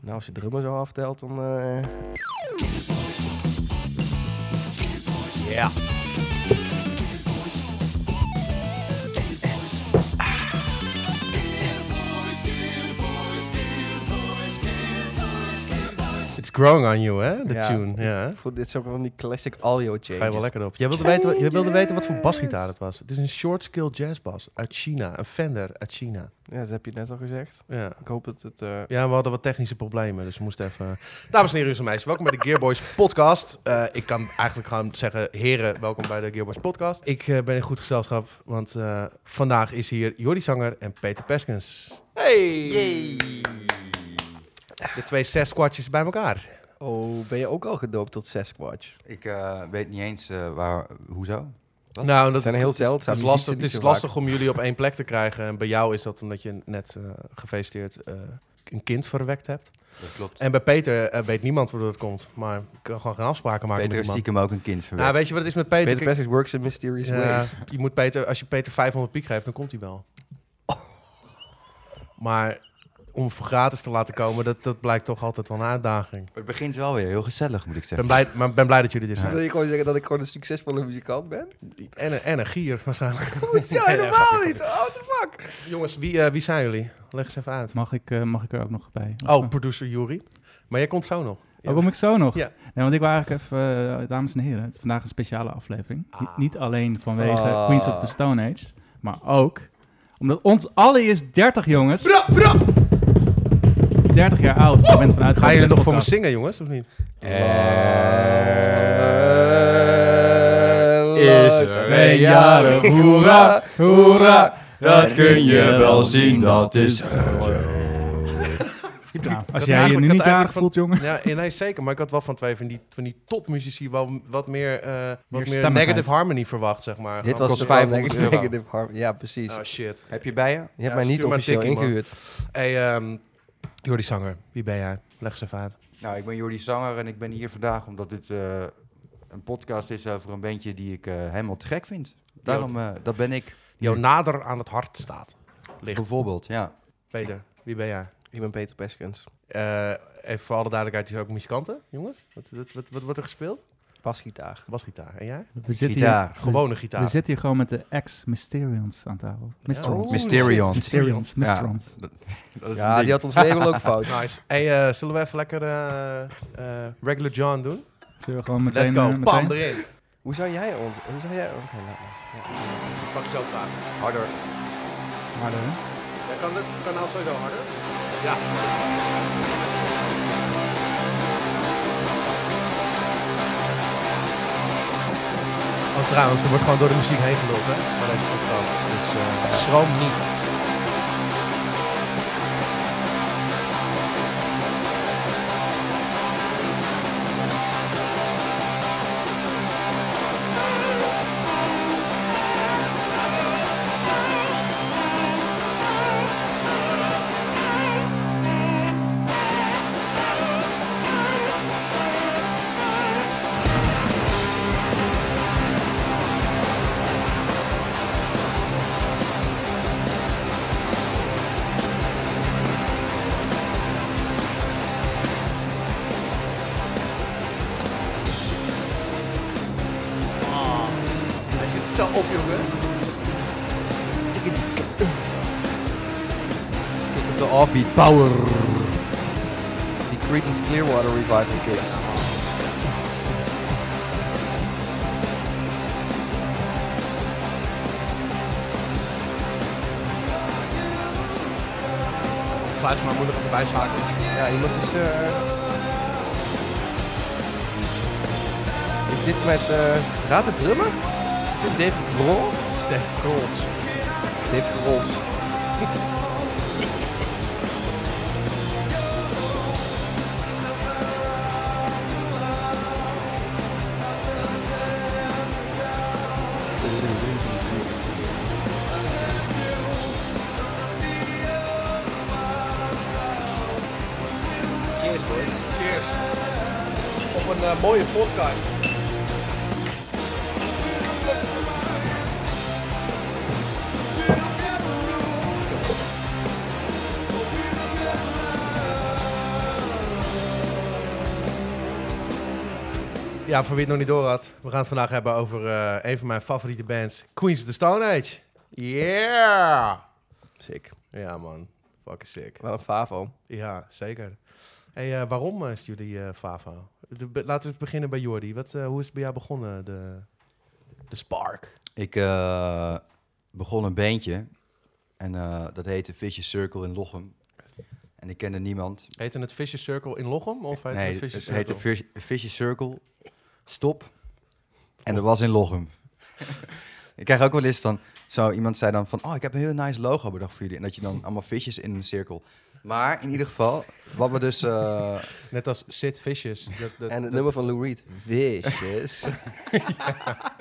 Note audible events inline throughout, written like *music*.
Nou, als je drummer zo aftelt, dan... eh, *laughs* Ja. It's growing on you, hè? De Ja. tune. Ja. hè? Voor dit is ook wel van die classic audio changes. Ga je wel lekker op. Jij wilde, weten, wat- jij wilde weten wat voor basgitaar het was. Het is een short skill jazzbas uit China. Een Fender uit China. Ja, dat heb je net al gezegd. Ja. Ik hoop dat het... eh, Ja, we hadden wat technische problemen, dus we moesten even... Dames en heren, jongens en meisjes, welkom bij de Gearboys podcast. Eh, ik kan eigenlijk gewoon zeggen, heren, welkom bij de Gearboys podcast. Ik eh, ben in goed gezelschap, want eh, vandaag is hier Jordi Zanger en Peter Peskens. Hey! De twee zes kwartjes bij elkaar. Oh, ben je ook al gedoopt tot Sasquatch? Ik eh, weet niet eens eh, waar, hoezo. Wat? Nou, dat Zijn is- heel het is- zeldzaam, Het je is ziet lastig, ze het niet is zo vaak. lastig om jullie op één plek te krijgen. En bij jou is dat omdat je net eh, gefeliciteerd eh, een kind verwekt hebt. Dat klopt. En bij Peter eh, weet niemand hoe dat komt, maar ik kan gewoon geen afspraken maken Peter met is die man. stiekem ook een kind Nou, verwerkt. weet je wat het is met Peter? Peter Kijk, Pestix works in mysterious ja, ways. je moet Peter, als je Peter 500 piek geeft, dan komt hij *laughs* wel. Maar om voor gratis te laten komen, dat, dat blijkt toch altijd wel een uitdaging. het begint wel weer heel gezellig, moet ik Ik ben zeggen. blij, maar ben blij dat jullie er zijn. Wil je gewoon zeggen dat ik gewoon een succesvolle muzikant *laughs* ben? En, een- en een gier *laughs* waarschijnlijk. Hoezo? *laughs* Helemaal niet! Oh, what the fuck? Jongens, wie, eh, wie zijn jullie? Leg eens even uit. Mag ik, eh, mag ik er ook nog bij? Oh, producer Jury. Maar jij komt zo nog. Oh, kom ik zo nog? Ja. Nee, want ik wou eigenlijk even, eh, dames en heren, het is vandaag een speciale aflevering. Ni- Ah. niet alleen vanwege Ah. Queens of the Stone Age, maar ook omdat ons allen is 30 jongens. 30 jaar oud. op het moment van Ga uitgaan je er nog van voor me deze zingen, jongens, of niet? Eh, Is er een jarig, hoera, hoera, dat kun je wel zien, dat is... podcast. Nou, als had jij je nu eigenlijk- ik had niet eigenlijk jarig van- voelt, jongen. *laughs* Ja, eh, nee, zeker. Maar ik had wel van twee van die, van die topmuzici wel wat meer, eh, wat meer stemmigheid. negative harmony verwacht, zeg maar. Dit Gewoon- was Kost de plan, 500 denk ik, euro. negative harm. *laughs* Ja, precies. Oh, shit. Heb je bij je? je hebt Ja, mij niet stuur maar een officieel tikkie, man. ingehuurd. Hey, ehm Jordi Zanger, wie ben jij? Leg eens even uit. Nou, ik ben Jordi Zanger en ik ben hier vandaag omdat dit eh, een podcast is over een bandje die ik eh, helemaal te gek vind. Daarom, eh, dat ben ik. Jouw nader aan het hart staat. Ligt. Bijvoorbeeld, ja. Peter, wie ben jij? Ik ben Peter Peskens. Eh, even voor alle duidelijkheid, die is ook muzikanten, jongens. Wat, wat, wat, wat wordt er gespeeld? Basgitaar. Basgitaar. En jij? We zitten, hier, Gitaar. Gewone we gitaar. zitten hier gewoon met de ex-Mysterions aan tafel. Mysterions. Oh. Mysterion. Mysterions. Ja. Mysterions. Dat is Ja, een die ding. had ons label *laughs* ook fout. Nice. Hey, eh, zullen we even lekker eh, eh, Regular John doen? Zullen we gewoon meteen... Let's go. eh, meteen? Bam, erin. Hoe zou jij ons... Hoe zou jij... Oké, laat maar. Ja. Pak zo vragen. Harder. Harder, hè? Jij kan het kanaal sowieso harder. Ja. Oh, trouwens, er wordt gewoon door de muziek heen geluld, hè? Bij deze podcast. Dus eh schroom niet. Hij zit zo op, jongen. Kijk op de offbeat power. Die Creedence Clearwater Revival Kids. Fluis maar moeilijk even bijschakelen. Ja, iemand is... eh, Is dit met... eh raad het drummer? Is dit David Grohl? Stef Krols. David Grols. Cheers, boys. Cheers. Op een eh, mooie podcast. Ja, voor wie het nog niet door had. We gaan het vandaag hebben over eh, een van mijn favoriete bands. Queens of the Stone Age. Yeah! Sick. Ja, man. Fucking sick. Wel een favo. Ja, zeker. Hey, eh, waarom eh, stuurde je eh, Fava? De- be- laten we eens beginnen bij Jordi. Wat, eh, hoe is het bij jou begonnen, de, de spark? Ik eh, begon een bandje. En eh, dat heette Vicious Circle in Lochem. En ik kende niemand. Heette het Vicious Circle in Lochem? Of heette nee, het Vicious het heette Circle? Vish- Vicious Circle. Stop. En dat was in *laughs* Lochem. ik krijg ook wel eens dan... Zo, iemand zei dan van... Oh, ik heb een heel nice logo bedacht voor jullie. En dat je dan allemaal visjes in een cirkel... Maar in ieder geval, wat we dus... eh, Net als Sid Vicious. Dat, dat, En het dat- nummer van Lou Reed. Vicious. ja, ook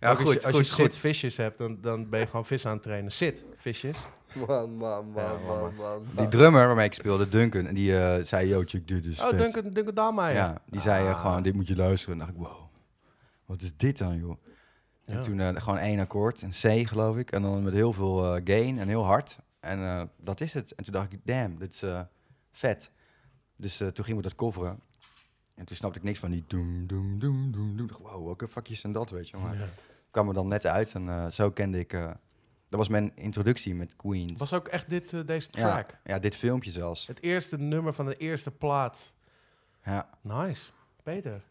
als je, goed, als goed, je goed. Sid Vicious hebt, dan, dan ben je gewoon vis aan het trainen. Sid Vicious. *laughs* man, man, man, Ja, man, man, man. Die drummer waarmee ik speelde, Duncan, en die eh, zei, yo, check dit is Oh, vet. Duncan, Duncan Dalmeijer. Ja, die zei eh, Ah. gewoon, dit moet je luisteren. En dacht ik, wow, wat is dit dan, joh? Ja. En toen eh, gewoon één akkoord, een C geloof ik, en dan met heel veel eh, gain en heel hard. En eh, dat is het. En toen dacht ik, damn, dit is eh, vet. Dus eh, toen gingen we dat coveren. En toen snapte ik niks van die doem, doem, doem, doem, doem. Ik dacht, Wow, welke vakjes zijn dat, weet je. Maar Ja. kwam er dan net uit en eh, zo kende ik... eh, dat was mijn introductie met Queens. Was ook echt dit, eh, deze ja, track. ja, dit filmpje zelfs. Het eerste nummer van de eerste plaat. Ja. Nice. Peter.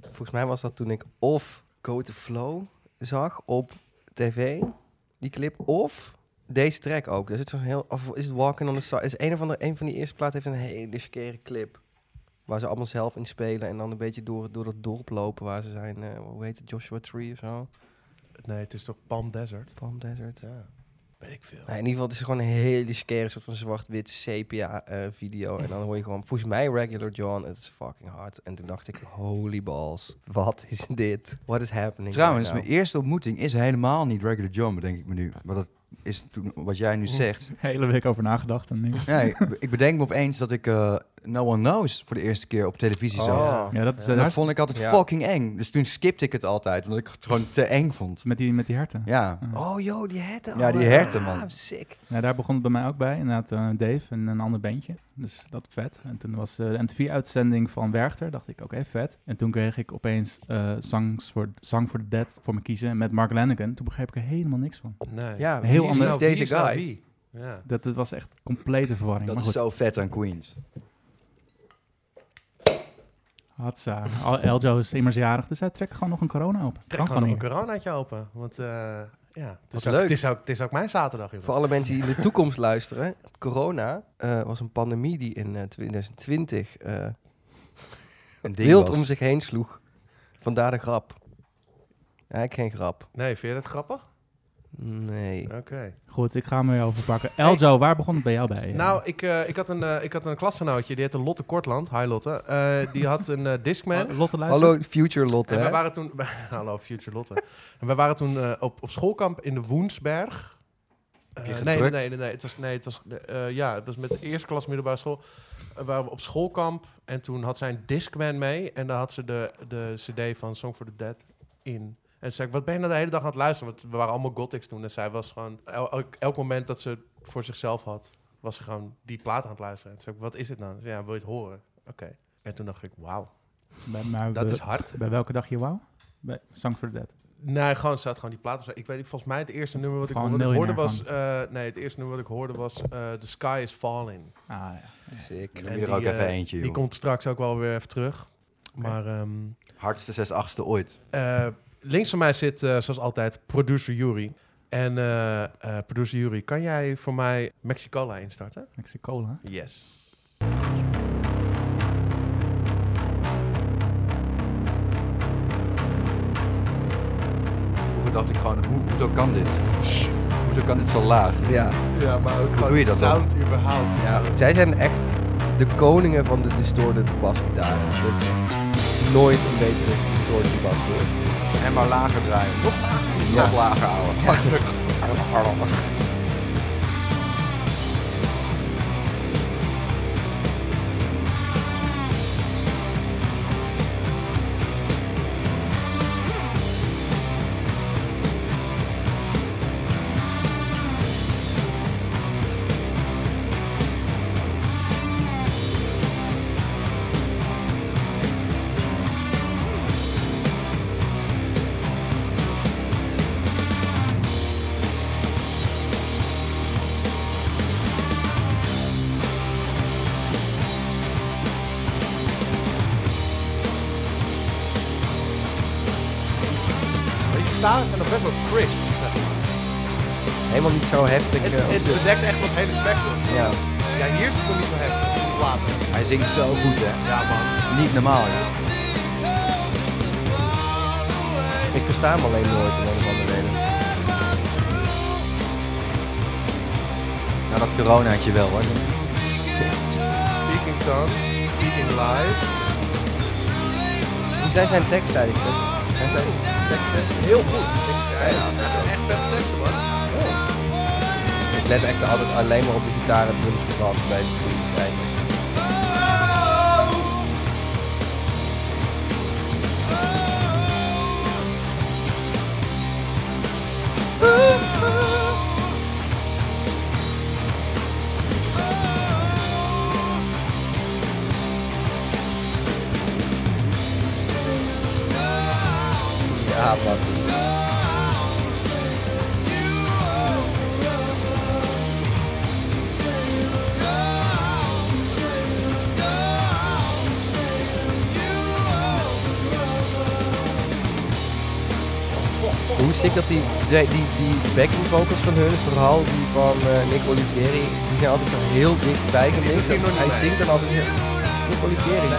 Volgens mij was dat toen ik of Go to Flow zag op tv, die clip, of deze track ook. Er zit zo'n heel, of is het Walking on the Side? Is een, of andere, een van die eerste platen heeft een hele skere clip. Waar ze allemaal zelf in spelen en dan een beetje door, door dat dorp lopen waar ze zijn. eh, hoe heet het? Joshua Tree of zo? Nee, het is toch Palm Desert? Palm Desert. Ja. Weet ik veel. Nou, in ieder geval, het is gewoon een hele skere soort van zwart-wit sepia eh, video. En dan hoor je gewoon, volgens mij Regular John, het is fucking hard. En toen dacht ik, holy balls, wat is dit? What is happening? Trouwens, right mijn eerste ontmoeting is helemaal niet Regular John, denk ik me nu. Maar dat is toen, wat jij Mm. nu zegt. Hele week over nagedacht en niks. Nee, ik- ik bedenk me opeens dat ik eh, No One Knows voor de eerste keer op televisie now? zag. Oh. Ja, dat is eh, En dat dat is vond ik altijd Ja. fucking eng. Dus toen skipte ik het altijd, omdat ik het gewoon te eng vond. met die, met die herten. Ja, Oh, joh, die herten. Ja, Oh, die ja. herten, man. Ah, sick. Ja, Nou, daar begon het bij mij ook bij. Inderdaad, eh, Dave en een ander bandje. Dus dat vet. En toen was eh, de MTV-uitzending van Werchter. Dacht ik, oké, vet. En toen kreeg ik opeens eh Songs for, Song for the Dead voor me kiezen met Mark Lennigan. Toen begreep ik er helemaal niks van. Nee. Ja, Heel wie is anders. nou Wie deze is nou guy. wie? Ja. Dat het was echt complete verwarring. dat maar is goed, zo vet aan Queens. Hatsa. Al- Eljo is immers jarig, dus hij trekt gewoon nog een corona op. Trek gewoon nog een niet. coronaatje open. Want eh, ja, het is, Wat ook, leuk. het, is ook, het is ook mijn zaterdag. jongen. Voor alle mensen die in de toekomst *laughs* luisteren, corona eh, was een pandemie die in eh, 2020 eh Een ding wild was. om zich heen sloeg. Vandaar de grap. Eigenlijk geen grap. Nee, vind je dat grappig? Nee. Oké. Goed, ik ga me weer overpakken. Eljo, waar begon het bij jou bij? Nou, ik, eh, ik, had een, eh, ik had een klasgenootje, die heette Lotte Kortland. Hi Lotte. Eh, die had een eh, Discman. Eh, Lotte luister. Hallo, Future Lotte. En wij hè? waren toen... *laughs* Hallo, Future Lotte. en wij waren toen eh, op, op schoolkamp in de Woensberg. Eh, je nee, nee, gedrukt? nee, nee, nee. Het was, nee, het was, eh, ja, het was met de eerste klas middelbare school. Eh, waren we op schoolkamp en toen had zij een Discman mee. En daar had ze de, de cd van Song for the Dead in. En toen zei ik, wat ben je nou de hele dag aan het luisteren? Want we waren allemaal gothics toen. En zij was gewoon... el- elk, elk moment dat ze het voor zichzelf had, was ze gewoon die plaat aan het luisteren. En toen zei ik, wat is het nou? Ze zei, ja, wil je het horen? Oké. En toen dacht ik, wauw, Bij, maar dat bij- is hard. bij welke dag je wou? Bij Songs for the Dead. Nee, gewoon staat gewoon die plaat op. Ik weet niet, volgens mij het eerste nummer wat ik, Gewoon wat ik hoorde miljonair was... eh, nee, het eerste nummer wat ik hoorde was eh, The Sky Is Falling. Ah, ja. Sick. Ik En noem je er ook die, even eh, eentje, Die joh. komt straks ook wel weer even terug. Maar ehm, Hardste 6 8 ooit. eh, links van mij zit, eh, zoals altijd, producer Yuri. En eh, eh, producer Yuri, kan jij voor mij Mexicola instarten? Mexicola. Yes. Vroeger dacht ik gewoon, hoe, hoezo kan dit? Hoezo kan dit zo laag? Ja, Ja, maar ook gewoon doe je de dat dan? sound überhaupt. ja, zij zijn echt de koningen van de distorted basgitaar. Dat is echt nooit een betere distorted bas gehoord. En maar lager draaien. Nog lager. Nog lager, ouwe. Thank gitaren zijn nog best wel crisp. zeg maar. Helemaal niet zo heftig. eh, Het, het als- bedekt echt wat hele spectrum. ja. Ja, hier zit het nog niet zo heftig. Later. Hij zingt zo goed, hè. Ja, man. Dat is niet normaal, joh. Ik versta hem alleen nooit om een of andere reden. Nou, dat coronaatje wel, hoor. Speaking tongues, speaking lies. Hoe zijn zijn tekst eigenlijk? Zijn zijn teksten? Heel goed. Ik, ja, ja, dat zijn echt vette teksten, man. Ik let echt altijd alleen maar op de gitaar en drums en bas bij de vrienden zijn. Ja, man. Hoe sick dat die, die, die, die backing vocals van hun, vooral die van eh, Nick Olivieri, die zijn altijd zo heel dichtbij gemixt. doet hier nog niet Hij bij. zingt dan altijd heel- Nick Olivieri.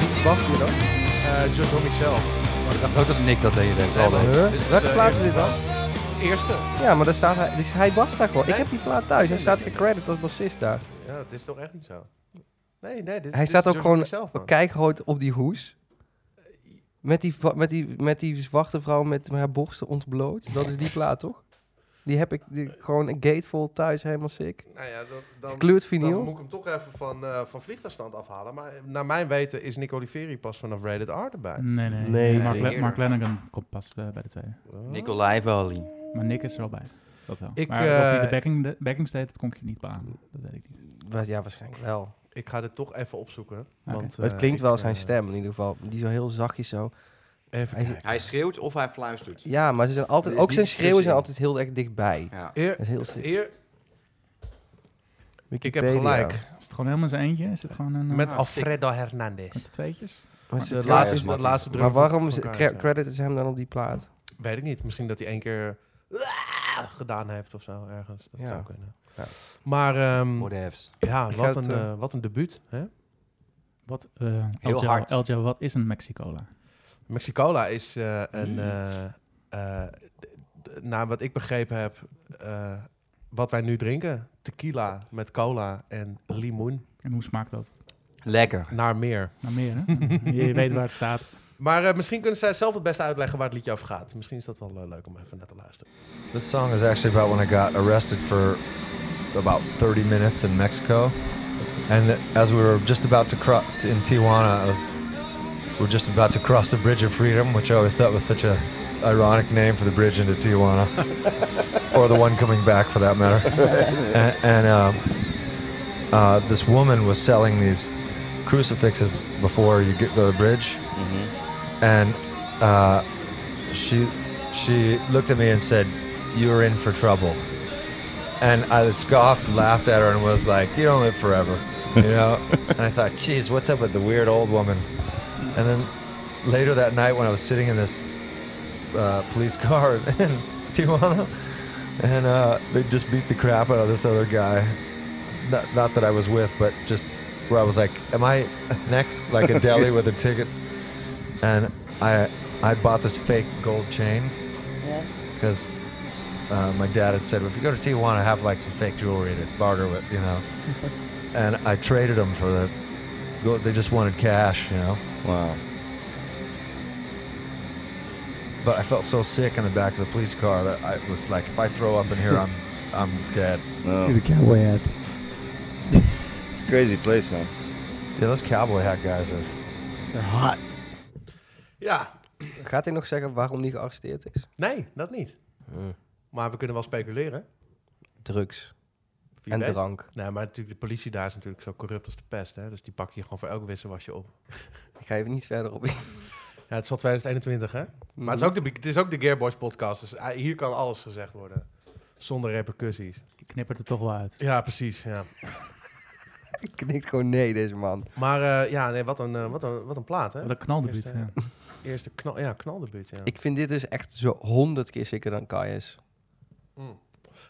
Wie is Bastien dan? Eh, Just on myself. Maar ik dacht ook dat Nick dat deed. hè. Nee, maar- Huh? Dit is, Welke eh, plaat is dit dan? Eerste. Ja, maar daar staat hij, dus hij bast daar gewoon. Ik Nee? heb die plaat thuis. Hij Nee, staat nee, nee. gecredit als bassist daar. Ja, dat is toch echt niet zo. Nee, nee. Dit, Hij dit staat is ook Just gewoon- On Myself, man. Kijkrood op die hoes. Met die, va- met, die, met die zwarte vrouw met haar borsten ontbloot. Dat is *laughs* die plaat, toch? Die heb ik die, gewoon een gatefold thuis, helemaal sick. Nou ja, dan, dan, Gekleurd dan vinyl. moet ik hem toch even van, eh van vliegtuigstand afhalen. Maar naar mijn weten is Nick Oliveri pas vanaf Rated R erbij. Nee, nee. Nee, Mark, zeker. Le- Mark Lennigan komt pas eh, bij de tweede. Oh. Nicolai Valley. Maar Nick is er al bij. Dat wel. Ik, maar of hij eh, de backing, de backing deed, dat kon ik je niet beamen. Dat weet ik niet. Wa- Ja, waarschijnlijk wel. Ik ga dit toch even opzoeken. Oké. Want, Maar het eh, klinkt ik, wel eh, zijn stem in ieder geval. Die zo heel zachtjes zo. Even Hij is- kijken. Hij schreeuwt of hij fluistert. Ja, maar ze zijn altijd, Er is ook zijn niet schreeuwen zijn tussen. altijd heel erg dichtbij. Ja. Eer- Dat is heel sick. eer- ik heb Wikipedia. gelijk. Is het gewoon helemaal zijn eentje? Is het gewoon een... eh, Met Ah, Alfredo Hernandez. met z'n tweetjes? Maar, De ze- Ja, laatste, is de Martin. laatste drum maar van- waarom van ze- Kaarsen. cre- crediten ze hem dan op die plaat? Weet ik niet. Misschien dat hij één keer eh, gedaan heeft of zo ergens. Dat Ja. zou kunnen. Ja. Maar ehm, Whatevs. ja, Ik wat ga het, een, eh, eh, wat een debuut. Hè? Wat, eh Heel LJ, hard. LJ, wat is een Mexicola? Mexicola is eh, een... eh, eh, d- d- naar wat ik begrepen heb, eh, wat wij nu drinken. Tequila met cola en limoen. En hoe smaakt dat? Lekker. Naar meer. Nou, meer *laughs* hè? je weet waar het staat. Maar eh, misschien kunnen zij zelf het beste uitleggen waar het liedje over gaat. Misschien is dat wel eh, leuk om even naar te luisteren. This song is actually about when I got arrested for about 30 minutes in Mexico. And as we were just about to cross in Tijuana, as we are just about to cross the Bridge of Freedom, which I always thought was such a ironic name for the bridge into Tijuana, or the one coming back for that matter. and and uh, uh, this woman was selling these crucifixes before you get to the bridge Mhm. and uh, she she looked at me and said, "You're in for trouble." And I scoffed, laughed at her, and was like, "You don't live forever," you know. and I thought, "Geez, what's up with the weird old woman?" And then later that night, when I was sitting in this uh, police car *laughs* in Tijuana, and uh, they just beat the crap out of this other guy. Not, not that I was with, but just where I was like, "Am I next?" Like a deli with a ticket and I I bought this fake gold chain because uh, my dad had said if you go to Tijuana have like some fake jewelry to barter with you know and I traded them for the gold they just wanted cash you know Wow. but I felt so sick in the back of the police car that I was like if I throw up in here I'm I'm dead The cowboy hats. It's a crazy place, man. yeah those cowboy hat guys are They're hot. Ja, Gaat hij nog zeggen waarom die gearresteerd is? nee, dat niet. Maar we kunnen wel speculeren. Drugs Wie en weet. drank. Nee, maar natuurlijk, de politie daar is natuurlijk zo corrupt als de pest. Hè? Dus die pak je gewoon voor elk wisselwasje op. Ik ga even niet verder op in. Ja, het is al 2021, hè? Maar het Mhm. is ook de, *laughs* be- het is ook de Gearboys podcast. Dus eh, hier kan alles gezegd worden. Zonder repercussies. Je knippert er toch wel uit. Ja, precies. Ja. knikt gewoon nee, deze man. Maar eh, ja, nee, wat, een, eh, wat, een, wat een plaat, hè? Wat een knaldebuut. Eerst, eh, Ja. eerste knal, ja, knaldebuut. Ja. Ik vind dit dus echt zo honderd keer sicker dan Kai is. Mm.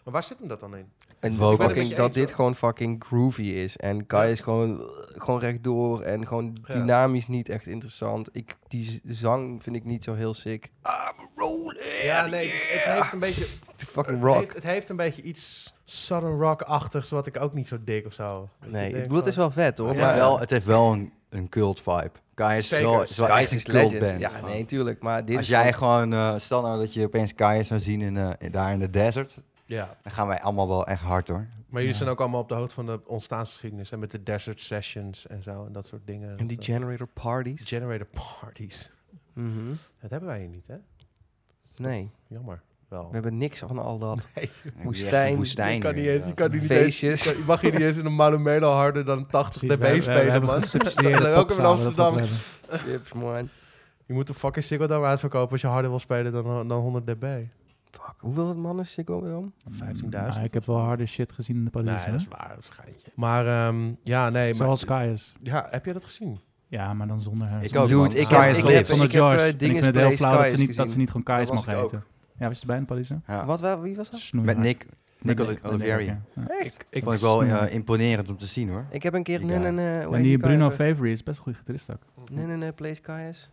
Maar waar zit hem dat dan in? En Vocal. Ben het met fucking, je dat eens, dit hoor. gewoon fucking groovy is. En Kai Ja. is gewoon, gewoon rechtdoor en gewoon Ja. dynamisch niet echt interessant. Ik, die z- zang vind ik niet zo heel sick. I'm rolling! Ja, nee, het, is- het yeah. heeft een beetje... fucking Het rock. heeft, het heeft een beetje iets Southern Rock-achtigs, wat ik ook niet zo dik of zo. Dat je nee, ik denkt bedoel, het is van- wel vet hoor. Het maar- heeft wel, het heeft wel een, een cult vibe. Kai is Zeker. wel, is wel Kai echt is een cult legend. band. Ja, nee, tuurlijk. Maar dit Als is jij gewoon- gewoon, eh stel nou dat je opeens Kai zou zien in, eh, in- daar in de desert, Ja, dan gaan wij allemaal wel echt hard hoor. maar jullie Ja. zijn ook allemaal op de hoogte van de ontstaansgeschiedenis. En met de desert sessions en zo en dat soort dingen. En die Dat, generator eh, parties. generator parties. Mhm. Dat hebben wij hier niet, hè? Nee, Jammer. Wel. we hebben niks van al dat. Woestijn. Woestijn. Woestijn je kan niet eens, je inderdaad. kan die niet eens, je, Feestjes. kan- je mag hier niet eens in een manuelo harder dan 80 Precies, dB spelen, man. *laughs* gesubsidieerde Welkom in popzalen, dat is wat Amsterdam. we hebben. *laughs* Chips, man. Je moet de fucking Siggo Dome uitverkopen als je harder wil spelen dan, dan 100 dB. Fuck, hoeveel mannen is ik ook weer om? 15.000. Nou, ik heb wel harde shit gezien in de Parijs. Nee, dat is waar, dat is een geintje. Maar ehm, ja, nee. Maar, Zoals Kaius. ja, heb jij dat gezien? Ja, maar dan zonder haar. Ik Zonder- ook, Dude, man. ik Kai heb- is ik lit. heb- Lip van de eh, George. En ik Dinges vind het heel Blaze flauw dat ze, Kaius niet, dat ze gezien. niet gewoon Kaius Dat mag was ik ook. heten. Ja, was je erbij in Parijs? Ja. Wat, wa- wie was dat? Met Nick. Nick Nicola Olivieri. Ik, ik, Vond ik wel eh, imponerend om te zien hoor. Ik heb een keer... Die Nee, guy. nee, nee. hoe En heet die guy Bruno ook weer? Favory is best een goede gitarist ook. Nee, nee, nee, Place Kaius.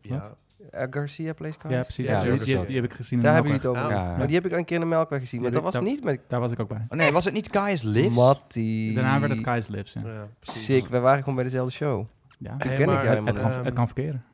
ja. Wat? Eh, Garcia Place Kaius. Ja, precies. Ja, die, die- Jervis die- ook. die heb ik gezien in Daar de hebben jullie het Ja. over. Ja. Maar die heb ik een keer in de Melkweg gezien. Maar Die dat was heb ik niet met Daar was ik ook bij. Oh, nee, was het niet Kai's Lift? Matty. Daarna werd het Kaius Lips. Ja. Ja, precies. Sick, we waren gewoon bij dezelfde show. Ja. Toen Hey, ken maar- ik jou Het, het, helemaal kan, ehm, niet. het kan verkeren.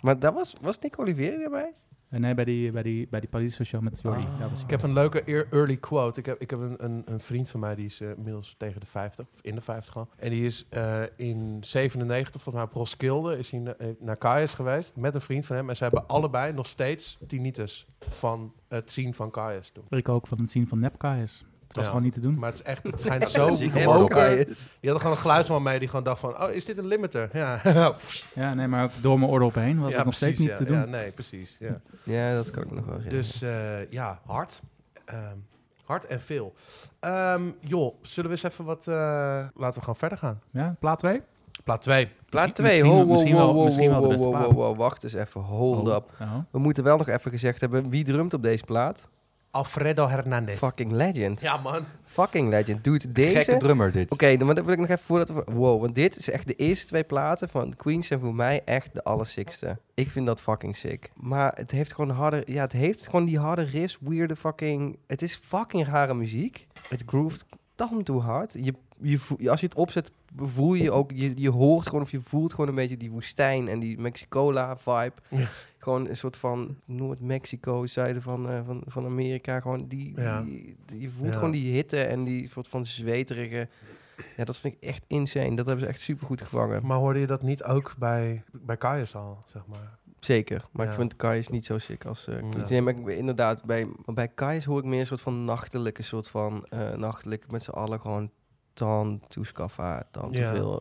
Maar dat was, was Nick Olivieri daarbij? Eh, nee, bij die, bij die, bij die Parijs show met Jordi. daar was Ik heb een leuke ear- early quote. Ik heb, ik heb een, een, een vriend van mij, die is eh, inmiddels tegen de 50, of in de 50 al. En die is eh, in 97, volgens mij op Roskilde, is hij na- eh, naar Kaius geweest met een vriend van hem. En ze hebben allebei nog steeds tinnitus van het zien van Kaius toen. ik ook van het zien van Nep Kaius. Het was Ja. gewoon niet te doen. Maar het is echt, het *laughs* schijnt zo Zieke En Mordokai. woker. Kaius. Die had gewoon een geluidsman mee die gewoon dacht van, oh, is dit een limiter? Ja, *laughs* Ja, nee, maar ook door mijn oren opheen was Ja, het nog steeds niet ja, te doen. Oh, Ja, nee, precies. Ja. Ja, dat kan ik nog wel zeggen. Dus eh, ja, hard. Ehm, hard en veel. Ehm, joh, zullen we eens even wat... eh, laten we gaan verder gaan. Ja, plaat 2? Plaat 2. Plaat Misschien- 2, ho, ho, misschien wel- ho, ho, misschien wel de ho, beste ho, plaat. ho, ho, wacht eens even, hold up. Oh. We moeten wel nog even gezegd hebben, wie drumt op deze plaat? Alfredo Hernandez. Fucking legend. Ja, man. Fucking legend. Dude, Gekke deze... drummer dit. Oké, dan wil ik nog even voordat we... Wow, want dit is echt de eerste twee platen van Queens zijn voor mij echt de allersickste. Ik vind dat fucking sick. Maar het heeft gewoon harde... Ja, het heeft gewoon die harde riffs, weirde fucking... Het is fucking rare muziek. Het grooved tam toe hard. Je, je voel- als je het opzet, voel je ook... Je, je hoort gewoon of je voelt gewoon een beetje die woestijn en die Mexicola-vibe. Ja. Gewoon een soort van Noord-Mexico, zuiden van, eh, van, van Amerika. Gewoon die, Ja. die- die- je voelt Ja. gewoon die hitte en die soort van zweterige... Ja, dat vind ik echt insane. Dat hebben ze echt super goed gevangen. Maar hoorde je dat niet ook bij, bij Kaius al, zeg maar? Zeker. Maar ik Ja. vind Kaius niet zo sick als eh Queens. Ja. Nee, maar ik- inderdaad, bij, want bij Kaius hoor ik meer een soort van nachtelijke soort van... eh nachtelijk met z'n allen gewoon tan toeskaffa, tan Ja. te veel.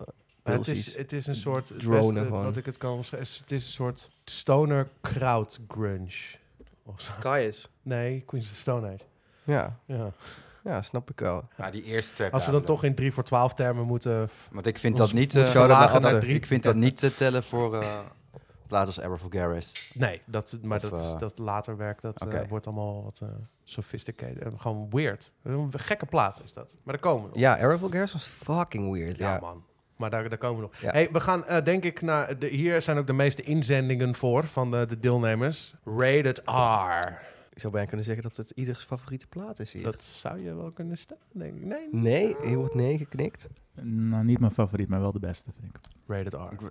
Het Pilsies. is, het is een soort... Het Dronen beste gewoon. wat ik het kan beschrijven. is- Het is een soort stoner kraut grunge. Of zo. Kaius. Nee, Queens of the Stone Age. Ja. Ja. ja, snap ik wel. Ja, die eerste twee Als we dan platen. toch in 3 voor 12 termen moeten... f- Want ik vind ons dat niet... moeten eh, shout-out naar verlagen naar Atze. drie. ik vind dat niet te tellen voor eh platen als Ever Vulgaris. Nee, dat, maar Of, dat, eh, dat later werk, dat eh, oké. wordt allemaal wat eh, sophisticated. en gewoon weird. Een gekke plaat is dat. Maar daar komen we nog. Ja, Arable Girls was fucking weird. Ja, Ja, man. Maar daar, daar komen we nog. Ja. Hey, we gaan eh, denk ik naar... De, hier zijn ook de meeste inzendingen voor van eh, de, de deelnemers. Rated R. Ik zou bijna kunnen zeggen dat het ieders favoriete plaat is hier. Dat zou je wel kunnen stellen, denk ik. Nee. Nee, hier wordt nee geknikt. Nou, niet mijn favoriet, maar wel de beste, vind ik. Rated R. Ik w-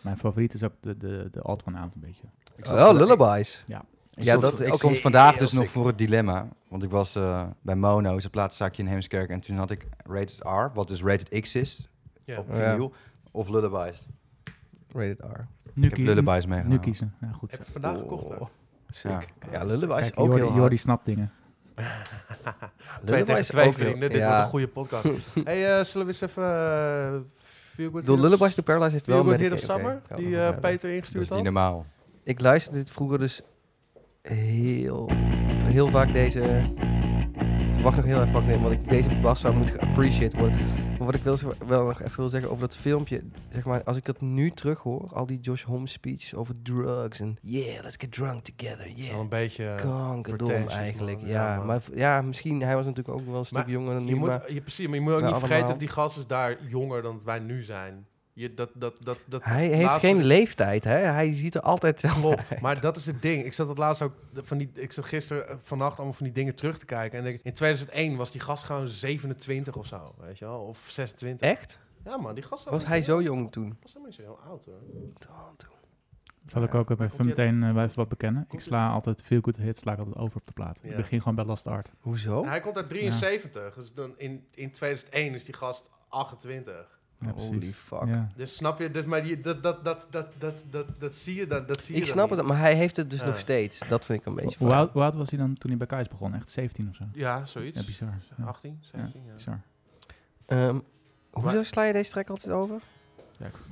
Mijn favoriet is ook de, de, de alt one out een beetje. Oh, Lullabies. Ik Ja, stond, dat ik ook stond heel vandaag dus sick. nog voor het dilemma. Want ik was eh, bij Mono, zijn plaatszaakje in Heemskerk. En toen had ik Rated R, wat dus Rated X is, Ja. op Oh, vinyl. Of Lullabies. Rated R. Nu, Ik heb Lullabies meegenomen. nu kiezen. Ja, goed. Heb zo. ik vandaag Oh, gekocht. hè? Sick. Ja, Kijk, Lullabies kijk, ook Jordi, heel Jordi hard. snapt dingen. *laughs* Twee Lullaby tegen is twee ook heel- vrienden. Dit ja. wordt een goede *laughs* podcast. hey, eh, zullen we eens even... eh, Feel Good De Heroes- Lullabies to Paradise heeft Feel wel Good met- Heroes oké, oké, Summer, gaan we die nog dus eh, hebben. Peter Dat ingestuurd is had. niet normaal. Ik luisterde dit vroeger dus heel, heel vaak deze. Wacht nog heel even, wacht, nee, want ik, deze bas zou moeten geappreciated worden. wat ik wil, z- wel nog even wil zeggen over dat filmpje. Zeg maar, als ik dat nu terughoor, al die Josh Holmes speeches over drugs en yeah, let's get drunk together, Het is wel yeah. een beetje... eh, Kankerdom pretentious, eigenlijk, man. ja. Ja, man. maar v- ja, misschien, hij was natuurlijk ook wel een stuk Maar jonger dan nu, je moet, maar je, precies, maar je moet ook Ja, niet vergeten dat allemaal. die gast is daar jonger dan wij nu zijn. Je, dat, dat, dat, dat, hij heeft laatste- geen leeftijd, hè. Hij ziet er altijd zelf Klopt, uit. maar dat is het ding. Ik zat dat laatst ook eh, van die, ik zat gisteren eh, vannacht allemaal van die dingen terug te kijken. En ik- in 2001 was die gast gewoon 27 of zo, weet je wel, of 26. Echt? Ja man, die gast Was hij zo jong toen? was helemaal niet zo heel oud hoor. Zal ik ook even Komt-ie- meteen eh, wel even wat bekennen? Ik Komt-ie- sla altijd veel good hits, sla ik altijd over op de plaat. Ja. Ik begin gewoon bij Last Art. Hoezo? Hij komt uit 73, dus dan in, in 2001 is die gast 28. Ja, Holy precies. fuck. Ja. Dus snap je, dus, maar die, dat, dat, dat, dat, dat, dat, dat zie je dan, dat zie je Ik dan snap niet. het, maar hij heeft het dus Ja. nog steeds. Dat vind ik een beetje Hoe fout. oud, hoe oud was hij dan toen hij bij Kais begon? Echt 17 of zo? Ja, zoiets. Ja, bizar. Ja, 18, 17, ja. bizar. Ehm, hoezo sla je deze track altijd over?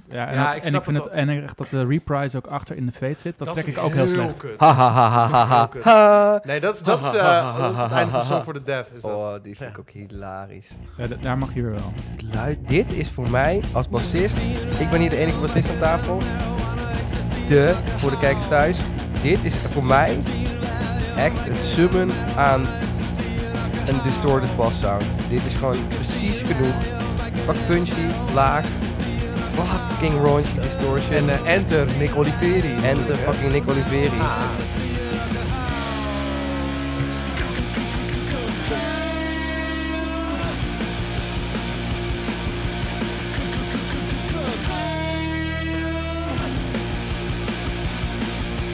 Ja, en, Ja, ook- ik en snap ik vind het het, en echt dat de reprise ook achter in de fade zit, dat, trek ik ook heel slecht. kut. Ha ha ha ha Dat vind ik ha heel kut. ha. Nee, dat, dat is eh, dat is het einde van Song for the Deaf. Is dat. Oh, die vind ik ook hilarisch. Ja, d- daar mag je weer wel. Luid, dit is voor mij als bassist. Ik ben niet de enige bassist aan tafel. De, voor de kijkers thuis. Dit is voor mij echt het summen aan een distorted bass sound. Dit is gewoon precies genoeg. Pak punchy, laag. Fucking raunchy distortion. En eh, Enter, Nick Oliveri. Ah. Enter fucking Nick Oliveri.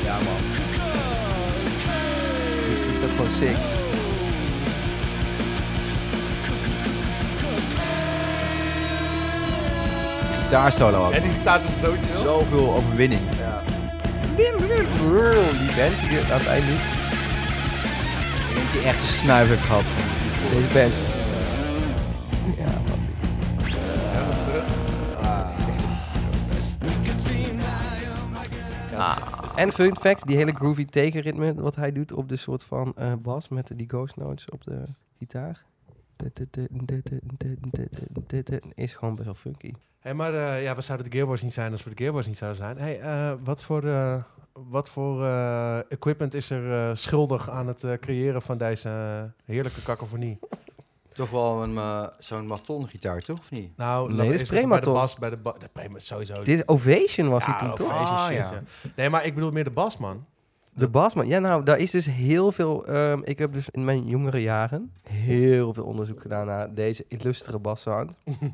Ja man. Dit is toch gewoon sick. Gitaarsolo eh. ook. En die staat dus zo zo chill. Zoveel overwinning. Ja. Die mensen die aan het eind niet. Ik denk dat hij echt een snuif heeft gehad van Deze band. Ja, wat Helemaal terug. En fun fact, die hele groovy tekenritme wat hij doet op de soort van eh, bas met die ghost notes op de gitaar. Is gewoon best wel funky. Hey, maar eh, ja, we zouden de Gearboys niet zijn als we de Gearboys niet zouden zijn. Hey, eh, wat voor, eh, wat voor eh, equipment is er eh, schuldig aan het eh, creëren van deze eh, heerlijke kakofonie? toch wel een, eh, zo'n maton gitaar, toch of niet? Nou, Nee, dan dit is het bij de Premator. bas, bij de ba- de Prema- sowieso. Dit is Ovation was Ja, hij toen, toch? Ovation Ah, shit, ja. ja. Nee, maar ik bedoel meer de bas, man. *laughs* De basman. Ja, nou, daar is dus heel veel... ehm, ik heb dus in mijn jongere jaren heel veel onderzoek gedaan naar deze illustere bassound. Mhm. Nou,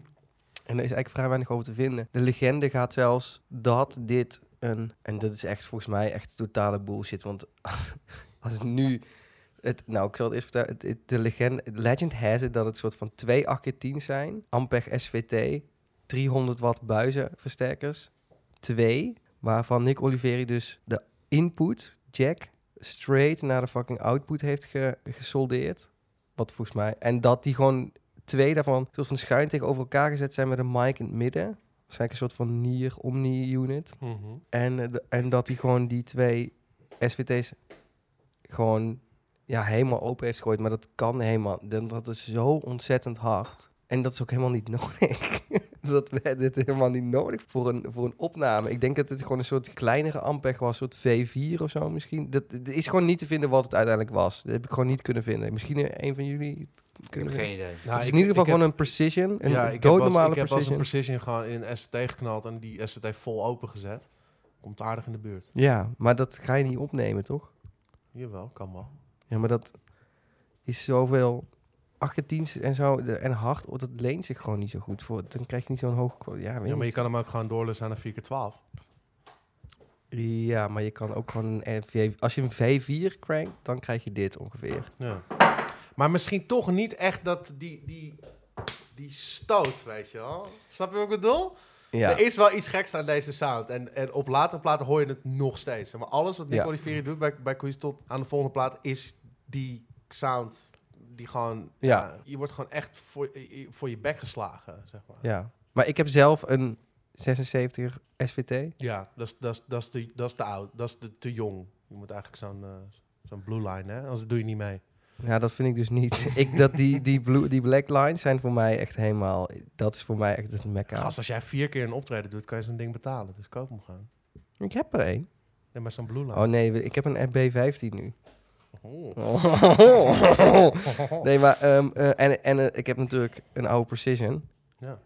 en er is eigenlijk vrij weinig over te vinden. De legende gaat zelfs dat dit een... En dat is echt volgens mij echt totale bullshit. Want *laughs* als, als nu... Het, nou, ik zal het eerst vertellen. Het- het- de legend, legend has it dat het soort van twee 8x10 zijn. Ampeg SVT, 300 watt buizenversterkers. Twee, waarvan Nick Oliveri dus de input, jack, straight naar de fucking output heeft ge- gesoldeerd. Wat volgens mij. En dat die gewoon twee daarvan soort van schuin tegenover elkaar gezet zijn met een mic in het midden. Waarschijnlijk een soort van nier omni unit. En, eh, de- en dat hij gewoon die twee SVT's gewoon ja, helemaal open heeft gegooid. Maar dat kan helemaal. Dat, dat is zo ontzettend hard. En dat is ook helemaal niet *laughs* nodig. dat we dit helemaal niet nodig voor een, voor een opname. Ik denk dat dit gewoon een soort kleinere Ampeg was. Een soort V4 of zo misschien. Dat, dat is gewoon niet te vinden wat het uiteindelijk was. Dat heb ik gewoon niet kunnen vinden. Misschien een van jullie het kunnen vinden. idee. Nou, Het is ik- Dus in ieder geval ik heb- gewoon een precision. Een ja, ik heb wel eens- doodnormale Ik heb wel eens een precision. precision gewoon in een SVT geknald en die SVT vol open gezet. Komt aardig in de buurt. Ja, maar dat ga je niet opnemen, toch? Jawel, kan wel. Ja, maar dat is zoveel. 18 en zo de- en hard, oh, dat leent zich gewoon niet zo goed voor. Dan krijg je niet zo'n hoge kwaliteit. Ja, weet Ja, maar je niet. kan hem ook gewoon doorlussen aan een 4x12. ja, maar je kan ook gewoon een V- Als je een V4 crankt, dan krijg je dit ongeveer. Ja. Maar misschien toch niet echt dat die, die, die stoot, weet je wel. Snap je wat ik bedoel? Ja, Er is wel iets geks aan deze sound. En, en op latere platen hoor je het nog steeds. Maar alles wat Nick Ja. Oliveri doet bij, bij Queens tot aan de volgende plaat... is die sound die gewoon... Ja. ja, je wordt gewoon echt voor, je- voor je bek geslagen, zeg maar. ja. Maar ik heb zelf een 76 SVT. Ja, dat is- dat is- dat is te- dat is te oud. Dat is te- te jong. Je moet eigenlijk zo'n eh, zo'n blue line, hè? Anders doe je niet mee. Ja, dat vind ik dus *laughs* niet. ik, dat die, die, blue, die black lines zijn voor mij echt helemaal... Dat is voor mij echt het mekka. Gast, als jij vier keer een optreden doet, kan je zo'n ding betalen. Dus koop hem gewoon. Ik heb er één. Ja, maar zo'n blue line. Oh nee, we- ik heb een FB15 nu. Oh. *laughs* nee, maar... ehm, eh, en en eh, ik heb natuurlijk een oude Precision. Ja.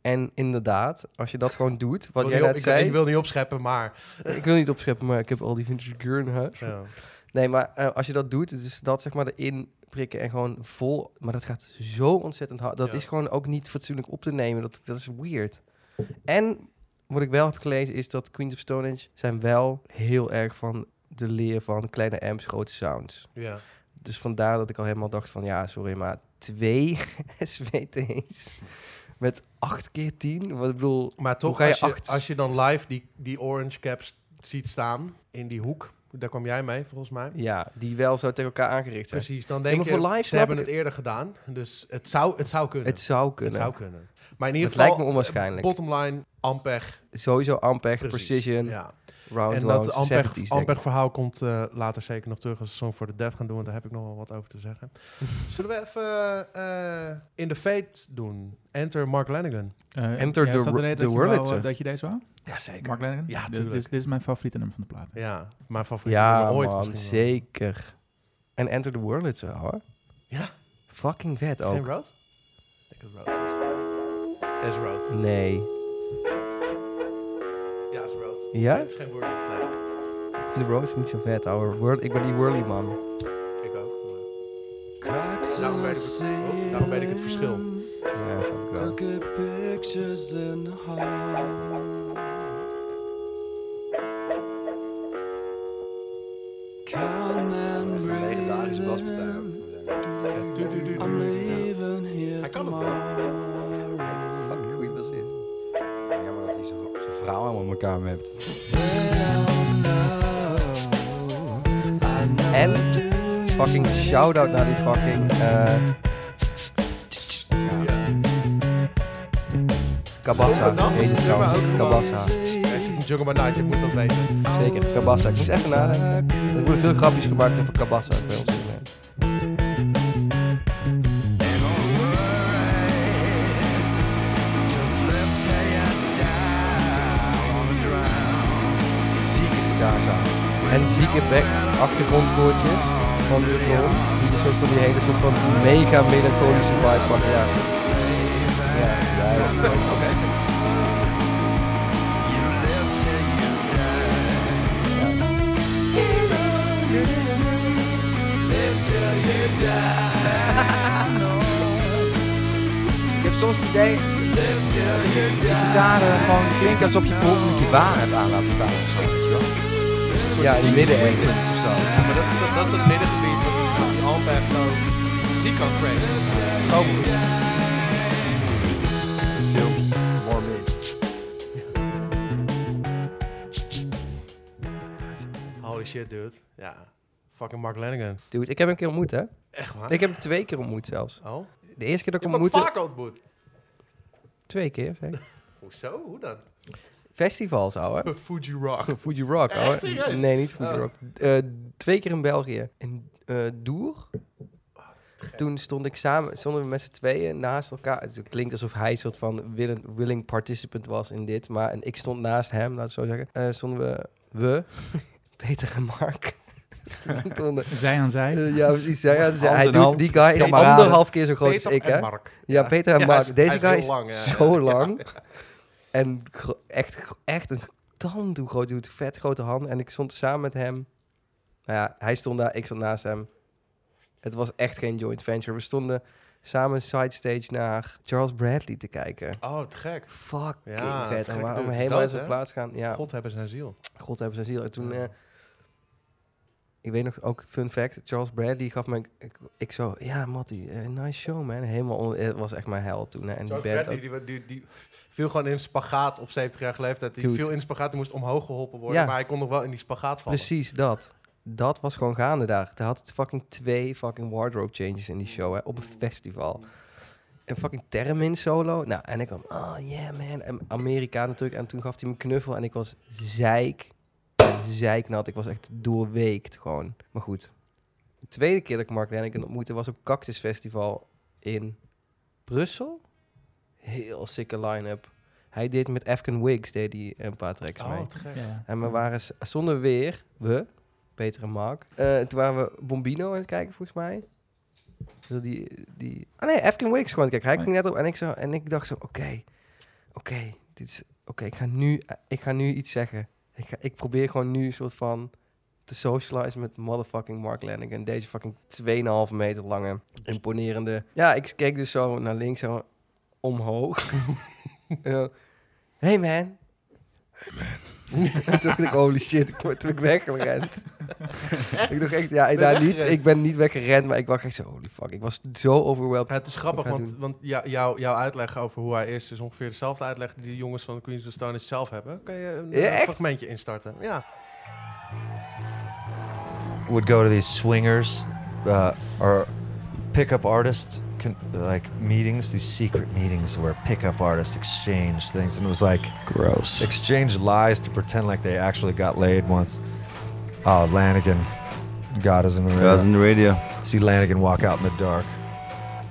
En inderdaad, als je dat gewoon doet, Wil wat jij niet op- net ik- zei... Ik wil niet opscheppen, maar... *laughs* ik wil niet opscheppen, maar ik heb al die vintage gear in huis. Ja. Nee, maar eh, als je dat doet, dus dat zeg maar erin prikken en gewoon vol. Maar dat gaat zo ontzettend hard. Dat Ja. is gewoon ook niet fatsoenlijk op te nemen. Dat, dat is weird. En wat ik wel heb gelezen is dat Queens of Stone Age zijn wel heel erg van de leer van kleine amps, grote sounds. ja. Dus vandaar dat ik al helemaal dacht van ja, sorry, maar twee *laughs* SVT's met acht keer tien. Wat ik bedoel, Maar toch, ga je als, je, acht- als je dan live die, die orange caps ziet staan in die hoek... Daar kwam jij mee, volgens mij. ja, die wel zo tegen elkaar aangericht zijn. Precies, dan denk maar voor je, live ze snap hebben ik het eerder gedaan. Dus het zou, het zou kunnen. Het zou kunnen. Het zou kunnen. Maar in ieder geval... Het eh, lijkt me onwaarschijnlijk. Bottom line, Ampeg. Sowieso Ampeg, precies. Precision, Ja. Round En Wound, dat 70's, denk Ampeg, ik. Ampeg verhaal komt eh, later zeker nog terug als we Song voor de Deaf gaan doen. Want daar heb ik nog wel wat over te *laughs* zeggen. Zullen we even eh, In the Fate doen? Enter Mark Lanigan. Eh, Enter ja, the is dat Ro- reden the dat je wou, Wurlitzer. eh, dat je deze wou? Jazeker. Mark Lennon? Ja, Dit- tuurlijk. Dit, is- dit is mijn favoriete nummer van de plaat. Ja, mijn favoriete Ja, nummer ooit man, misschien wel. zeker. En Enter the World is er, hoor. Ja. Fucking vet Is het geen ook. Road? Ik denk dat het Road is. Het is Road. Nee. Ja, het is Road. Ja? Het is geen woord. Nee, Ik vind de Road niet zo vet, ouwe. World, ik ben die Whirly man. ik ook. maar- Daarom weet ik het, oh, daarom weet ik het verschil. Ja, snap ik wel. Echt een legendarische baspartij. ook. Ja, du- du- du- du- ja. Hij kan het wel. Fucking goeie bassist. Jammer dat hij zijn zijn vrouw helemaal in elkaar mept. En fucking shout-out naar die fucking... eh Zonder Kabassa. naam is Deze het nummer ook trouwens. gewoon- Kabassa. Hij zit in Jungle by Night, je moet dat weten. Zeker, Kabassa. Ik moest even nadenken. Er worden veel grapjes gemaakt over Kabassa bij ons. in, eh. Zieke gitaarzaal. En zieke back achtergrondkoortjes van de film. Die een soort van die hele soort van mega melancholische vibe van ja. Ja, ja, ja. *laughs* Ik heb soms het idee dat je die gitaren gewoon klinken alsof je bijvoorbeeld een kibaan hebt aan laten staan of zo, weet je wel. Ja, in het midden ergens. Frequenties of zo. Maar dat is dat, dat, is dat middengebied wat die Ampeg zo ziek kan krijgen. Oh, Veel morbid. holy shit, dude. Ja, fucking Mark Lanigan. Dude, ik heb hem een keer ontmoet, hè? Echt waar? Ik heb hem twee keer ontmoet zelfs. Oh, De eerste keer dat je hebt hem ik hem ontmoette... vaak ontmoet. Twee keer, zeker. Hoezo? Hoe dan? *laughs* Festivals, ouwe. Fuji Rock. Fuji Rock, Echt, ouwe. serieus? Nee, niet Fuji Oh. Rock. Eh, twee keer in België. In eh Doer. Oh, Toen stond ik samen, stonden we met z'n tweeën naast elkaar. Het klinkt alsof hij een soort van willing, willing participant was in dit. Maar en ik stond naast hem, laat het zo zeggen. Eh, stonden we, we, *laughs* Peter en Mark. *laughs* stonden, Zij aan zij. eh, ja, precies. Ja, ja, dus Hand hij in doet, hand, die guy is kameraden. anderhalf keer zo groot Peter als ik, en hè? Mark. Ja, Peter en Ja, hij Mark. is- Deze hij is guy heel is lang, ja. *laughs* zo Ja. lang. En gro- echt, echt een tand hoe groot. doet vet grote hand. En ik stond samen met hem. Nou ja, hij stond daar, ik stond naast hem. Het was echt geen joint venture. We stonden samen sidestage naar Charles Bradley te kijken. Oh, te gek. Fucking Ja, vet. En gekke waarom dude. helemaal Dood, in zijn hè? plaats gaan. Ja, God, God hebben zijn ziel. hebben zijn ziel. En toen... Ja. eh, ik weet nog ook, fun fact, Charles Bradley gaf me... Ik, ik zo, ja, Matty, eh, nice show, man. Helemaal, on- het was echt mijn held toen. Hè. En Charles die band ook. Bradley, die, die, die viel gewoon in spagaat op 70-jarige leeftijd. Die Dude. viel in spagaat, die moest omhoog geholpen worden. Ja. Maar hij kon nog wel in die spagaat vallen. Precies dat. Dat was gewoon gaande daar. Er had het fucking twee fucking wardrobe changes in die show, hè, op een festival. Een fucking Termin solo. Nou, en ik kwam, oh yeah man. En Amerika natuurlijk. En toen gaf hij me een knuffel en ik was zeik. en Zeiknat. Ik was echt doorweekt gewoon. Maar goed, De tweede keer dat ik Mark Lennigan ontmoette was op Cactus Festival in Brussel. Heel sikke line-up. Hij deed met Afghan Wigs deed hij een paar tracks Oh, mee. Ja. En we waren s- zonder weer, we, Peter en Mark. eh, toen waren we Bombino aan het kijken, volgens mij. Dus die, die... Ah nee, Afghan Wakes gewoon. Kijk, hij ging net op en ik, zo, en ik dacht zo, oké, oké, dit is... Oké, ik ga nu, ik ga nu iets zeggen. Ik, ga, ik probeer gewoon nu een soort van te socializen met motherfucking Mark Lennigan. Deze fucking 2,5 meter lange, imponerende... Ja, ik keek dus zo naar links, zo omhoog. *laughs* Zo, hey man, *laughs* toen dacht ik, holy shit, ik word toen ben ik *laughs* weggerend. ik dacht echt, ja, ik, daar niet, ik ben niet weggerend, maar ik was echt zo, holy fuck. Ik was zo overwhelmed. Het is grappig, Wat gaan want, want jou- jouw- jouw uitleg over hoe hij is... is ongeveer dezelfde uitleg die de jongens van Queens of the Stone Age zelf hebben. Kan je een Ja, eh, echt? fragmentje instarten? Ja. would go to these swingers uh, or pickup artist con- like meetings, these secret meetings where pickup artists exchange things, and it was like Gross. exchange lies to pretend like they actually got laid once. Oh, Lanigan, God is in the room. Guys in the radio. See Lanigan walk out in the dark.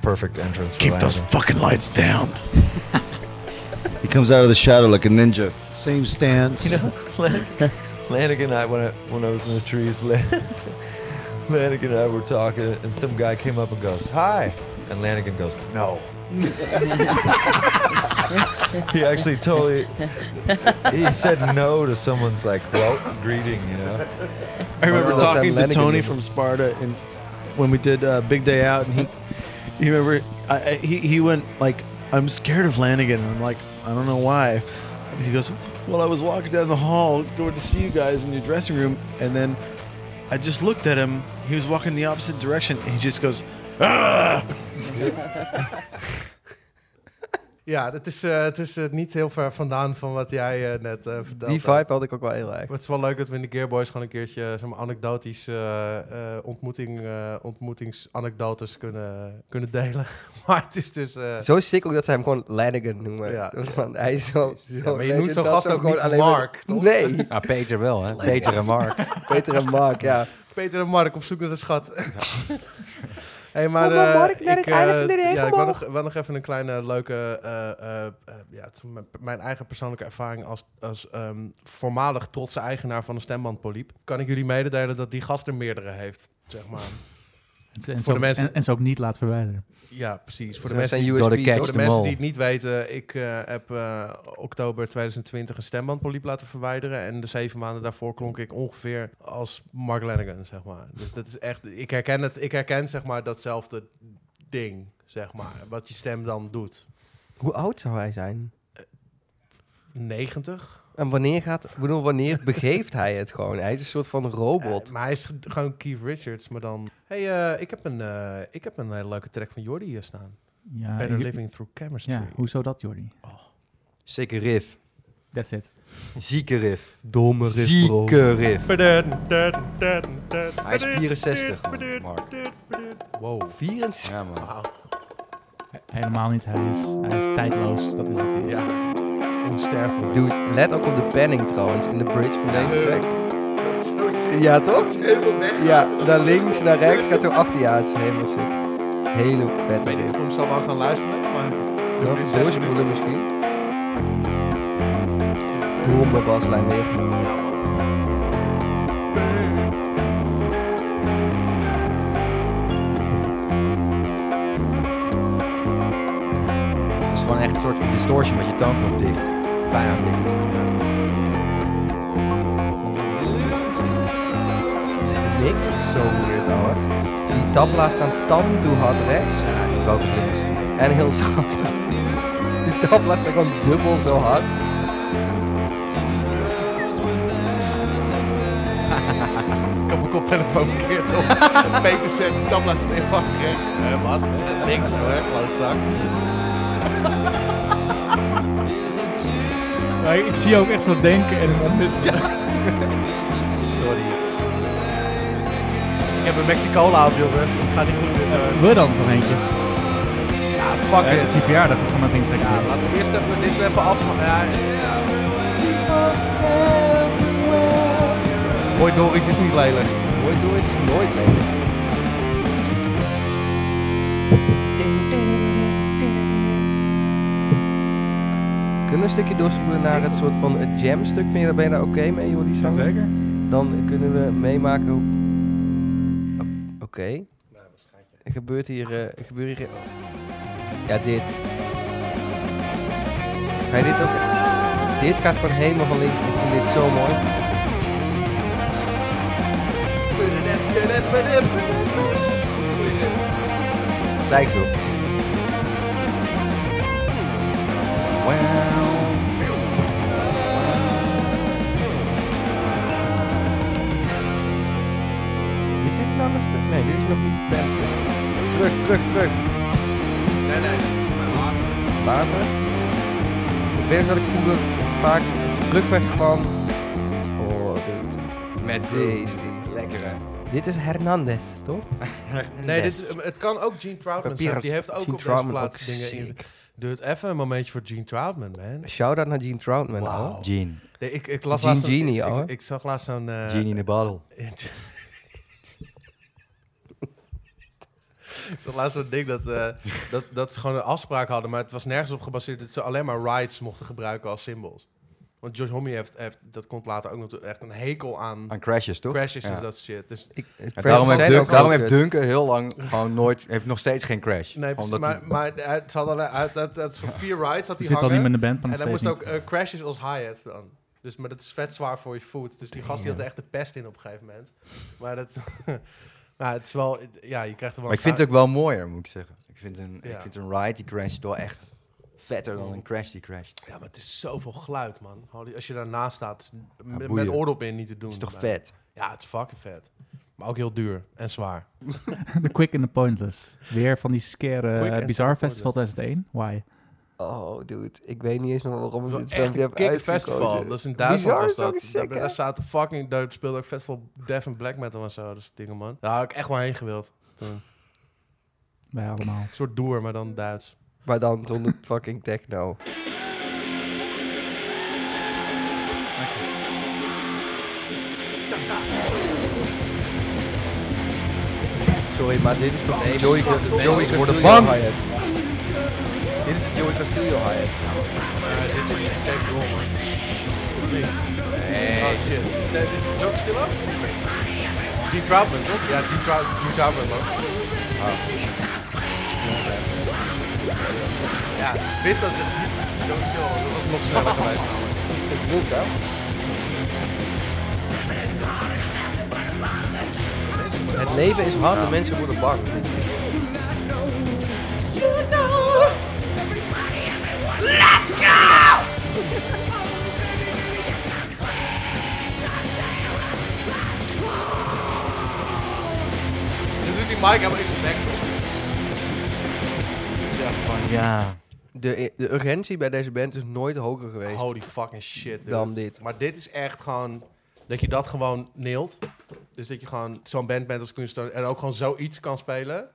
Perfect entrance. For Keep those Lanigan. fucking lights down. He comes out of the shadow like a ninja. Same stance. *laughs* Lanigan, Lanigan and I, when I, when I was in the trees, *laughs* Lan- Lanigan and I were talking, and some guy came up and goes, Hi. And Lanigan goes, No. *laughs* he actually totally he said no to someone's like welcome greeting, you know. I remember Oh, that's talking to Atlantic Tony in the- from Sparta and when we did uh, Big Day Out, *laughs* and he, you remember, I, I, he he went like, "I'm scared of Lanigan." And I'm like, "I don't know why." And he goes, "Well, I was walking down the hall going to see you guys in your dressing room, and then I just looked at him. He was walking the opposite direction, and he just goes." "Ah!" Ja, het is, eh, het is eh, niet heel ver vandaan van wat jij eh, net eh vertelde. Die vibe had ik ook wel heel erg. Maar het is wel leuk dat we in de Gearboys gewoon een keertje eh, zeg maar, anekdotische eh, eh, ontmoeting, eh, ontmoetingsanekdotes kunnen, kunnen delen. *laughs* maar het is dus... eh, Zo sick ook dat ze hem gewoon Lennigan noemen. Ja. Ja. Want hij is zo... zo ja, maar je legend noemt zo'n dat gast hem ook niet maar- Mark, toch? Nee, Ah, Peter wel, hè? Peter en Mark. Peter en Mark, *laughs* ja. Peter en Mark op zoek naar de schat. *laughs* hey, maar Kom maar, eh, Mark, naar ik, het einde eh, van de race ja, ik wil nog, omhoog. wel nog even een kleine leuke, eh, eh, eh, ja, het is mijn, mijn eigen persoonlijke ervaring als, als ehm, voormalig trotse eigenaar van een stembandpoliep. Kan ik jullie mededelen dat die gast er meerdere heeft, zeg maar. En, ze- en Voor ze de ook- mensen- en- en ze ook niet laat verwijderen. Ja, precies. Voor de, Zo mensen zijn die, USB Door de toch? catch voor de them mensen all. die het niet weten, ik eh, heb eh, oktober 2020 een stembandpoliep laten verwijderen. En de zeven maanden daarvoor klonk ik ongeveer als Mark Lennigan, zeg maar. Dus dat is echt, ik herken het, ik herken zeg maar datzelfde ding, zeg maar. Wat je stem dan doet. Hoe oud zou hij zijn? 90? En wanneer gaat... Ik bedoel, wanneer begeeft hij het gewoon? Hij is een soort van robot. Eh, maar hij is g- gewoon Keith Richards, maar dan... hey, eh, ik, heb een, eh, ik heb een hele leuke track van Jordi hier staan. Ja, Better ik- Living Through Chemistry. ja, hoezo dat, Jordi? Sikke riff. That's it. Zieke riff. Domme riff, bro. Zieke riff. Bedankt. Hij is 64, man, Mark. Wow. 64. Ja, man. He- Helemaal niet. Hij is, hij is tijdloos. Dat is wat hij is. Ja, onsterfelijk. Dude, let ook op de panning trouwens in de bridge van deze track. Dat is zo sick. Ja, toch? Helemaal weg. Ja, naar links, naar rechts, gaat zo achter je aan. Het is helemaal sick. Hele Ik vette weet niet of riff. we hem zo lang gaan luisteren, maar... Heel Zes veel doorspoelen misschien. Domme baslijn weer. Het is gewoon echt een soort van distortion met je toonknop dicht. Bijna dicht. Niks is zo weird, ouwe. Die tabla staan tam toe hard rechts Ja, die focus links. en heel zacht. *laughs* Die tabla staan gewoon dubbel zo hard. Ik heb mijn koptelefoon verkeerd op. *laughs* Peter zet tabla heel hard rechts. Eh, wat? Zet links hoor, klootzak. Maar ik, ik zie jou ook echt zo denken en hem ommissen. Sorry. Ik heb een Mexicola op, jongens. Het gaat niet goed dit hoor. Eh, We dan nog eentje. Ja, fuck Eh, het is it. je verjaardag. Ik ga maar geen gesprek Ja, voeren. laten we eerst even dit even afmaken. Ja, ja. Hoi Doris is niet lelijk. Mooi door is nooit lelijk. Kunnen we een stukje doorspoelen naar het soort van eh, jam-stuk? Vind je daar, ben je daar oké mee, joh, die zang? Zeker. Dan kunnen we meemaken hoe... O- Oké. Er gebeurt hier... eh, er gebeurt hier... Ja, dit. Ga je dit ook... Dit gaat gewoon helemaal van links. Ik vind dit zo mooi. Zei ik toch? Is dit nou een stuk? Nee, dit is nog niet het beste. Terug, terug, terug. Nee, nee, later. Later. Ik weet nog dat ik vroeger vaak op de terugweg kwam. Oh, dit. Met Deze. Lekker hè? Dit is Hernandez, toch? Nee, dit, is- het kan ook Gene Troutman zijn. Papieren Oh, Die heeft ook Gene op deze Troutman, plaats ook dingen in. sick. Doe het even een momentje voor Gene Troutman, man. Shout-out naar Gene Troutman. Wauw. al. Gene. Nee, ik, ik las Gene laatst Genie, ik- ouwe. ik, ik zag laatst zo'n... eh, Genie in a bottle. *laughs* Ik zat laatst zo'n ding dat, eh, dat, dat ze gewoon een afspraak hadden, maar het was nergens op gebaseerd dat ze alleen maar rides mochten gebruiken als symbols. Want Josh Homme heeft, heeft, dat komt later ook nog toe, echt een hekel aan Aan crashes toch? eh, crashes en Ja. dat soort shit. Dus, Ik, eh, En daarom heeft, Zijn Dunk, ook daarom al heeft kut. Duncan heel *laughs* lang gewoon nooit, heeft nog steeds geen crash. nee, precies, Omdat maar, hij- maar hij- het had al uit, uit, uit zo'n vier rides had Die zit hij al niet hangen. meer in de band, maar en nog dan steeds moest niet. *laughs* ook eh, crashes als hi-hats dan. Dus, maar dat is vet zwaar voor je voet. Dus die gast die had er echt de pest in op een gegeven moment. Maar dat... *laughs* nou, het is wel... Ja, je krijgt er wel maar ik vind het ook wel mooier, moet ik zeggen. Ik vind een, Ja. ik vind een ride die crasht wel echt vetter dan een crash die crasht. Ja, maar het is zoveel geluid, man. Holy- Als je daarnaast staat, m- boeien. met oordop in niet te doen. Is toch Maar- vet? Ja, het is fucking vet. Maar ook heel duur en zwaar. The Quick and the Pointless. Weer van die scare Quick eh, and Bizarre the Festival 2001. Why? Oh, dude. Ik weet niet eens nog waarom ik Het dit is echt filmpje een heb kick uitgekozen. festival. Dat is in Bizar Duitsland was is ook dat. sick, Daar, hè? daar zaten fucking... Daar speelde ook vet veel death en black metal en zo. Dat soort dingen, man. Daar had ik echt wel heen gewild. Toen. Wij allemaal. Een soort door, maar dan Duits. Maar dan zonder *laughs* fucking techno. Sorry, maar dit is toch een Joey, Joey Castillo hi-hat. Dit is de Joey Castillo hi-hat. Eh, dit is Tech Oh shit. Nee, dit is Joe Stillo? G. Troutman, toch? Ja, G. Trout- G. Troutman, man. Ja, ik wist dat het Joe Stillo was. Dat was nog sneller geweest. Het leven is hard en mensen worden bang. Nu doet die mic helemaal in zijn bek. Ja. De, de urgentie bij deze band is nooit hoger geweest. Holy fucking shit, dude. Dan dit. Maar dit is echt gewoon... Dat je dat gewoon neelt. Dus dat je gewoon zo'n band bent als Queenstone... en ook gewoon zoiets kan spelen.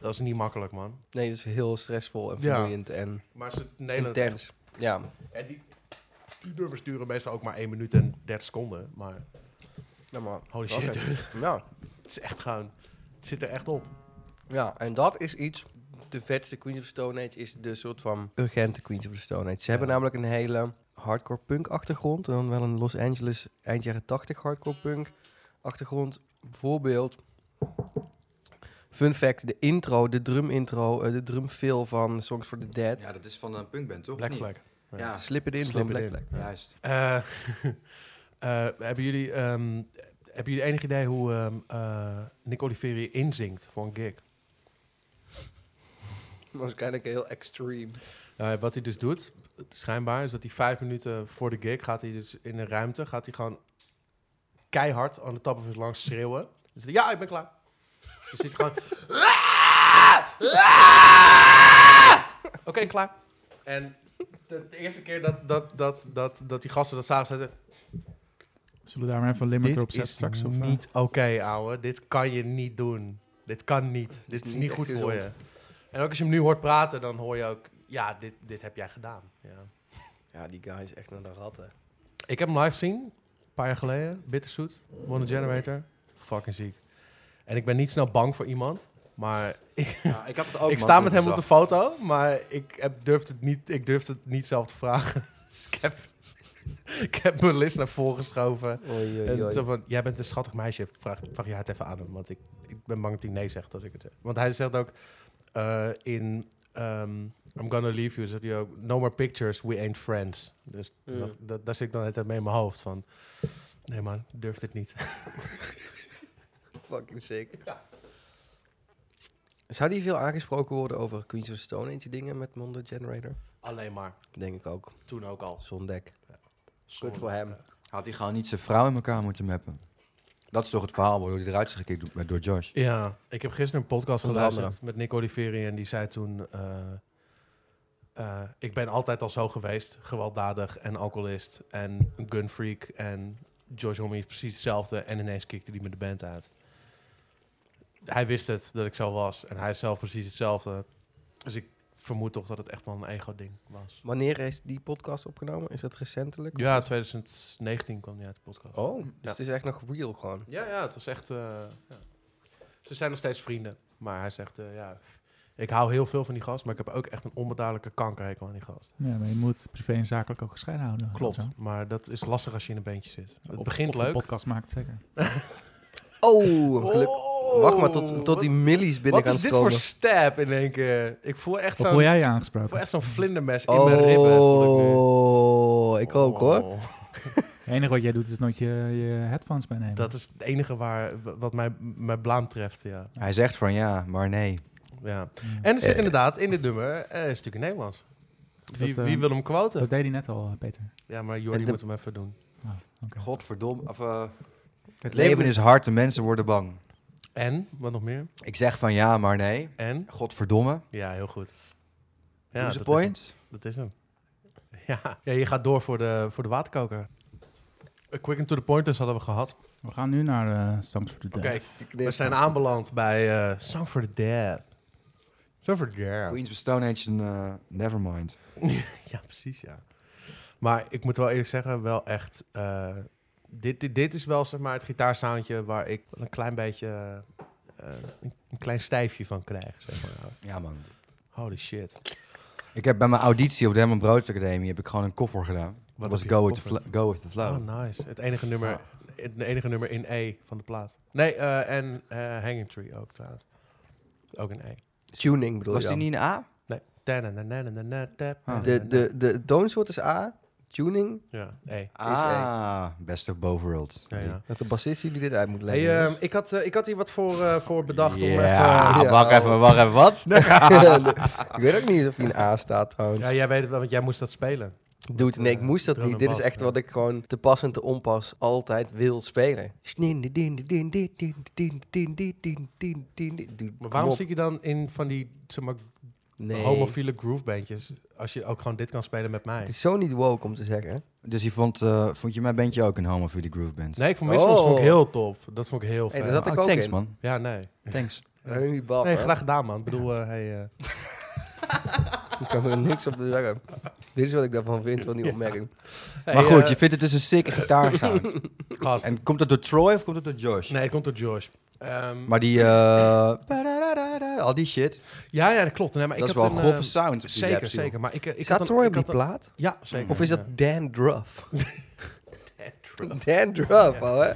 Dat is niet makkelijk, man. Nee, het is heel stressvol en Ja. vermoeiend en Maar ze nelen het echt. intens. Ja, En die, die nummers duren meestal ook maar 1 minuut en 30 seconden. Maar ja maar. holy Oké. shit, dude. Ja. *laughs* Het is echt gewoon... Het zit er echt op. Ja, en dat is iets. De vetste Queens of the Stone Age is de soort van urgente Queens of the Stone Age. Ze hebben namelijk een hele hardcore punk achtergrond. En dan wel een Los Angeles eind jaren 80 hardcore punk achtergrond. Bijvoorbeeld, fun fact, de intro, de drum intro, eh, de drum fill van Songs for the Dead. ja, dat is van een punkband toch? Black Of niet? Flag. Ja, Slip it in Slip van It Black In. *laughs* Flag. *laughs* juist. Eh, eh, hebben, jullie, ehm, hebben jullie enig idee hoe ehm eh, Nick Oliveri inzingt voor een gig? Waarschijnlijk heel extreme. Eh, wat hij dus doet, schijnbaar, is dat hij vijf minuten voor de gig gaat hij dus in een ruimte, gaat hij gewoon keihard aan de tappen van zijn langs schreeuwen. Dus hij, ja, ik ben klaar. Dus zit hij gewoon. "Ah!" Oké, klaar. En de, de eerste keer dat, dat, dat, dat, dat die gasten dat zagen, zeiden: Zullen we daar maar even een Dit limiter op is zetten straks? Of, eh? niet oké, ouwe. Dit kan je niet doen. Dit kan niet. Dit is Niet niet, echt goed voor gezond. je. En ook als je hem nu hoort praten, dan hoor je ook... Ja, dit, dit heb jij gedaan. Ja. Ja, die guy is echt naar de ratten. Ik heb hem live gezien, een paar jaar geleden. Bitterzoet, One Generator. Fucking ziek. En ik ben niet snel bang voor iemand. Maar ik, Ja, ik had het ook. ik man, sta toen met ik hem op de zag. foto, maar ik heb, durfde het niet, ik durfde het niet zelf te vragen. *laughs* Dus ik heb, ik heb mijn list naar voren geschoven. Oei, oei, En oei. zo van, jij bent een schattig meisje, vraag, vraag je het even aan hem. Want ik, ik ben bang dat hij nee zegt als ik het zeg. Want hij zegt ook eh, in ehm, I'm Gonna Leave You, zegt hij ook, no more pictures, we ain't friends. Dus Mm. dat, dat, daar zit ik dan de hele tijd mee in mijn hoofd van, nee man, durf dit niet. Fucking *laughs* sick. Zou die veel aangesproken worden over Queens of Stone Age dingen met Mondo Generator? Alleen maar, Denk ik ook. toen ook al. Zondek. Sorry. voor hem. Had hij gewoon niet zijn vrouw in elkaar moeten mappen? Dat is toch het verhaal waardoor hij eruit is gekikt door- door Josh. Ja, ik heb gisteren een podcast Onder geluisterd andere. met Nick Oliveri en die zei toen... eh, eh, ik ben altijd al zo geweest, gewelddadig en alcoholist en een gunfreak en George Homme is precies hetzelfde en ineens kickte hij me de band uit. Hij wist het, dat ik zo was en hij is zelf precies hetzelfde. Dus ik vermoed toch dat het echt wel een ego-ding was. Wanneer is die podcast opgenomen? Is dat recentelijk? Ja, 2019 kwam hij uit de podcast. Oh, dus Ja. het is echt nog real gewoon. Ja, ja, het was echt... eh, ja. Ze zijn nog steeds vrienden. Maar hij zegt, eh, ja, ik hou heel veel van die gast, maar ik heb ook echt een onbeduidelijke kankerhekel aan die gast. Ja, maar je moet privé en zakelijk ook gescheiden houden. Klopt, Zo. maar dat is lastig als je in een bandje zit. Het Of- begint of een leuk. podcast maakt, zeker. Oh, geluk. Oh, Wacht maar tot, tot wat- die millies binnen Wat gaan is dit voor stromen. stab in één keer? Ik voel echt Of voel zo'n jij je ik voel aangesproken? echt zo'n vlindermes in mijn ribben. voel Oh, nu. ik ook hoor. Oh. Het enige wat jij doet is nooit je, je headphones meenemen. Dat is het enige waar, wa- wat mij, mijn blaam treft, ja. Hij zegt van ja, maar nee. ja. Eh, Ja. En er zit inderdaad in dit nummer eh, een stukje Nederlands. Wie, Dat, eh, wie wil hem quoten? Dat deed hij net al, eh, Peter. Ja, maar Jordi En de- moet hem even doen. Ah, oké. Godverdomme. Of, eh, Het het leven is hard en mensen worden bang. En? Wat nog meer? Ik zeg van ja, maar nee. En? Godverdomme. Ja, heel goed. Ja, dat Doe is point. hem. Dat is hem. Ja. ja, je gaat door voor de, voor de waterkoker. A quick and to the point, dus hadden we gehad. We gaan nu naar eh Songs for the Dead. Oké, we zijn aanbeland bij eh Song for the Dead. Song for the Dead. Queens of Stone Age en eh, Nevermind. *laughs* ja, precies, ja. Maar ik moet wel eerlijk zeggen, wel echt... eh, dit, dit, dit is wel zeg maar, het gitaarsoundje waar ik wel een klein beetje... eh, een, een klein stijfje van krijg, zeg maar. Ja man. Holy shit. Ik heb bij mijn auditie op de Herman Brood Academie heb ik gewoon een koffer gedaan. Wat was heb je go with, the gekofferd? Flo- go with the Flow. Ah. Oh, nice. Het enige nummer, Ja. het enige nummer in E van de plaat. Nee, eh, en eh, Hanging Tree ook trouwens. Ook in E. Tuning bedoel was je die dan? niet een A? Nee. Da-na-na-na-na-na-da, Ah. Ah. De, de, de toonsoort is A, tuning. Ja, E. Ah, best of both worlds. Ja, ja. Dat de bassist jullie dit uit moet leggen. Hey, jongens. ehm, *laughs* ik, had, eh, ik had hier wat voor, eh, voor bedacht om even... Ja, even- wacht even, wacht even, wat? ik weet ook niet eens of die een A staat trouwens. Ja, jij weet het wel, want jij moest dat spelen. Dude, nee, ik moest dat Drum niet. en Dit is bas, echt ja. wat ik gewoon te pas en te onpas altijd wil spelen. Dude, Maar kom waarom op. zit je dan in van die zeg maar, Nee. homofiele groovebandjes... als je ook gewoon dit kan spelen met mij? Het is zo niet woke om te zeggen. dus je vond, eh, vond je mijn bandje ook een homophile groove band? Nee, ik vond Misfits vond ik Oh. heel top. Dat vond ik heel Hey, fijn. dat had ik Oh, ook thanks in. man. Ja, nee. Thanks. Hey, bab, Nee, hè? graag gedaan, man. Ik bedoel, eh, hey, *laughs* eh, Ik kan er niks op zeggen. Dit is wat ik daarvan vind, van die opmerking. hey, maar goed, eh, je vindt het dus een sick gitaarsound. gast. en komt dat door Troy of komt dat door Josh? Nee, het komt door George. Ehm, Maar die, eh, al die shit, ja, ja, dat klopt. Nee, maar dat ik is had wel een een, grove ehm, sound. op die Zeker, rapstil. zeker. Maar ik, eh, ik Staat had Troy een- op ik die had een- plaat? Ja, zeker. Of is ja. *laughs* dat *laughs* Dan Druff? Dan Druff, ouwe.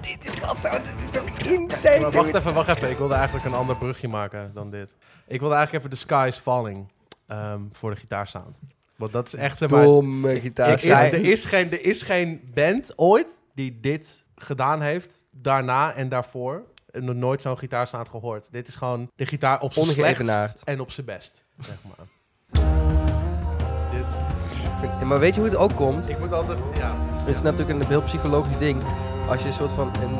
Dit is wel zo, dit is toch insane, Maar wacht dude. even, wacht even. Ik wilde eigenlijk een ander brugje maken dan dit. Ik wilde eigenlijk even The Sky is Falling ehm, voor de gitaarsound. Want dat is echt... zeg maar, Domme gitaar. ik is, er, is geen, er is geen band ooit die dit gedaan heeft daarna en daarvoor. En nog nooit zo'n gitaarsound gehoord. Dit is gewoon de gitaar op zijn slechtst Ongeëvenaard. en op zijn best. Zeg maar. dit, Ja, Maar weet je hoe het ook komt? ik moet altijd... Ja, Het is natuurlijk een heel psychologisch ding. Als je een soort van een,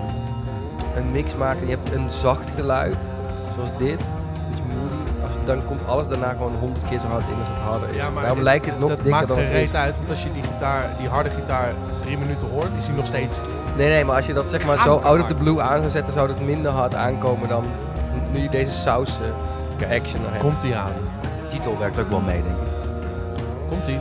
een mix maakt en je hebt een zacht geluid, zoals dit, iets moody, als, dan komt alles daarna gewoon honderd keer zo hard in als het harder is. Ja, maar Daarom het- lijkt het nog dat dikker maakt dan geen het is. reet uit. Want als je die, gitaar, die harde gitaar drie minuten hoort, is hij nog steeds... Nee, nee, maar als je dat zeg maar zo Aangemaakt. out of the blue aan zou zetten, zou het minder hard aankomen dan nu je deze saus eh, action naar hebt. Komt hij aan. De titel werkt ook wel mee, denk ik. Komt hij.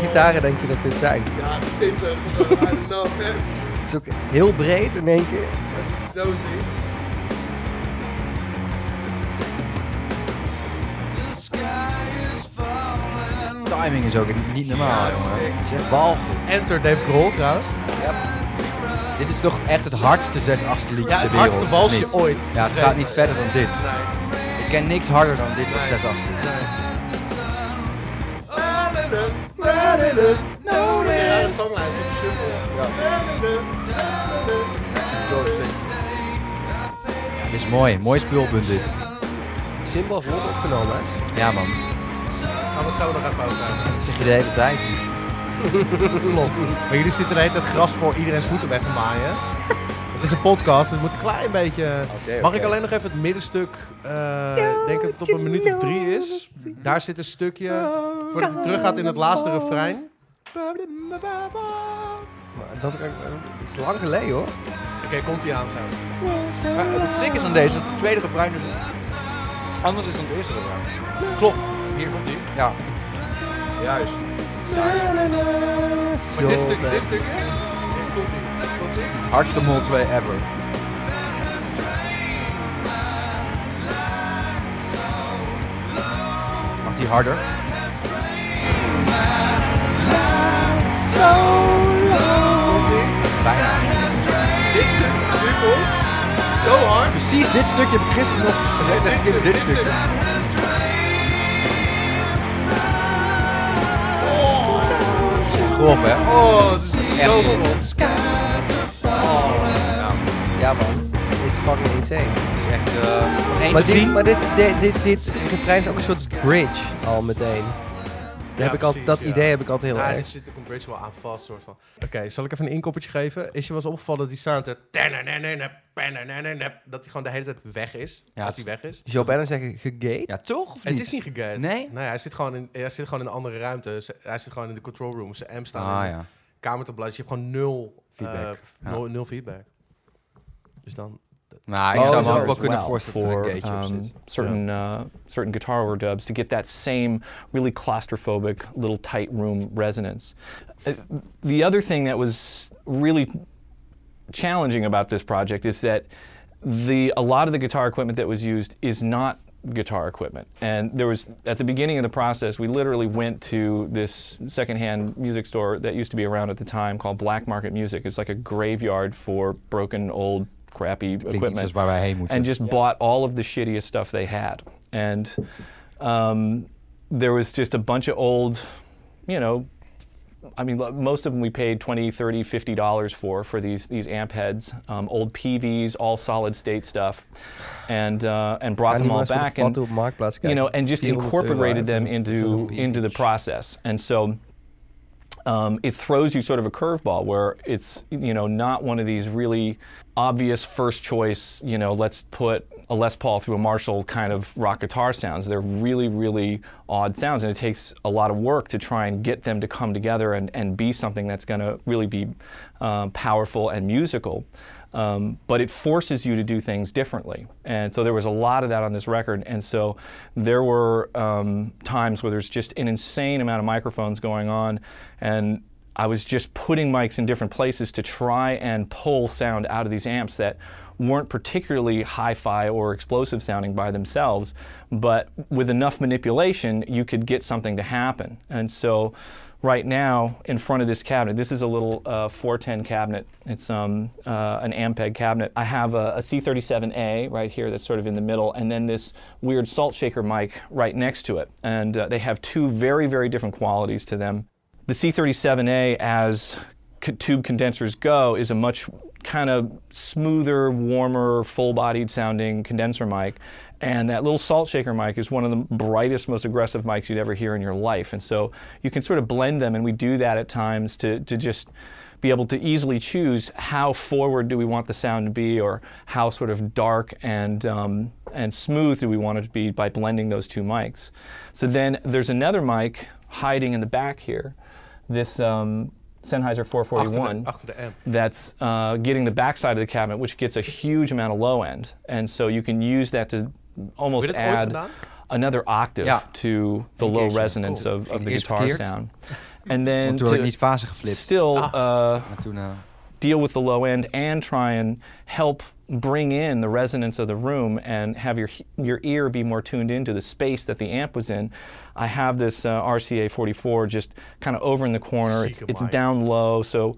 gitaren denk je dat dit zijn. Ja, schitterend. I love it. *laughs* Het is ook heel breed in één keer. Het is zo ziek. Timing is ook niet normaal, jongen. Het is echt walgelijk. Enter Dave Grohl trouwens. Dit is toch echt het hardste 6 8 liedje Ja, ter het wereld. hardste walsje Niet. ooit. Ja, het gaat niet verder dan dit. Nee. Ik ken niks harder dan dit wat 6 8 is. Ja, de songlijn is super. Dit is mooi. Mooi speelpunt dit. Simbal wordt opgenomen. hè? Ja, man. Gaan Nou, we zo nog even over. Dat zeg je de hele tijd. Maar jullie zitten de hele tijd gras voor iedereen's voeten weg te maaien. Het is een podcast, dus het moet een klein beetje... Mag ik alleen nog even het middenstuk... eh, Ik denk dat het op een minuut of drie is. Daar zit een stukje... Voordat het terug gaat in het laatste refrein. Maar dat het is lang geleden hoor. Oké, komt hij aan zo. Maar het sick is aan deze, dat het tweede refrein dus anders is dan het eerste refrein. Klopt, hier komt hij. Ja. Juist. Maar dit stukje, dit stukje... Hier komt hij. Hardste mol 2 ever. Mag die harder? Bijna. Dit stukje, nu komt... Zo hard. Precies dit stukje heb ik gisteren nog gezegd tegen Kim, dit stukje. Het is grof hè? Oh, het is Echt zo grof. goed. Ja man, dit is fucking insane. Het is echt eh, van 1 Maar, tot dit, 10. maar dit, dit, dit, dit refrein is ook een soort bridge al meteen. Daar heb ik altijd, precies, dat ja. idee heb ik altijd heel Ja, er erg. Ah, zit ook een bridge wel aan vast, soort van. Oké, zal ik even een inkoppertje geven? Is je wel eens opgevallen dat die sound... er- Dat die gewoon de hele tijd weg is. Ja, als het- die weg is. Joe Bannon zeggen gegate. Ja toch? Of Het niet? is niet gegate. Nee? Nee, hij zit, gewoon in, hij zit gewoon in een andere ruimte. Z- Hij zit gewoon in de control room. Zijn M staat in Ah de ja. kamer te blazen. Je hebt gewoon nul Feedback, eh, f- ja. nul, nul feedback. Dus dan... Nou, ik Oh, zou me zo ook wel is kunnen wel voorstellen dat er for een gateje op um, ehm, zit. certain uh, certain guitar overdubs to get that same really claustrophobic little tight room resonance. Uh, the other thing that was really challenging about this project is that the a lot of the guitar equipment that was used is not guitar equipment. And there was at the beginning of the process, we literally went to this secondhand music store that used to be around at the time called Black Market Music. It's like a graveyard for broken old crappy Ik denk iets equipment is waar wij heen moeten. and just bought all of the shittiest stuff they had. And um, there was just a bunch of old, you know, I mean, lo- most of them we paid 20, 30, 50 dollars for for these these amp heads, um, old PVs, all solid state stuff, and uh, and brought Ga them nu maar all eens voor de back foto and op Marktplaats you kijken. know and just 400 euro incorporated them eigenlijk voor zo'n into piece. into the process. And so um, it throws you sort of a curveball where it's you know not one of these really obvious first choice you know let's put a Les Paul through a Marshall kind of rock guitar sounds. They're really really odd sounds, and it takes a lot of work to try and get them to come together and, and be something that's going to really be um, powerful and musical. Um, but it forces you to do things differently. And so there was a lot of that on this record. And so there were um, times where there's just an insane amount of microphones going on, and I was just putting mics in different places to try and pull sound out of these amps that weren't particularly hi-fi or explosive sounding by themselves, but with enough manipulation, you could get something to happen. And so right now in front of this cabinet. This is a little uh, 410 cabinet. It's um, uh, an Ampeg cabinet. I have a a C37A right here that's sort of in the middle, and then this weird salt shaker mic right next to it. And uh, they have two very, very different qualities to them. The C37A, as c- tube condensers go, is a much kind of smoother, warmer, full bodied sounding condenser mic. And that little salt shaker mic is one of the brightest, most aggressive mics you'd ever hear in your life. And so you can sort of blend them, and we do that at times to, to just be able to easily choose how forward do we want the sound to be or how sort of dark and um, and smooth do we want it to be by blending those two mics so then there's another mic hiding in the back here this um, Sennheiser Achter 441 de, achter de amp. that's uh, getting the backside of the cabinet which gets a huge amount of low end and so you can use that to almost Heb je dat ooit add gedaan? another octave Yeah. to the Engage low them. resonance Cool. of, of the Engage guitar geared. sound and then Want toen had ik to niet fase geflipt. still uh, Maar toen, eh, deal with the low end and try and help bring in the resonance of the room and have your your ear be more tuned into the space that the amp was in. I have this uh, RCA 44 just kind of over in the corner. It's, Seeker it's mic. down low, so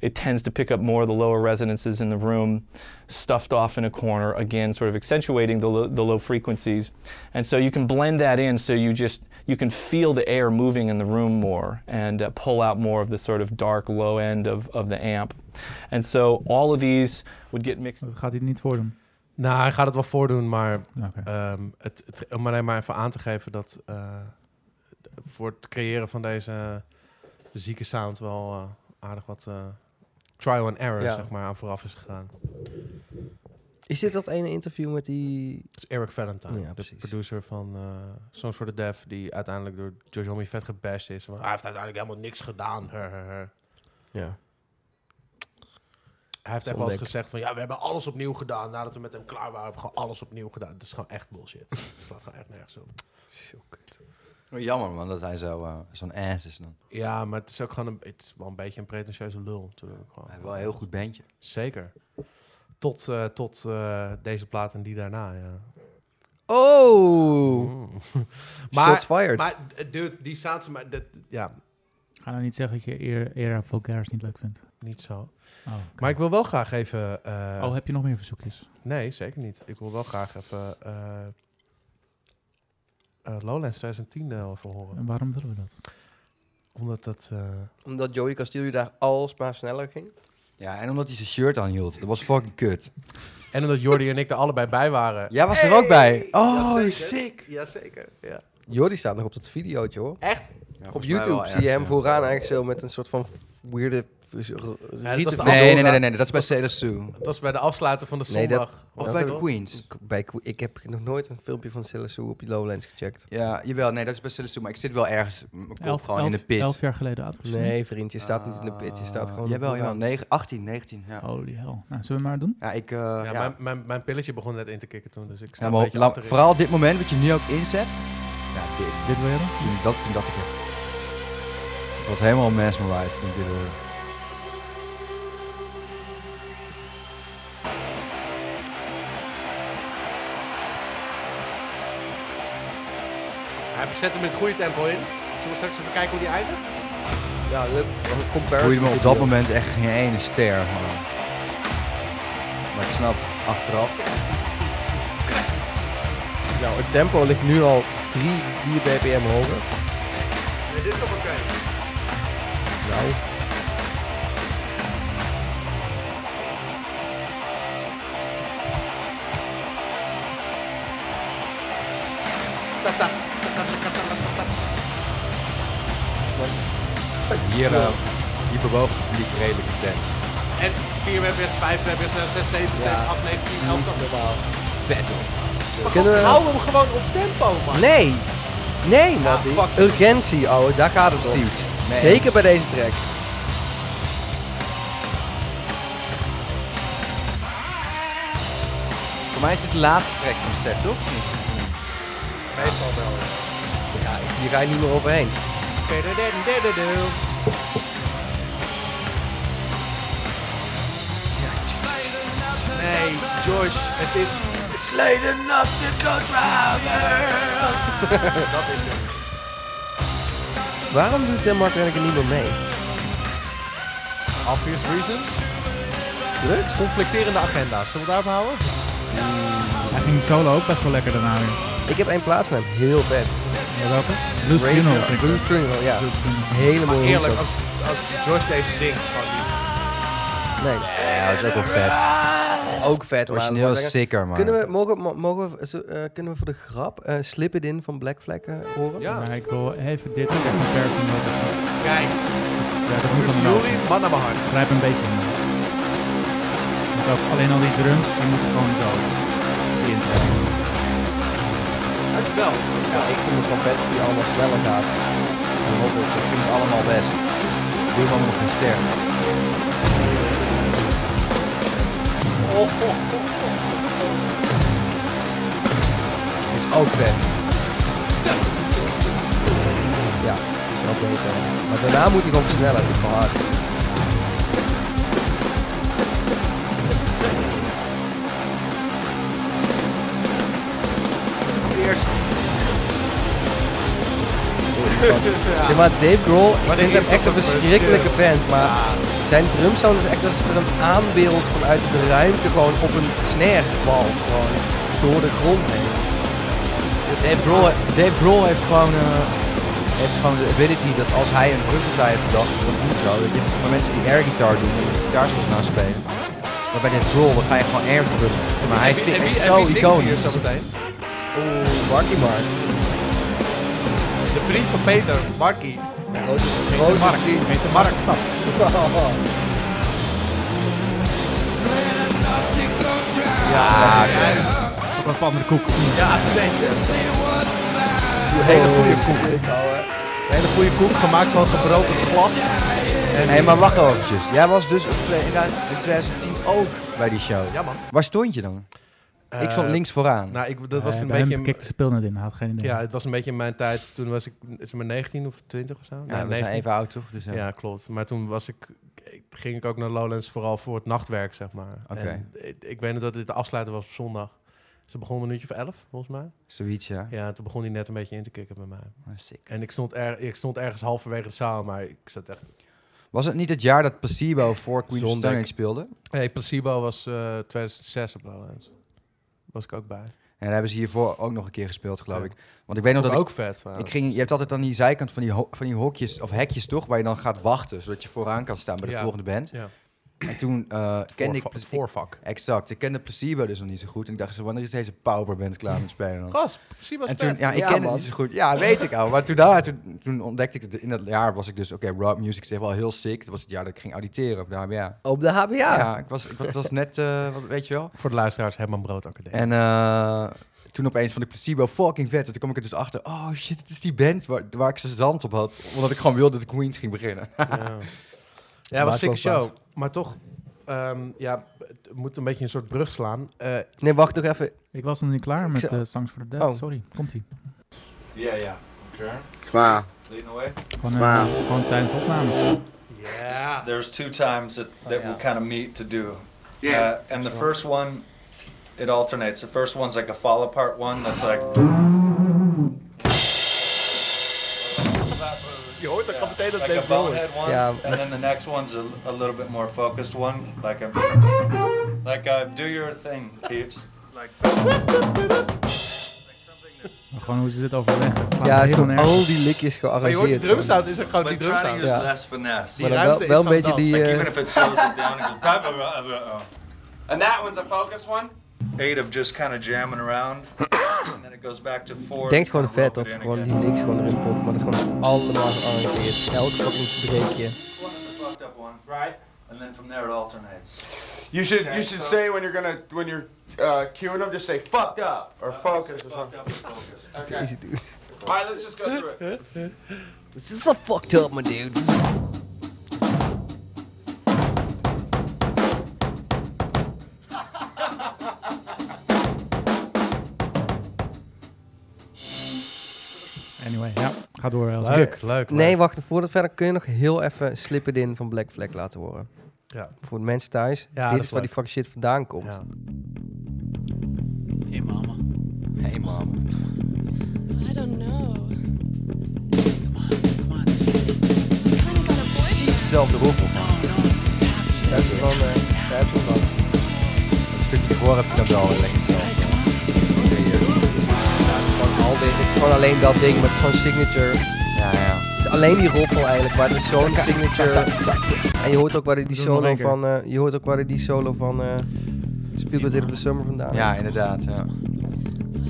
it tends to pick up more of the lower resonances in the room, stuffed off in a corner, again, sort of accentuating the, lo- the low frequencies. And so you can blend that in so you just, you can feel the air moving in the room more and uh, pull out more of the sort of dark low end of, of the amp. And so all of these would get mixed. Dat gaat hij niet voor doen. Nou, hij gaat het wel voordoen, maar Oké. ehm, het, het, om alleen maar even aan te geven dat eh, d- voor het creëren van deze zieke sound wel eh, aardig wat eh, trial and error Ja. zeg maar, aan vooraf is gegaan. Is dit dat ene interview met die... Dat is Eric Valentine, Ja, de precies. producer van eh, Songs for the Deaf, die uiteindelijk door Jojomi vet gebashed is. Want hij heeft uiteindelijk helemaal niks gedaan. Her, her, her. Ja. Hij heeft echt Zonde wel eens ik. gezegd van ja, we hebben alles opnieuw gedaan. Nadat we met hem klaar waren, hebben we gewoon alles opnieuw gedaan. Dat is gewoon echt *laughs* bullshit. Dat slaat gewoon echt nergens op. oh, jammer man, dat hij zo, eh, zo'n ass is dan. Ja, maar het is ook gewoon een, het is wel een beetje een pretentieuze lul. natuurlijk gewoon. Hij heeft wel een heel goed bandje. Zeker. Tot, eh, tot eh, deze plaat en die daarna, ja. Oh! Mm. Shots *laughs* maar, fired. maar, eh, dude, die sounds, maar, dat, ja, Ga nou niet zeggen dat je eer- Era Vulgaris niet leuk vindt. niet zo. Oh, oké. Maar ik wil wel graag even... eh, oh, heb je nog meer verzoekjes? Nee, zeker niet. Ik wil wel graag even eh, eh, Lowlands 2010 eh, even horen. En waarom willen we dat? Omdat dat... eh, Omdat Joey Castillo daar alsmaar sneller ging. Ja, en omdat hij zijn shirt aanhield. Dat was fucking kut. En omdat Jordi en ik er allebei bij waren. Jij was er ook bij. Oh, sick. Jazeker, ja. Jordi staat nog op dat videootje, hoor. Op YouTube zie je hem voor vooraan eigenlijk zo met een soort van f- weirde... f- r- rieten- de- Nee, nee, Andorra. nee, nee, nee, dat is bij Sailor Sue. Dat was bij de afsluiter van de Nee, dat- zondag. Of Ja, bij de toch? Queens. Ik- bij, Qu- ik heb nog nooit een filmpje van Silla Sue op die Lowlands gecheckt. Ja, jawel, nee, dat is bij Sailor Sue. Maar ik zit wel ergens, mijn kop Elf, gewoon elf, in de pit. elf jaar geleden uitgezonden? Nee, vriend, je staat niet in de pit. Je staat Ah, gewoon... Jawel, jawel. ja. negen- 18, 19, ja. Holy hell. Nou, zullen we maar doen? Ja, ik... eh, Ja, ja, Mijn, mijn, mijn pilletje begon net in te kicken toen, dus ik sta Ja, een maar beetje laat- achterin. vooral dit moment, wat je nu ook inzet. Ja, dit. Dit wil je hebben? Toen, dat, toen dacht ik echt... "God." Ik was helemaal mesmerized toen ik dit hoorde. Hij zet hem in het goede tempo in. Zullen we straks even kijken hoe die eindigt? Ja, leuk. Een Hoe je comparison me op dat video. moment echt geen ene ster gewoon. Maar ik snap, achteraf. Nou, het tempo ligt nu al 3, 4 bpm hoger. Nee, dit is nog oké. Nou, Hier, eh, hier bewoog het publiek redelijk intens. En 4 webs, 5 webs, 6, 7, 7, 8, 9, 10, 11, 12. normaal. Vet hoor. Kunnen we- Hou hem gewoon op tempo, man. Ah, Nee! Nee, Matty. fuck. Urgentie, ouwe. Daar gaat het om. Precies. Nee. Zeker bij deze track. Voor mij is dit de laatste track van de set, toch? Of Niet? Meestal wel. Ja, hier ga je niet meer overheen. Nee, George, het is... It's late enough to go travel. Dat is hem. Waarom doet Denmark eigenlijk niet meer mee? Obvious reasons. Drugs? Conflicterende agenda's. Zullen we daarop houden? Hij ging solo ook best wel lekker daarna weer. Ik heb één plaats van hem. Heel vet. Ja, welke? Blues Graveyard. Funeral vind ik Blue leuk. Funeral, ja. Blues Funeral. Hele Maar mooie eerlijk, als, hoes als George deze zingt, is gewoon niet. ook. Nee, Ja, dat is ook wel vet. dat is ook vet. Het maar dat origineel wordt is zeggen- sicker, man. Kunnen we, mogen, mo- mogen we, zo- eh, kunnen we voor de grap eh, Slip It In van Black Flag eh, horen? Ja. Maar ik wil even dit ter comparison wat het- Kijk, Ja, dat moet dus dan Jury, wel. man naar mijn hart. Grijp een beetje in. Want ook alleen al die drums, die moeten gewoon zo. Die intro. Dankjewel. Ja, ik vind het gewoon vet als die allemaal sneller gaat. Ik vind het allemaal best. Ik doe allemaal nog geen ster. Is ook vet. Ja, zo. updaten. Maar daarna moet hij gewoon versnellen. Dat is wel hard. Ja. maar Dave Grohl, ik Maar vind de hem eerste echt een was een verschrikkelijke vent, maar zijn drumsound is echt als het er een aanbeeld vanuit de ruimte gewoon op een snare valt, gewoon door de grond heen. Dave Grohl, Dave Grohl heeft, gewoon, eh, heeft gewoon de ability dat als hij een drumpartij heeft bedacht voor een intro, dat je hebt mensen die air guitar doen en gitaarsels na spelen. Maar bij Dave Grohl dan ga je gewoon air drummen. Maar hij Heb je- vindt heb het je- zo heb je zingt hier iconisch. zo meteen? Oeh, Marky Mark. De vriend van Peter, Markie. Peter Mark. Peter Mark. Ja, Toch wel van de koek. Ja, zeker. Een hele goede koek. Een hele goede koek, gemaakt van gebroken glas. Hé, maar wacht eventjes. Jij was dus op twee- in 2010 ook bij die show. Ja, man. Waar stond je dan? ik stond links vooraan. Nou, ik, dat was Eh, een bij hem beetje... kikte de speel net in, hij had geen idee. Ja, het was een beetje in mijn tijd. Toen was ik, is het maar 19 of 20 of zo? ja, we zijn even oud, toch? Dus, ja. Ja. klopt. Maar toen was ik, ik- ging ik ook naar Lowlands vooral voor het nachtwerk, zeg maar. Oké. En ik, ik weet nog dat dit de afsluiter was op zondag. Ze begon een minuutje of elf, volgens mij. Zoiets, ja. Ja, toen begon hij net een beetje in te kicken bij mij. Ah, sick. En ik stond, er, ik stond ergens halverwege de zaal, maar ik zat echt... Was het niet het jaar dat Placebo voor Queen of Zondag. Stone Age speelde? Hey, Placebo was eh 2006 op Lowlands. Was ik ook bij. En daar hebben ze hiervoor ook nog een keer gespeeld, geloof Ja. ik. Want ik weet Vond nog dat ik ik, ook vet. ik trouwens. ging... Je hebt altijd aan die zijkant van die, ho- van die hokjes, of hekjes toch, waar je dan gaat wachten, zodat je vooraan kan staan bij de Ja. volgende band. Ja. En toen eh, kende ik... Voorva- Pla- Voorvak. Exact, ik kende Placebo dus nog niet zo goed. En ik dacht, zo, wanneer is deze pauperband klaar met spelen? dan? Gast, Placebo En is toen, vet. ja, ik Ja, ken man. het niet zo goed. Ja, weet ik al. Maar toen, daar, toen, toen ontdekte ik het. In dat jaar was ik dus, oké, rock music is echt wel heel sick. Dat was het jaar dat ik ging auditeren op de HBA. Ja, Op de HBA. ik, was, ik was- was net, eh, wat, weet je wel. Voor de luisteraars, Herman Brood Academie. En eh, toen opeens vond ik Placebo fucking vet. En toen kwam ik er dus achter, oh shit, het is die band waar, waar ik ze zand op had. Omdat ik gewoon wilde dat de Queens ging beginnen. ja, ja was Maakt een wel sick show. Maar toch, ehm, ja, het moet een beetje een soort brug slaan. Eh, Nee, wacht nog even. Ik was nog niet klaar Ik met zou- eh, Songs for the Dead. Oh. Sorry, komt-ie. Yeah, yeah. Sure. Sma. Leading away. Gewoon, eh, gewoon tijdens opnames. There's two times that, Oh, that we kind of meet to do. Yeah. Uh, and the first one, it alternates. The first one's like a fall apart one that's like. je hoort dat kapitein dat Like a Dave Grohl is. bonehead one, Yeah. and then the next one's a, a little bit more focused one, like a like a do your thing, peeps. Like Maar gewoon hoe ze dit overleggen. Het slaat Ja, hij is helemaal gewoon nergens. al die likjes Maar je hoort de gearrangeerd. drumsound, is er gewoon die but try to drumsound. use Yeah. less finesse. Maar Die dan wel, ruimte wel is een beetje dan die... dat. Like eh, even if it slows it down, it goes. And that one's a focus one. Eight of just kind of jamming around, and then it goes back to four. Ik denk gewoon kinda rope vet it dat ze in gewoon die again. niks gewoon erin poppen, maar dat is gewoon allemaal gearrangeerd. Elk fucking breekje. One is the fucked up one, right? And then from there it alternates. You should Okay, you should so- say when you're gonna when you're uh, queuing them, just say fucked up or focus or something. Is het- All right, let's just go through it. This is so fucked up, my dudes. oh. Anyway, ja, ga door. eh, als Leuk, leuk, leuk. Nee, wacht, voordat verder kun je nog heel even Slip It In van Black Flag laten horen. Ja. Voor de mensen thuis, Ja, dit dat is is waar leuk. die fucking shit vandaan komt. Ja. Hey, mama. Hey man. I don't know. Come on, come on. This is it. I kind of got a Precies boyfriend. dezelfde roffel. No, no, this is happy. Dat This is is wel, the eh, dat is wel wat. Een stukje voor heb je dan wel. Lekker zo. time. Come on. Ja, het is gewoon al dit. Het is gewoon alleen dat ding, maar het is gewoon signature. Ja, ja. Het is alleen die roffel eigenlijk, maar het is *laughs* zo'n signature. En je hoort ook waar hij die Doe het nog solo een keer. van... eh, je hoort ook waar hij die solo van... eh Feel Good Hit of the Summer vandaan. Ja, inderdaad. Ja.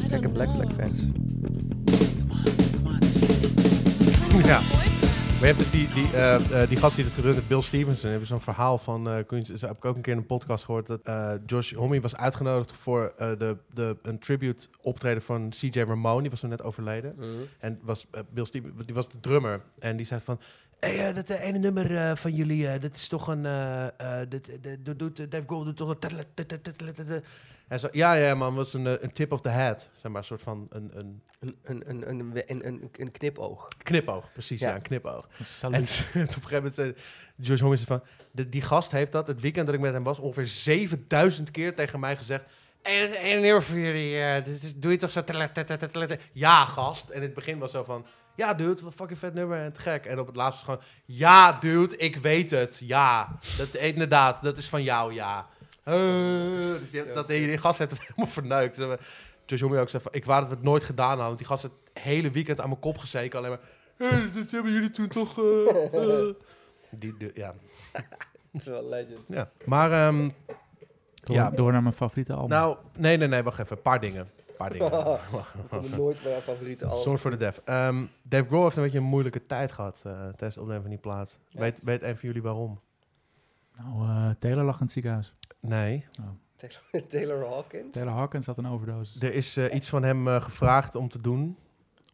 I Kijk, don't Black Flag know. fans. Come on, come on. This is *laughs* it. Ja. Maar je hebt dus die, die, eh, eh, die gast die het gerund heeft, Bill Stevenson, hebben zo'n verhaal van eh Queens. Is, heb ik ook een keer in een podcast gehoord dat eh, Josh Homme was uitgenodigd voor eh, de, de, een tribute optreden van CJ Ramone. Die was toen net overleden. En was eh, Bill Stevenson, die was de drummer. En die zei van. Hey, eh, dat eh, ene nummer eh, van jullie, eh, dat is toch een... eh, eh, dat, dat, dat doet, eh, Dave Grohl doet toch een... tadala- tadala- tadala- tadala. Hij zo, ja, ja, man, wat is een, eh, een tip of the hat? Zeg maar, een soort van een, een Een, een, een, een, een, een, een *laughs* knipoog. knipoog. Precies, ja, Ja. een knipoog. Salut. En *laughs* toen- op een gegeven moment zei George Homison van... "De- die gast heeft dat, het weekend dat ik met hem was... ongeveer 7000 keer tegen mij gezegd... En het ene nummer voor jullie, eh, dit is, doe je toch zo... tele- tele- tele- tele- tele- Ja, gast. En in het begin was zo van... Ja, dude, wat fucking vet nummer en te gek. En op het laatste gewoon... Ja, dude, ik weet het. Ja, dat, inderdaad, dat is van jou, ja. Eh, dus die, dat, die, die gast heeft het *laughs* helemaal verneukt. Dus, eh, George Homison ook zei van... Ik wou dat we het nooit gedaan hadden. Want die gast heeft het hele weekend aan mijn kop gezeken. Alleen maar... "Eh, dat hebben jullie toen toch... eh, eh." Die, die- ja. Dat is wel legend. ja. Maar... ehm, Door, Ja. door naar mijn favoriete album. nou, nee, nee, nee, wacht even. Een paar dingen. Een paar *laughs* *laughs* dingen. nooit mijn favoriete Sorry voor de def. Ehm, Dave Grohl heeft een beetje een moeilijke tijd gehad eh, tijdens het opnemen van die plaat. Ja. Weet, weet een van jullie waarom? Nou, eh, Taylor lag in het ziekenhuis. Nee. Taylor, Taylor Hawkins. Taylor Hawkins had een overdosis. Er is eh, iets van hem eh, gevraagd om te doen.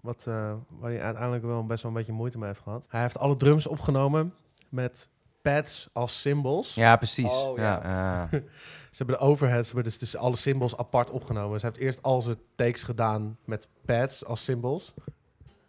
Wat, eh, waar hij uiteindelijk wel best wel een beetje moeite mee heeft gehad. Hij heeft alle drums opgenomen met pads als cymbals. Ja, precies. Oh, ja. ja. ja. Ze hebben de overheads, hebben dus, dus alle symbols apart opgenomen. Ze heeft eerst al zijn takes gedaan met pads als symbols.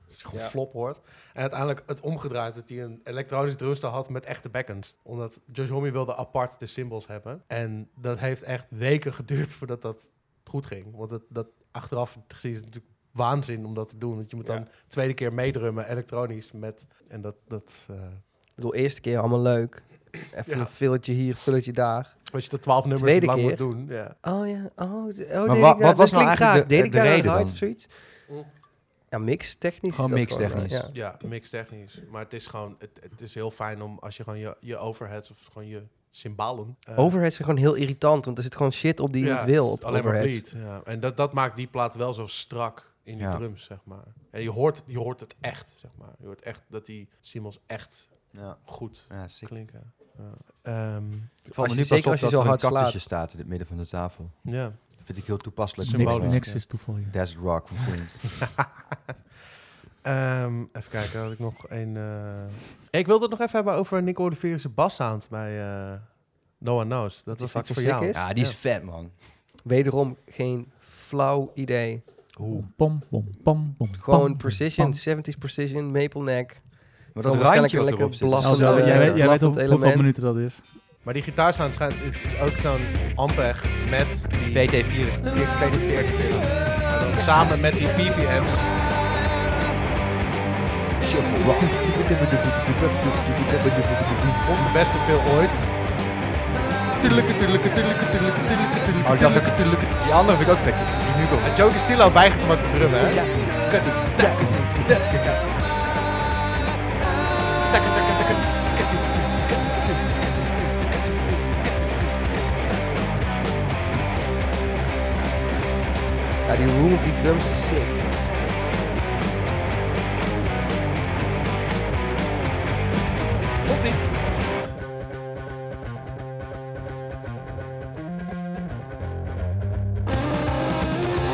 Dat is gewoon Ja. flop hoort. En uiteindelijk het omgedraaid dat hij een elektronisch drumstel had met echte backends. Omdat Josh Homme wilde apart de symbols hebben. En dat heeft echt weken *laughs* geduurd voordat dat goed ging. Want dat, dat achteraf gezien is het natuurlijk waanzin om dat te doen. Want je moet Ja. dan tweede keer meedrummen elektronisch met... En dat... dat eh, Ik bedoel, eerste keer allemaal leuk. Even Ja. een filletje hier, filletje daar. als je dat twaalf nummers Tweede lang keer? moet doen. Ja. Oh ja, oh, d- oh Maar deed wa- ik daar- wat was dat nou klinkt eigenlijk raar. de- Deed ik de daar een reden hide dan? of zoiets? Ja, mix technisch. Gewoon mixtechnisch. Ja. Ja, mix technisch. Maar het is gewoon, het, het is heel fijn om als je gewoon je, je overheads of gewoon je cymbalen. eh, Overheads zijn gewoon heel irritant, want er zit gewoon shit op die je ja, niet wil het op is alleen maar overheads. bleed. Ja. En dat, dat maakt die plaat wel zo strak in die Ja. drums, zeg maar. En je hoort, je hoort het echt, zeg maar. Je hoort echt dat die cymbals echt ja. goed ja sick. klinken. Ja. Ehm, Ik val me Als nu je- pas zeker op als je dat zo er een hard slaat. cactusje staat in het midden van de tafel. ja. *laughs* Dat vind ik heel toepasselijk. niks, symbolisch, Dus niks ja. is toeval hier. Desert Rock van *laughs* Queens. Ehm, even kijken, had ik nog een... eh, Ik wilde het nog even hebben over Nico Olivier's bassound bij eh, No One Knows. Dat Die was iets fucking voor sick jou. is. ja, die is vet, man. Wederom geen flauw idee. Pom, pom, pom, pom, pom, Gewoon pom, precision, pom. 70s precision, maple neck. Maar dat Dan randje waarschijnlijk wat een erop zit. lekker Zo, blaffende- is zo jij lekker. weet, jij weet Blaffend hoe- hoeveel element. minuten dat is. Maar die gitaarsound schijnt, is, is ook zo'n Ampeg met die, VT4. VT4. samen met die BPM's. Komt de beste veel ooit. Tuurlijke, tuurlijke, tuurlijke, tuurlijke, tuurlijke, tuurlijke, Oh, ik dacht tuurlijke, tuurlijke. Die andere vind ik ook vet. Die nu komt. En Joe Castillo bijgetrokken te drummen, hè? Ja, die room op die drums is sick.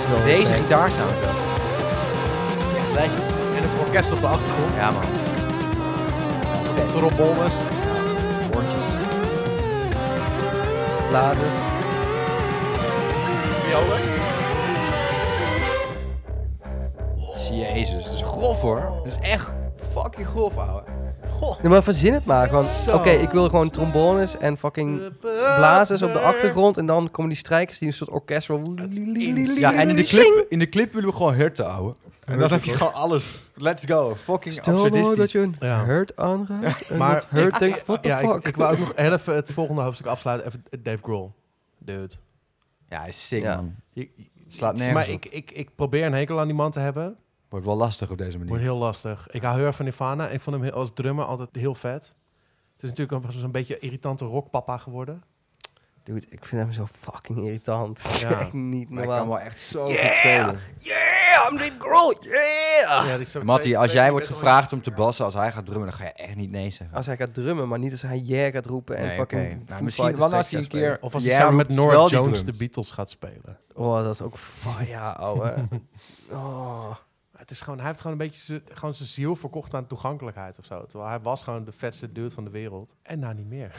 Zo Deze vet. gitaarsound wel. Echt legend. En het orkest op de achtergrond. Ja, man. Vet. Trombones. Hoortjes. Laders. Jezus, dat is grof hoor. Dat is echt fucking grof, ouwe. Ja, maar verzin het maar. Gewoon, oké, ik wil gewoon trombones en fucking blazers op de achtergrond. En dan komen die strijkers die een soort orkestral... Ja, en in de clip, in de clip willen we gewoon herten, ouwe. En dan heb je hoor. gewoon alles. Let's go. Fucking Stel nou dat absurdistisch. je een Ja. hurt aanraakt en Maar- dat hurt Ik- denkt, what the ja, fuck? Ik, ik wou ook nog heel even het volgende hoofdstuk afsluiten. Even Dave Grohl. Dude. Ja, hij is sick, Ja. man. Je- je- Slaat nergens maar op. ik, ik, ik probeer een hekel aan die man te hebben. Wordt wel lastig op deze manier. Wordt heel lastig. Ik hou heel erg van Nirvana. Ik vond hem heel- als drummer altijd heel vet. Het is natuurlijk ook zo'n beetje irritante rockpapa geworden. Dude, ik vind hem zo fucking irritant. Dat is Ja. *laughs* echt niet Maar hij kan normaal. wel echt zo goed Yeah! spelen. Yeah! I'm Dave Grohl! Yeah! Ja, die is zo- Matty, twee- Ah, als twee- jij twee- wordt gevraagd om te bassen, als hij gaat drummen, dan ga je echt niet nee zeggen. Als hij gaat drummen, maar niet als hij yeah gaat roepen en Nee, fucking... oké. Foo Nou, misschien Fighters wel als hij een tekstjes keer Of als yeah hij samen met roept terwijl Norah die Jones drumt. de Beatles gaat spelen. spelen. Oh, dat is ook... fa- Ja, ouwe. oh. Het is gewoon, hij heeft gewoon een beetje z'n- gewoon zijn ziel verkocht aan toegankelijkheid of zo. Terwijl hij was gewoon de vetste dude van de wereld. En nou niet meer.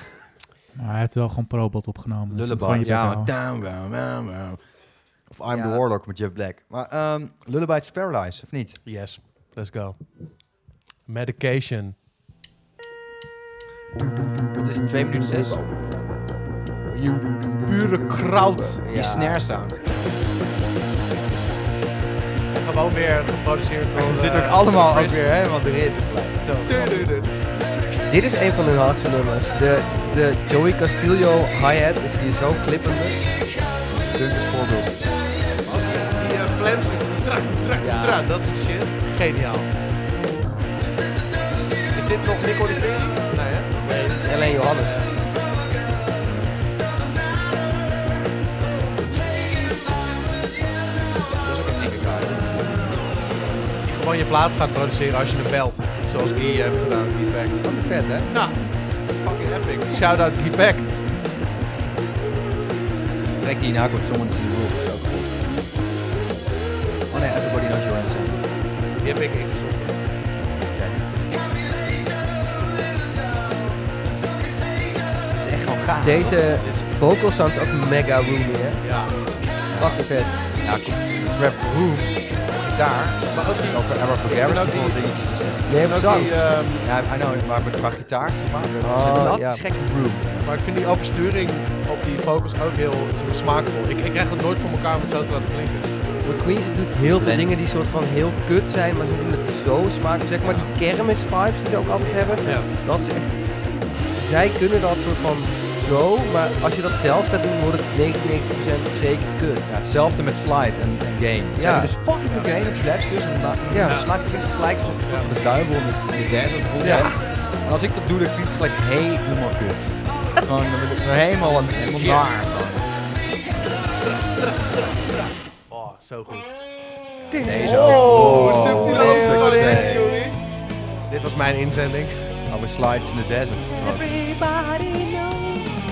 Maar hij heeft wel gewoon Probot opgenomen. dus dat Lullaby, kan je ja, wel. down, down, down, down. Of I'm Ja. the Warlock met Jeff Black. Maar ehm Lullaby is Paradise, of niet? Yes, let's go. Medication. Het is 2 minuten 6. Pure kraut. Die snare sound. Gewoon weer geproduceerd door... Zit ook eh, *laughs* allemaal ook Chris. weer helemaal erin. Zo. Dit is een van hun hardste nummers. De, de Joey Castillo hi-hat is hier zo klippende. Dunke spoorbeeld. Die eh, flames, trak, trak, Ja. trak, dat soort shit. Geniaal. Is dit nog Nico de Nee, hè? Nee, dit is alleen Johannes. Die gewoon je plaat gaat produceren als je hem belt. Zoals Guy heeft gedaan, Guy Pack. Fucking vet, hè? Nou, fucking epic. Shout-out Guy Pack. Trek die na komt Someone's in the Room. is ook goed. Oh nee, Everybody Knows You're Insane. Die heb ik ingezonden. Dat is echt gewoon gaaf. Deze vocal sounds ook mega roomy, hè? Ja. Fucking vet. Ja, ik- het rap room. Gitaar. Maar ook die... Over Errol Ik vind Garris ook bijvoorbeeld die- dingetjes te zeggen. Nee, en op ook zang. die, ehm, nou Ja, I know, maar met qua gitaar zeg maar. Oh, dat ja. is gek met room. maar ik vind die oversturing op die focus ook heel het is wel smaakvol. Ik, ik krijg het nooit voor elkaar om het zo te laten klinken. McQueen ze doet heel veel Blend. dingen die soort van heel kut zijn, maar ze doen het zo smaak. Zeg maar die kermis vibes die ze ook altijd hebben. Ja. Dat is echt... Zij kunnen dat soort van zo, maar als je dat zelf gaat doen, wordt het 99% zeker kut. Ja, hetzelfde met slide en en game. Er zijn Ja. dus fucking veel game op slaps dus. En dan Ja. ja. slide klinkt het gelijk alsof het een soort van de duivel in de- in de dance of rond bent. En als ik dat doe, dan klinkt het gelijk helemaal *laughs* kut. Gewoon, dan ben ik helemaal, helemaal naar. Oh, zo goed. Deze ook. Oh, subtiel deze antwoord, ook. hè, Nee. Dit was mijn inzending. Over slides in the desert gesproken.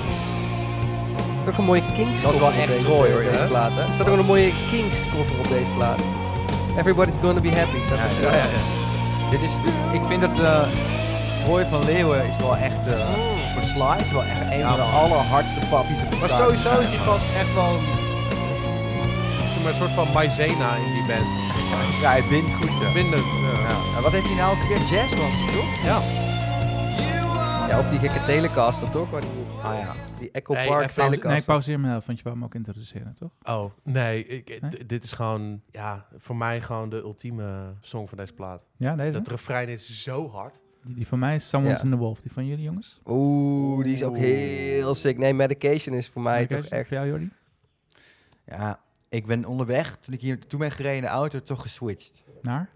Er staat ook een mooie Kings Dat is wel cover op echt deze- Troy, hoor, op deze ja. plaat. Hè? Er staat ook een mooie Kings cover op deze plaat. Everybody's gonna be happy. Staat er. Ja, ja, Dit is, ik vind dat eh Troy van Leeuwen is wel echt eh, voor slide wel echt een van de allerhardste pappies op de Maar plaat. sowieso is die gast echt wel een, zeg maar, een soort van Maizena in die band. Ja, hij bindt goed. Ja. Bindend. eh. Ja. En wat heeft hij nou ook weer? Jazzmaster, toch? Ja. Ja, of die gekke telecaster toch? Waar die, Ah ja. die Echo Nee, Park echt trouwens- telecaster. Kast. Nee, ik pauzeer me even, want je wou hem ook introduceren, toch? Oh, nee. Ik, ik- Nee? d- Dit is gewoon, ja, voor mij gewoon de ultieme song van deze plaat. Ja, deze? Dat refrein is zo hard. Die, die van mij is Someone's Ja. in the Wolf. Die van jullie, jongens? Oeh, die is ook heel sick. Nee, Medication is voor mij Oké, toch echt... Voor jou, Jordi? Ja, ik ben onderweg, toen ik hier toe ben gereden in de auto, toch geswitcht. Naar?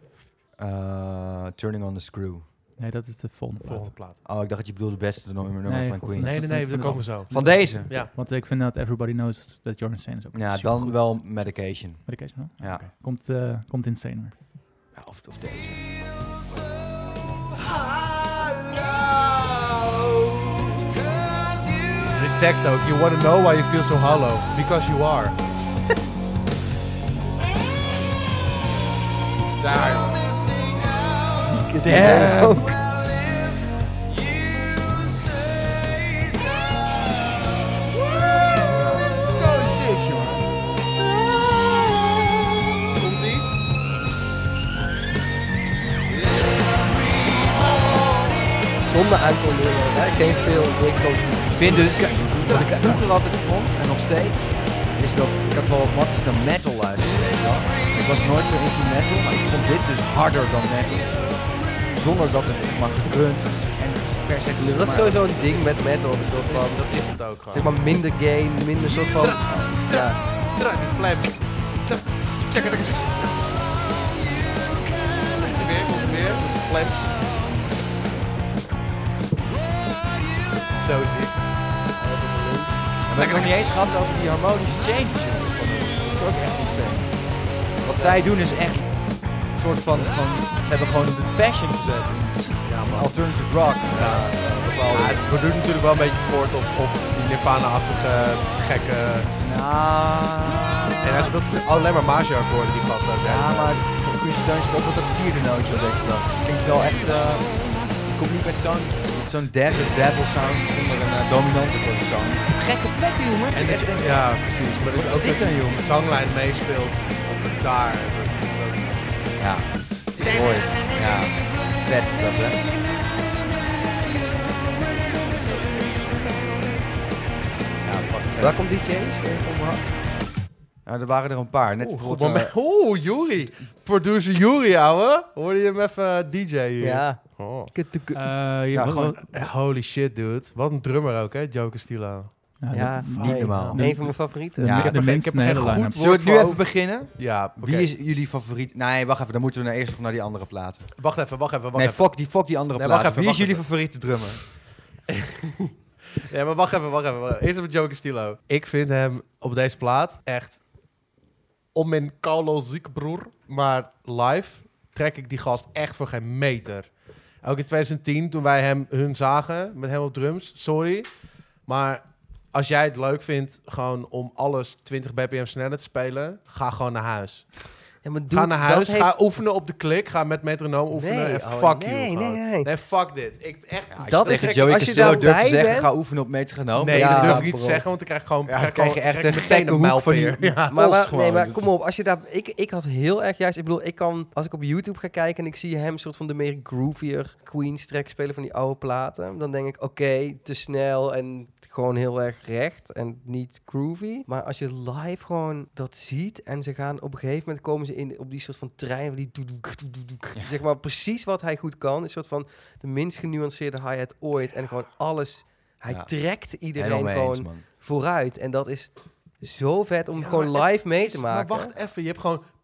Eh, turning on the screw. Nee, dat is de volgende plaat. Volgende plaat. Oh, ik dacht dat je bedoelde beste nummer, nummer Nee, van goed, Queen. nee. Nee, nee, nee, daar komen we zo. Van deze? Ja. Want ik vind dat Everybody Knows That You're Insane is ook Ja, supergoed. dan wel Medication. Medication wel? Ja. Oké. Komt, eh komt Insane weer. Ja, of, of deze. De tekst ook. You wanna know why you feel so hollow. Because you are. Daar. Zo sick, jongen. Komt ie? Zonder aankondiging. hè. Geen veel, niks Ik vind dus, wat ik vroeger altijd vond, en nog steeds, is dat ik had wel wat matjes naar metal luisteren. weet je wel. Ik was nooit zo into metal, maar ik vond dit dus harder dan metal. Zonder dat het zeg maar gegrunt is en per se... Dus dat is sowieso een ding met metal. Een soort van, Dat is het ook gewoon. zeg maar, minder gain, minder soort van... *laughs* Ja, Draai die flaps. Check het. Komt ie weer, komt ie weer. Flaps. Zo ziek. Maar we hebben het nog niet eens gehad over die harmonische changes. jongens, van hun. Dat is ook echt insane. Wat zij doen is echt een soort van, van ze hebben gewoon de fashion gezet. Ja, man. Alternative rock. Ja, bepaalde. we doen natuurlijk wel een beetje voort op, op die Nirvana-achtige gekke... Nou, En hij speelt alleen maar major-akkoorden, die gast ook. hè. ja, maar Queen's Stone speelt, wordt dat vierde nootje op deze plaat. Het klinkt wel echt... eh je komt niet met zo'n zo'n desert devil sound zonder een eh, dominante sound. Gekke plekken, jongen. En dat, je- ja, precies. Maar dat Wat je is ook dit dan, met de jongen? zanglijn meespeelt op de gitaar. Ja, mooi. Ja, vet is dat, hè? Waar komt die change eh, op hard? Nou, er waren er een paar. Net Oeh, goed bijvoorbeeld, eh, moment. Oeh, Juri. Producer Juri, ouwe. Hoorde je hem even DJ Eh, hier? Ja. Oh. Kut, kut, kut. Eh, Ja, gewoon, eh, holy shit, dude. Wat een drummer ook, hè? Joker Stilo. Ja, Ja, de- niet nee, normaal. de- Een van mijn favorieten. de- Ja, de ik heb mensen geen- ik heb een geen hele goed line-up. eh, Zullen we nu Woord even voor- beginnen? Ja, oké. Wie is jullie favoriet? Nee, wacht even. Dan moeten we nou eerst nog naar die andere plaat. Wacht even, wacht even, wacht nee, even. fuck die, fuck die andere Nee, plaat. wacht even, Oh, Wie is wacht jullie favoriete drummer? Ja, maar wacht even, wacht even. wacht even. Eerst even Joker Stilo. Ik vind hem op deze plaat echt... Om mijn Carlo broer. Maar live trek ik die gast echt voor geen meter. Ook in 2010, toen wij hem hun zagen met hem op drums. Sorry. Maar als jij het leuk vindt gewoon om alles 20 bpm sneller te spelen... ga gewoon naar huis. Ja, maar ga dude, naar huis, dat ga heeft- oefenen op de klik, ga met metronoom oefenen Nee, en oh, fuck nee, you. nee, gewoon. nee. fuck dit. Ik echt... Als Dat je is tegen het. Joey Als je Castillo daar durft Nou, te bij zeggen, bent- ga oefenen op metronoom. nee, Ja, dat durf dan ik niet te zeggen, want dan krijg ik gewoon Ja, dan krijg ik krijg je gewoon- echt krijg een ik meteen gekke hoek van die- mijlpeer. Ja. Maar, Os maar- nee, gewoon, maar dus- kom op, als je daar, ik, ik had heel erg juist, ik bedoel, ik kan, als ik op YouTube ga kijken en ik zie hem soort van de meer groovier Queens track spelen van die oude platen, dan denk ik, oké, te snel en gewoon heel erg recht en niet groovy. Maar als je live gewoon dat ziet en ze gaan op een gegeven moment komen ze in op die soort van trein, van die doe- doe- doe- doe- doe- zeg maar precies wat hij goed kan, een soort van de minst genuanceerde hi-hat ooit en gewoon alles. Hij Ja. trekt Helemaal iedereen mee gewoon eens, man. vooruit. En dat is zo vet om Ja, gewoon maar het live mee is- te maken. Maar wacht even, je hebt gewoon...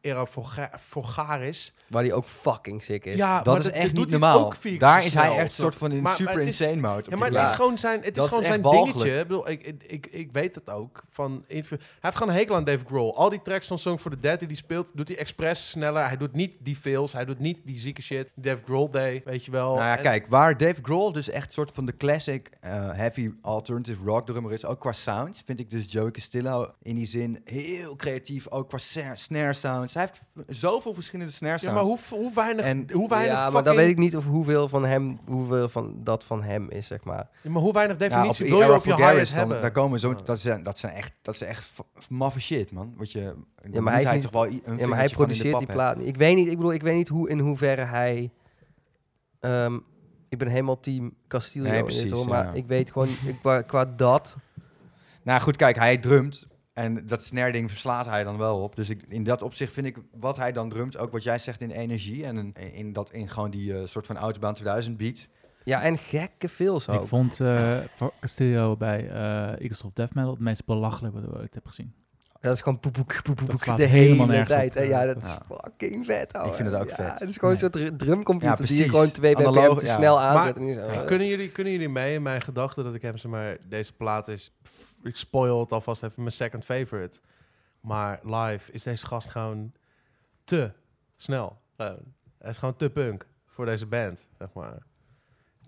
Era Volga- Volgaris. Waar die ook fucking sick is. Ja, Dat Ah, maar is dat echt doet niet hij normaal. ook vier keer Daar zo is hij snel, echt soort van in Maar- maar super het is- insane mode. op Ja, die maar het plaat. is gewoon zijn, het is Dat is gewoon echt zijn walgelijk. dingetje. Ik, bedoel, ik, ik, ik, ik weet het ook. Van interview- hij heeft gewoon een hekel aan Dave Grohl. Al die tracks van Song for the Dead die hij speelt, doet hij expres sneller. Hij doet niet die fails, hij doet niet die zieke shit. Dave Grohl day, weet je wel. Nou ja, En- kijk, waar Dave Grohl dus echt soort van de classic eh, heavy alternative rock drummer is, ook qua sound, vind ik dus Joey Castillo in die zin heel creatief, ook qua sa- snare sounds. Hij heeft zoveel verschillende snare Ja, sounds. maar hoe, hoe weinig, En- hoe weinig ja, maar fucking- dan weet ik niet of hoeveel van hem, hoeveel van dat van hem is, zeg maar. Ja, maar hoe weinig Nou, definitie op wil je Era op je Vulgaris highest dan- hebben? Ah. Daar komen zo, Ja. dat, zijn, dat, zijn echt, dat zijn echt f- maffe shit, man. Wat je, dan hij moet is niet- toch wel i- een Ja, maar hij produceert die plaat niet. Ik weet niet, ik bedoel, ik weet niet hoe, in hoeverre hij... ehm, ik ben helemaal team Castillo, Nee, in dit, precies, hoor, ja. maar ik weet gewoon, ik- qua, qua dat... Nou goed, kijk, hij drumt. En dat snare ding verslaat hij dan wel op. Dus ik, in dat opzicht vind ik wat hij dan drumt, ook wat jij zegt in energie en in, in dat, in gewoon die eh, soort van Autobahn 2000 beat. Ja, en gekke fills Ik ook. vond eh, voor Castillo bij eh Eagles of Death Metal het meest belachelijk wat ik ooit heb gezien. Dat is gewoon poepoek, poepoek, Dat slaat de helemaal hele nergens op, tijd. En ja, ja. dat is fucking vet, ouwe. vind het ook Ja, vet. Het is gewoon een Nee. soort dr- drumcomputer Ja, die je precies. gewoon twee bpm Analoog, te ja. snel Maar- aanzet. en je zo, eh. Kunnen, jullie, kunnen jullie mee in mijn gedachten dat ik hem zeg maar deze plaat is. pff, ik spoil het alvast even mijn second favorite. Maar live is deze gast gewoon te snel. Gewoon. Hij is gewoon te punk voor deze band, zeg maar.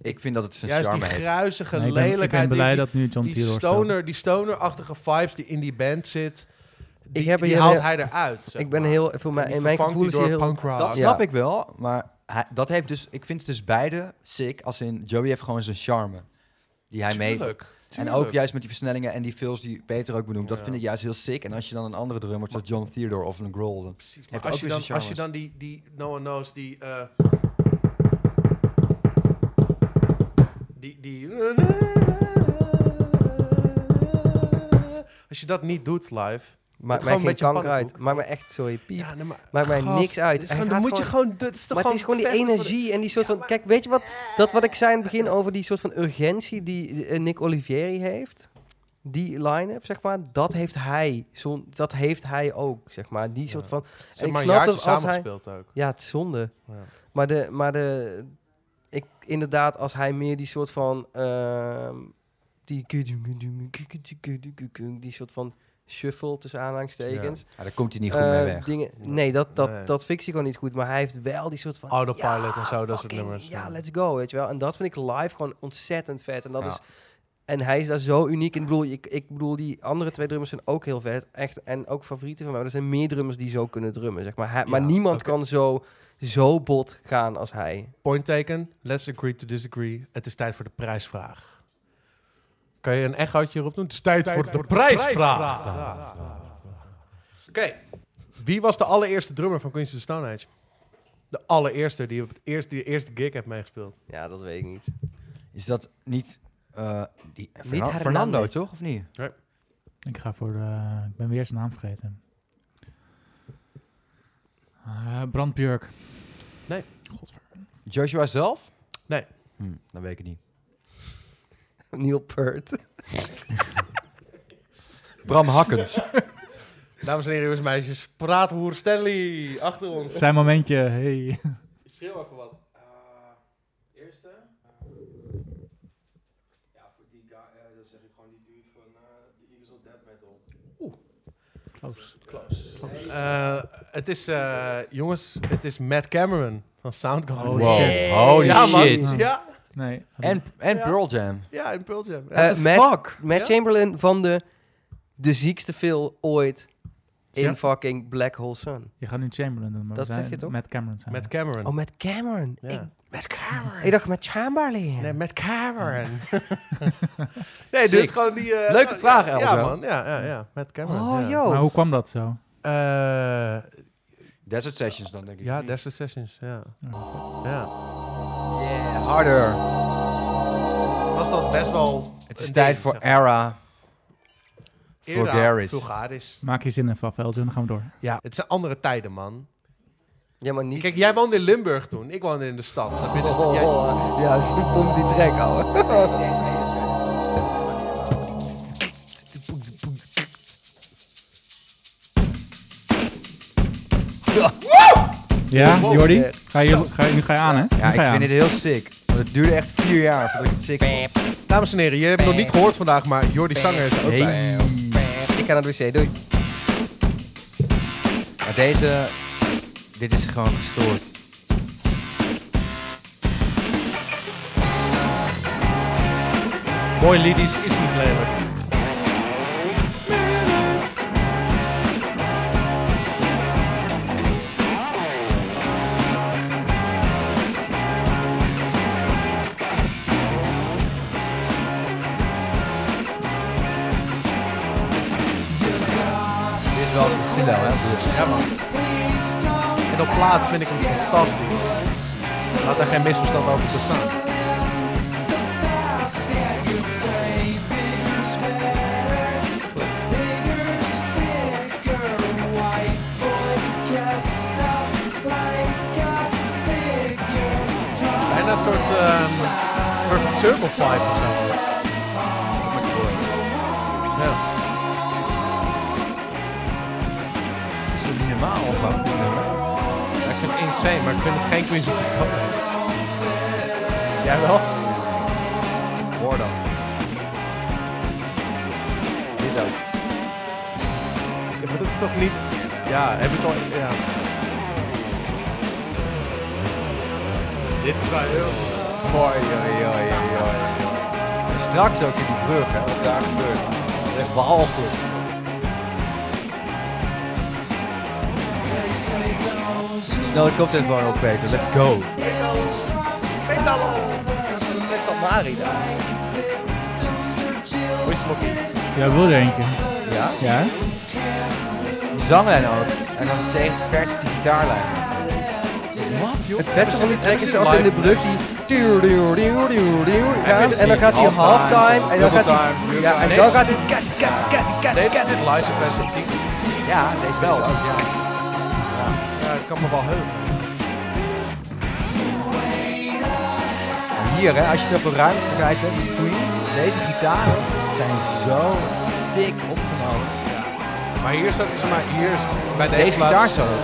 Ik vind dat het zijn Juist die charme heeft. gruizige Nee, ik, ben, ik lelijkheid. ben blij die, dat nu John die Theodore speelt. stoner, die stoner-achtige vibes die in die band zit. Die, heb die hier haalt heel- hij eruit. zeg Ik ben maar. heel, voor mij, En die in mijn vervangt gevoel is hij hij door heel... punk rock. Dat Ja. snap ik wel, maar hij, dat heeft dus, ik vind het dus beide sick. Als in Joey heeft gewoon zijn charme die hij mee. Tuurlijk, En tuurlijk. ook juist met die versnellingen en die fills die Peter ook benoemt. Dat Ja. vind ik juist heel sick. En als je dan een andere drummer, zoals John Theodore of een Grohl, dan Precies, maar Heeft als ook je, weer dan, zijn als je dan die, die No One Knows, die... eh, die, die... Als je dat niet doet live... Maakt gewoon mij een geen beetje kanker uit. pannenkoek. Maakt me echt, sorry, piep. Ja, nee, maar, Maakt mij gast, niks uit. het is Hij gewoon- gaat dan moet je gewoon... dat is toch Maar het is gewoon die vesten van de- energie en die soort van... Kijk, weet je wat, dat wat ik zei in het begin over die soort van urgentie die eh, Nick Olivieri heeft? Die line-up, zeg maar, dat heeft hij. Zo, dat heeft hij ook, zeg maar. Die soort Ja. van... Ze hebben ik maar een snap dat jaartje als samengespeeld ook. Ja, het is zonde. Ja. Maar de, maar de, ik, inderdaad, als hij meer die soort van ehm, Die, die soort van shuffle tussen aanhalingstekens. Ja. Ja, daar komt hij niet goed mee Eh, weg. Dingen, nee, dat, dat, Nee. dat fixt hij gewoon niet goed. Maar hij heeft wel die soort van... Autopilot ja, en zo, dat soort fucking, nummers. Ja, let's go, weet je wel. En dat vind ik live gewoon ontzettend vet. En dat Ja. is... En hij is daar zo uniek in. Ik bedoel, ik, ik bedoel, die andere twee drummers zijn ook heel vet. Echt, en ook favorieten van mij. Maar er zijn meer drummers die zo kunnen drummen, zeg maar. Hij- maar Ja, niemand oké. kan zo, zo bot gaan als hij. Point taken. Let's agree to disagree. Het is tijd voor de prijsvraag. Kan je een echootje erop doen? Het is tijd, voor, de, prijsvraag. Oké. Wie was de allereerste drummer van Queens of the Stone Age? De allereerste die op het eerste, die de eerste gig heeft meegespeeld. Ja, dat weet ik niet. *laughs* Is dat niet... eh, die, Fernan- Hernandez. Fernando, toch? Of niet? Ik ga voor. eh, ik ben weer zijn naam vergeten. Eh Brand Björk. Nee. Godver. Joshua zelf? Nee. Hm, dat weet ik niet. Neil Peart. Bram Hakkens. Dames en heren, jongens en meisjes. Praathoer Stanley. Achter ons. Zijn momentje, hey. *laughs* Schreeuw even wat. uh, Eerste? Ja, voor die guy, uh, dat zeg ik gewoon die dude van de Eagles of Death Metal. Close. Close. het is, eh, jongens, het is Matt Cameron van Soundgarden. Oh, Wow. shit. Holy ja, man. shit. Ja, Nee. En, en Ja. Pearl Jam. ja, in Pearl Jam. Eh, the Matt, fuck? Matt Ja? Chamberlain van de, de ziekste film ooit in Ja. fucking Black Hole Sun. Je gaat nu Chamberlain doen, maar Dat we zijn zeg je toch? Met Cameron zijn. Matt Met Cameron. Oh, met Cameron. Ja. Ik, Matt Cameron. ik dacht met Chamberlain. Nee, Matt Cameron. *laughs* nee, dit Sick. is gewoon die... eh, Leuke oh, vraag, ja, Elzo. Ja, man. Ja, ja, ja. Matt Cameron. oh, ja. Nou, joh. maar hoe kwam dat zo? Eh, Desert Sessions dan, denk ik. ja, Desert Sessions, ja. Oh. ja. Yeah, harder. Was dat best wel... Het is tijd voor Era. Voor Garrett. Vulgaris. Maak je zin in Favelzo en dan gaan we door. Ja, dus. het zijn andere tijden, man. Ja, maar niet... Kijk, jij woonde in Limburg toen. Ik woonde in de stad. Snap je? Dus Oh, jij- oh, Ja, *laughs* pomp die track, ouwe. Ja, Wow. Jordi? Ga je, ga je, nu ga je aan, hè? Nu ga Ja, ik je vind aan. het heel sick. Want het duurde echt vier jaar voordat ik het sick vond. Dames en heren, je hebt het nog niet gehoord vandaag, maar Jordi Zanger is er ook bij. Hey. Ik ga naar de wc, doei. Maar deze... Dit is gewoon gestoord. Boy Ladies is niet lelijk. Dit is wel Silo, hè? Ja, man. En op plaats vind ik hem fantastisch. Laat daar geen misverstand over bestaan. Bijna een soort ehm, Perfect Circle vibe of zo. Ja. Dat is toch niet normaal, of wat? Ja, Ik vind het insane, maar ik vind het geen Quincy te stappen. Jij wel? Hoor dan. Dit is ook. Ja, maar dat is toch niet... Ja, heb je het al... Ja. Dit is wel heel... Hoi, hoi, hoi, hoi, hoi. En straks ook in die brug, hè, wat daar gebeurt. Dat is echt behalve. Snel de koptelefoon op, Peter. Let's go. Best wel Mari daar. Hoi, Smokkie. Ja, wil er eentje. Ja? Ja? Die zangen en ook. En dan tegen vers die gitaarlijn. Het vetste van die track is als in de brug die... tuur, tuur, tuur, tuur, tuur gaat, En dan gaat hij op Halftime, halftime. En dan double gaat hij... time, Ja, en dan gaat hij... Kat, kat, kat, kat, Dit kat. dit live op SMT. Ja, deze wel. Ook, ja. Ja, ik kan me wel heugen. En Hier, hè, als je het op een ruimte bekijkt, hè, die Queens, deze gitaren zijn zo sick opgenomen. Maar hier is ook, zeg maar, hier is bij deze, Deze plaat- gitaar zo. Maar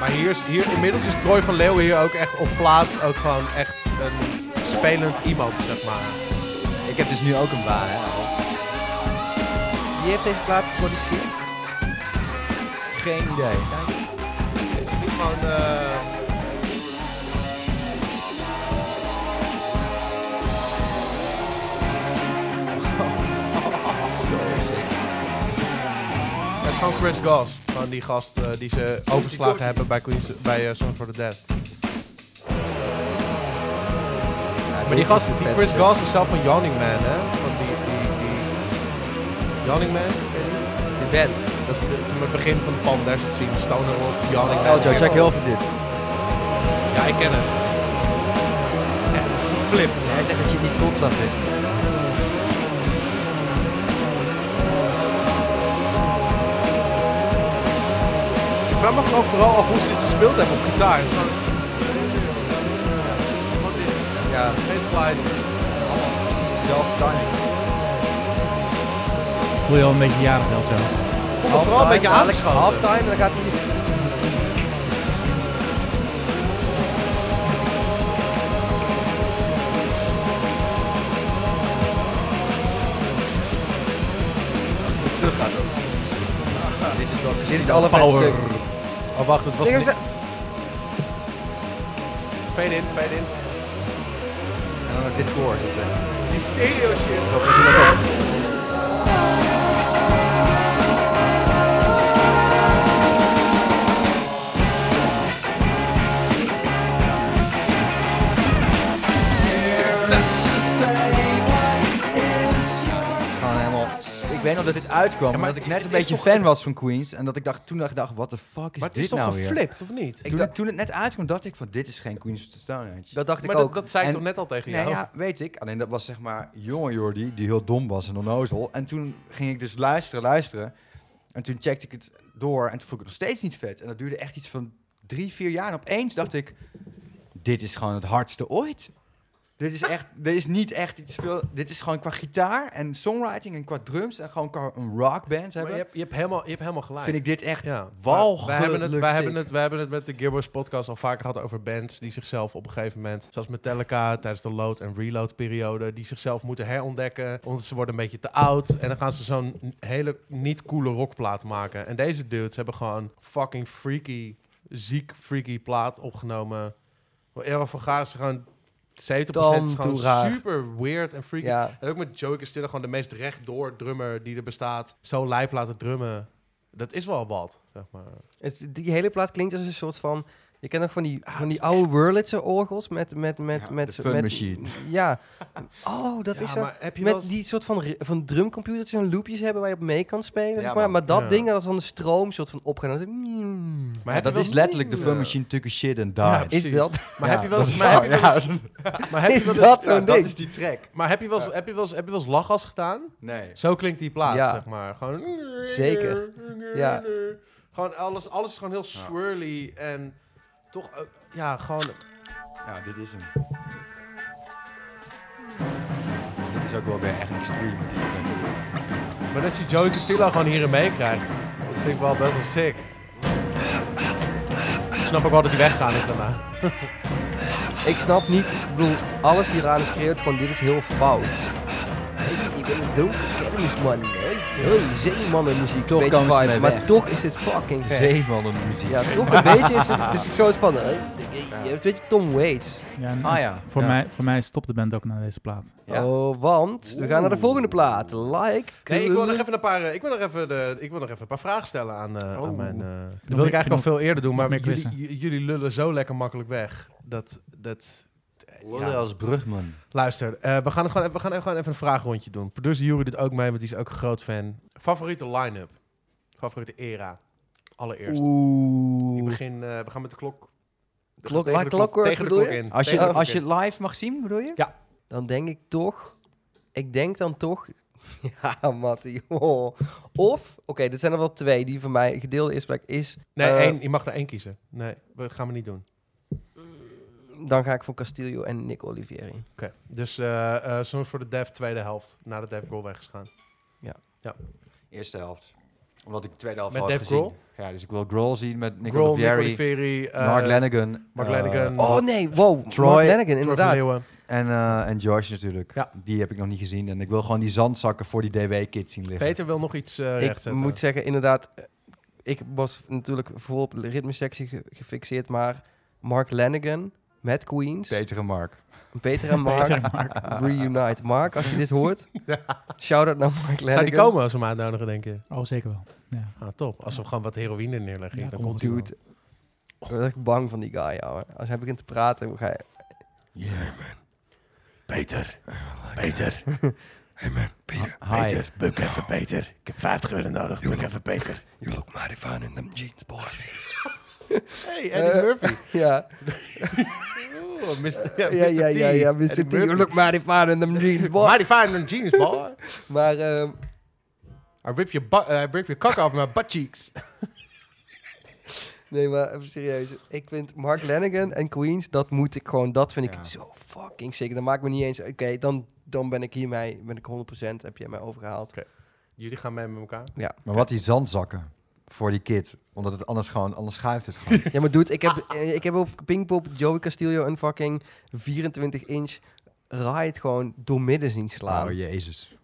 Maar hier, is, hier inmiddels is Troy van Leeuwen hier ook echt op plaat. Ook gewoon echt een spelend iemand, zeg maar. Ik heb dus nu ook een baan, Wie heeft deze plaat geproduceerd? Geen idee. Is het niet gewoon... eh, *laughs* Het is gewoon Chris Goss. Gewoon die gast eh, die ze overgeslagen hebben bij, Queens, bij eh, Song for the Dead. Maar die gast, die Chris Goss is zelf van Yawning Man, hè? Van die, die, die... Yawning Man? De band. Dat is, dat is het begin van de pan, daar zit zien. Stoner op, Yawning Man. Oh, Joe, check heel veel dit. Ja, ik ken het. Echt geflipt. Hij zegt dat je het niet constant bent. Ik vraag me gewoon vooral af hoe ze dit gespeeld hebben op gitaar. Het is gewoon... Gewoon dit. Ja, geen slides. Precies dezelfde timing. Voel je al een beetje jarig wel zo. Ik voel me vooral een beetje aangeschoten. Halftime, en dan gaat hij... Terug gaat ook. Dit is wel Dit is het allervetste stuk. Oh, wacht, het was... Dingen niet- zijn- Fade in, fade in. En dan ook dit koor zitten. Die stereo shit. Het is gewoon helemaal... Ik weet nog dat dit uitkwam, maar maar dat ik net een het is beetje toch- fan was van Queens. En dat ik dacht, toen dacht ik, dacht, what the fuck is Maar het dit is toch nou weer? geflipt, of niet? Ik Toen, dacht- toen het net uitkwam, dacht ik van, dit is geen Queens of the Stone Age. Dat dacht Maar ik dat, ook. dat zei ik En- toch net al tegen Nee, jou? ja, weet ik. Alleen dat was zeg maar jonge Jordi, die heel dom was en onnozel. En toen ging ik dus luisteren, luisteren. En toen checkte ik het door en toen vond ik het nog steeds niet vet. En dat duurde echt iets van drie, vier jaar. En opeens dacht ik, dit is gewoon het hardste ooit. Dit is echt, dit is niet echt iets veel. Dit is gewoon qua gitaar en songwriting en qua drums en gewoon qua een rockband Maar je, hebben. hebt, je, hebt helemaal, je hebt helemaal gelijk. Vind ik dit echt Ja, walgelijk. wij hebben, het, wij, sick. hebben het, wij hebben het met de Gearboys podcast al vaker gehad over bands die zichzelf op een gegeven moment, zoals Metallica tijdens de load- en reload-periode, die zichzelf moeten herontdekken, omdat ze worden een beetje te oud. En dan gaan ze zo'n hele niet coole rockplaat maken. En deze dudes hebben gewoon fucking freaky, ziek freaky plaat opgenomen. Errol van Gaar is gewoon 70% is Dan gewoon toe raar. super weird en freaky. Ja. En ook met Joey Castilla, gewoon de meest rechtdoor drummer die er bestaat. Zo lijp laten drummen. Dat is wel wat, zeg maar. Het- die hele plaat klinkt als een soort van... Je kent nog van die, van het is die oude Wurlitzer orgels met... met, met, Ja, met de met- fun machine. Ja. Oh, dat Ja, is zo. maar heb je wel Met eens- die soort van, re- van drumcomputertjes en loopjes hebben waar je op mee kan spelen. Ja, zeg maar. man. maar dat Ja. ding dat als dan de stroom soort van opgaat. en dan- Maar Ja, heb je dat wel is eens- letterlijk de Ja. fun machine took a shit and died. Ja, Ja, Is Precies. dat? Maar heb je *laughs* wel eens... dat Maar is- heb je wel *laughs* eens- ja, maar heb je Is wel eens- dat ja, zo'n dat ding? is die track. maar heb je wel eens- heb je wel eens- heb je wel eens lachgas gedaan? Nee. Zo klinkt die plaat, Ja. zeg maar. Gewoon... Zeker. Ja. Gewoon alles, alles is gewoon heel swirly en toch... ook- ja, gewoon... Ja, dit is hem. Dit is ook wel weer echt extreem. Maar dat je Joey Castillo gewoon hierin meekrijgt, dat vind ik wel best wel sick. Ik snap ook wel dat hij weggaan is daarna. Ik snap niet, ik bedoel, alles hieraan schreeuwt gewoon, dit is heel fout. Hey, ik ben een dronken kermisman, hè. Hey, zeemannenmuziek, Toch een beetje komen ze fout, mee maar weg. toch is dit fucking vet. Zeemannenmuziek. *laughs* Ja, toch een beetje is het, dit is een soort van, hè. Je hebt weet je, Tom Waits. Ja, en- Ah ja. Voor, Ja. mij, voor mij stopt de band ook na deze plaat. Ja. Oh, want we gaan naar de volgende plaat. Like. Nee, ik wil nog even een paar, eh, ik wil nog even, de, ik wil nog even een paar vragen stellen aan, eh, aan mijn... eh dat wil meer- ik eigenlijk al veel eerder doen, maar meer jullie, quizzen. j- jullie lullen zo lekker makkelijk weg. Dat, dat, eh, Lullen als brugman. luister, eh, we, gaan het gewoon, even- we gaan gewoon even een vragenrondje doen. Producer Jury doet ook mee, want die is ook een groot fan. Favoriete line-up? Favoriete era? Allereerst. Ik Oeh. begin, eh, we gaan met de klok. we gaan Klok- tegen La de Clockwork tegen de bedoel klok je? in. Als je, Tegen de klok als in. je het live mag zien, bedoel je? Dan denk ik toch, ik denk dan toch, *laughs* ja, Mattie, *laughs* joh. Of, oké, er zijn er wel twee die voor mij gedeelde eerste plek is. Nee, eh, één, je mag er één kiezen. Nee, dat gaan we niet doen. Dan ga ik voor Castillo en Nick Olivieri. Oké, dus eh eh Songs voor de Dev, tweede helft. Nadat Def Grohl weg is gegaan. Eerste helft. Omdat ik de tweede helft Met al heb Dave gezien. Grohl? Ja, dus ik wil Grohl zien met Nicola Grohl, Nicola Vieri, Ferry, eh, Mark Lennigan. Mark eh, Lennigan. Oh nee, wow. Mark Lennigan, inderdaad. En, eh, en George natuurlijk. Die heb ik nog niet gezien. En ik wil gewoon die zandzakken voor die DW-kit zien liggen. Peter wil nog iets eh ik rechtzetten. moet zeggen, inderdaad, eh, ik was natuurlijk volop de ritmesectie ge- gefixeerd, maar Mark Lanigan met Queens. Peter en Mark. *laughs* Peter en Mark, Peter en reunite. Mark, als je dit *laughs* hoort, shout-out naar Mark Lanigan. Zou die komen als we hem uitnodigen, denk je? Oh, zeker wel. Ja. Ah, top. Als we gewoon wat heroïne neerleggen, Ja, dan kom komt hij Dude, ik ben echt bang van die guy, ouwe. Als hij begint te praten, ga je... wel. Peter. Oh, Peter. Hey man, Ah, Peter. Peter. Buk even, Peter. Ik heb 50 euro nodig. Buk even, Peter. You look mighty fine in them jeans, Eh, boy. Hey, Eddie *laughs* Murphy. Ja. Oeh, Mr. Ja, ja, ja, ja, ja, Mr. T. Eddie You Murphy. look mighty fine in them jeans, boy. Mighty fine in jeans, boy. Maar, ehm, I rip your, butt, I rip your cock off my butt cheeks. nee, maar even serieus. Ik vind Mark Lennigan en Queens, dat moet ik gewoon, dat vind ik zo fucking sick. Dan maakt me niet eens, oké, dan, dan ben ik hiermee, ben ik 100%, heb jij mij overgehaald. Jullie gaan mee met elkaar. Ja. Maar wat die zandzakken voor die kit. Omdat het anders gewoon, anders schuift het *laughs* gewoon. Ja, maar dude, ik heb, eh, ik heb op Pinkpop Joey Castillo een fucking 24-inch ride gewoon doormidden zien slaan. oh jezus.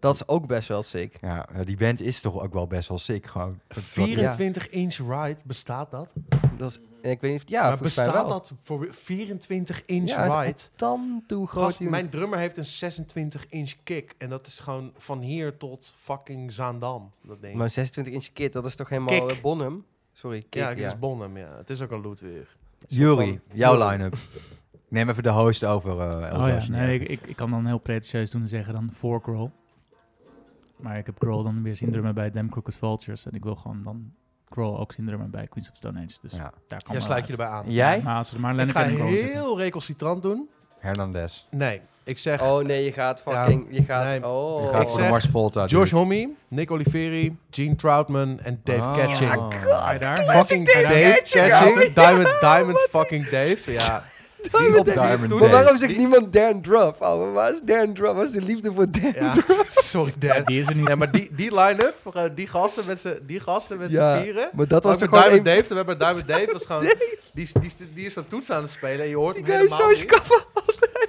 Dat is ook best wel sick. Ja, ja, die band is toch ook wel best wel sick gewoon. Dat is wat- 24 inch ride, bestaat dat? Dat is, en ik weet niet of, ja, maar volgens mij bestaat wel. dat voor 24 inch Ja, dat is ride? een tam toe groot. Gast, unit. mijn drummer heeft een 26 inch kick. En dat is gewoon van hier tot fucking Zaandam. Dat ding. Maar 26 inch kit, dat is toch helemaal Kick. eh, Bonham? Sorry, kick, ja, ja. het is Bonham, ja. Het is ook een Ludwig. Jury, jouw line-up. Neem even de host over, eh Elvis. Oh ja, nee, ik, ik, ik kan dan heel pretentieus doen en zeggen dan voor Grohl. Maar ik heb Grohl dan weer zien drummen bij Damn Crooked Vultures. En ik wil gewoon dan Grohl ook zien drummen bij Queens of Stone Age. Dus Ja. daar kan Ja, wel sluit uit. je erbij aan. Jij? Maar als er maar ik Lennon ga en Grohl zitten. heel recalcitrant doen. Hernandez. Nee, ik zeg Oh nee, je gaat fucking, je gaat, nee. oh. Je Ik gaat voor de zeg Mars Volta. George dude. Homme, Nick Oliveri, Gene Troutman en Dave Oh. Ah. Catching. Ga je daar? Fucking Dave, Catching. Diamond, Diamond fucking Dave. Ja, Diamond op Dave. Diamond Maar Dave. waarom zegt niemand Dan Druff? Oh, waar is Dan Druff? Waar is de liefde voor Dan *laughs* ja. Druff? sorry Dave. Die is er niet. Nee, maar die, die line-up, eh, die gasten met z'n die gasten met Ja, z'n vieren. maar dat was Ook toch met gewoon Diamond een... Dave. We hebben Diamond Dave was *laughs* gewoon... Die, is- die, is- die is dat toets aan het spelen en je hoort Die hem guy is helemaal zo niet. schaffen altijd.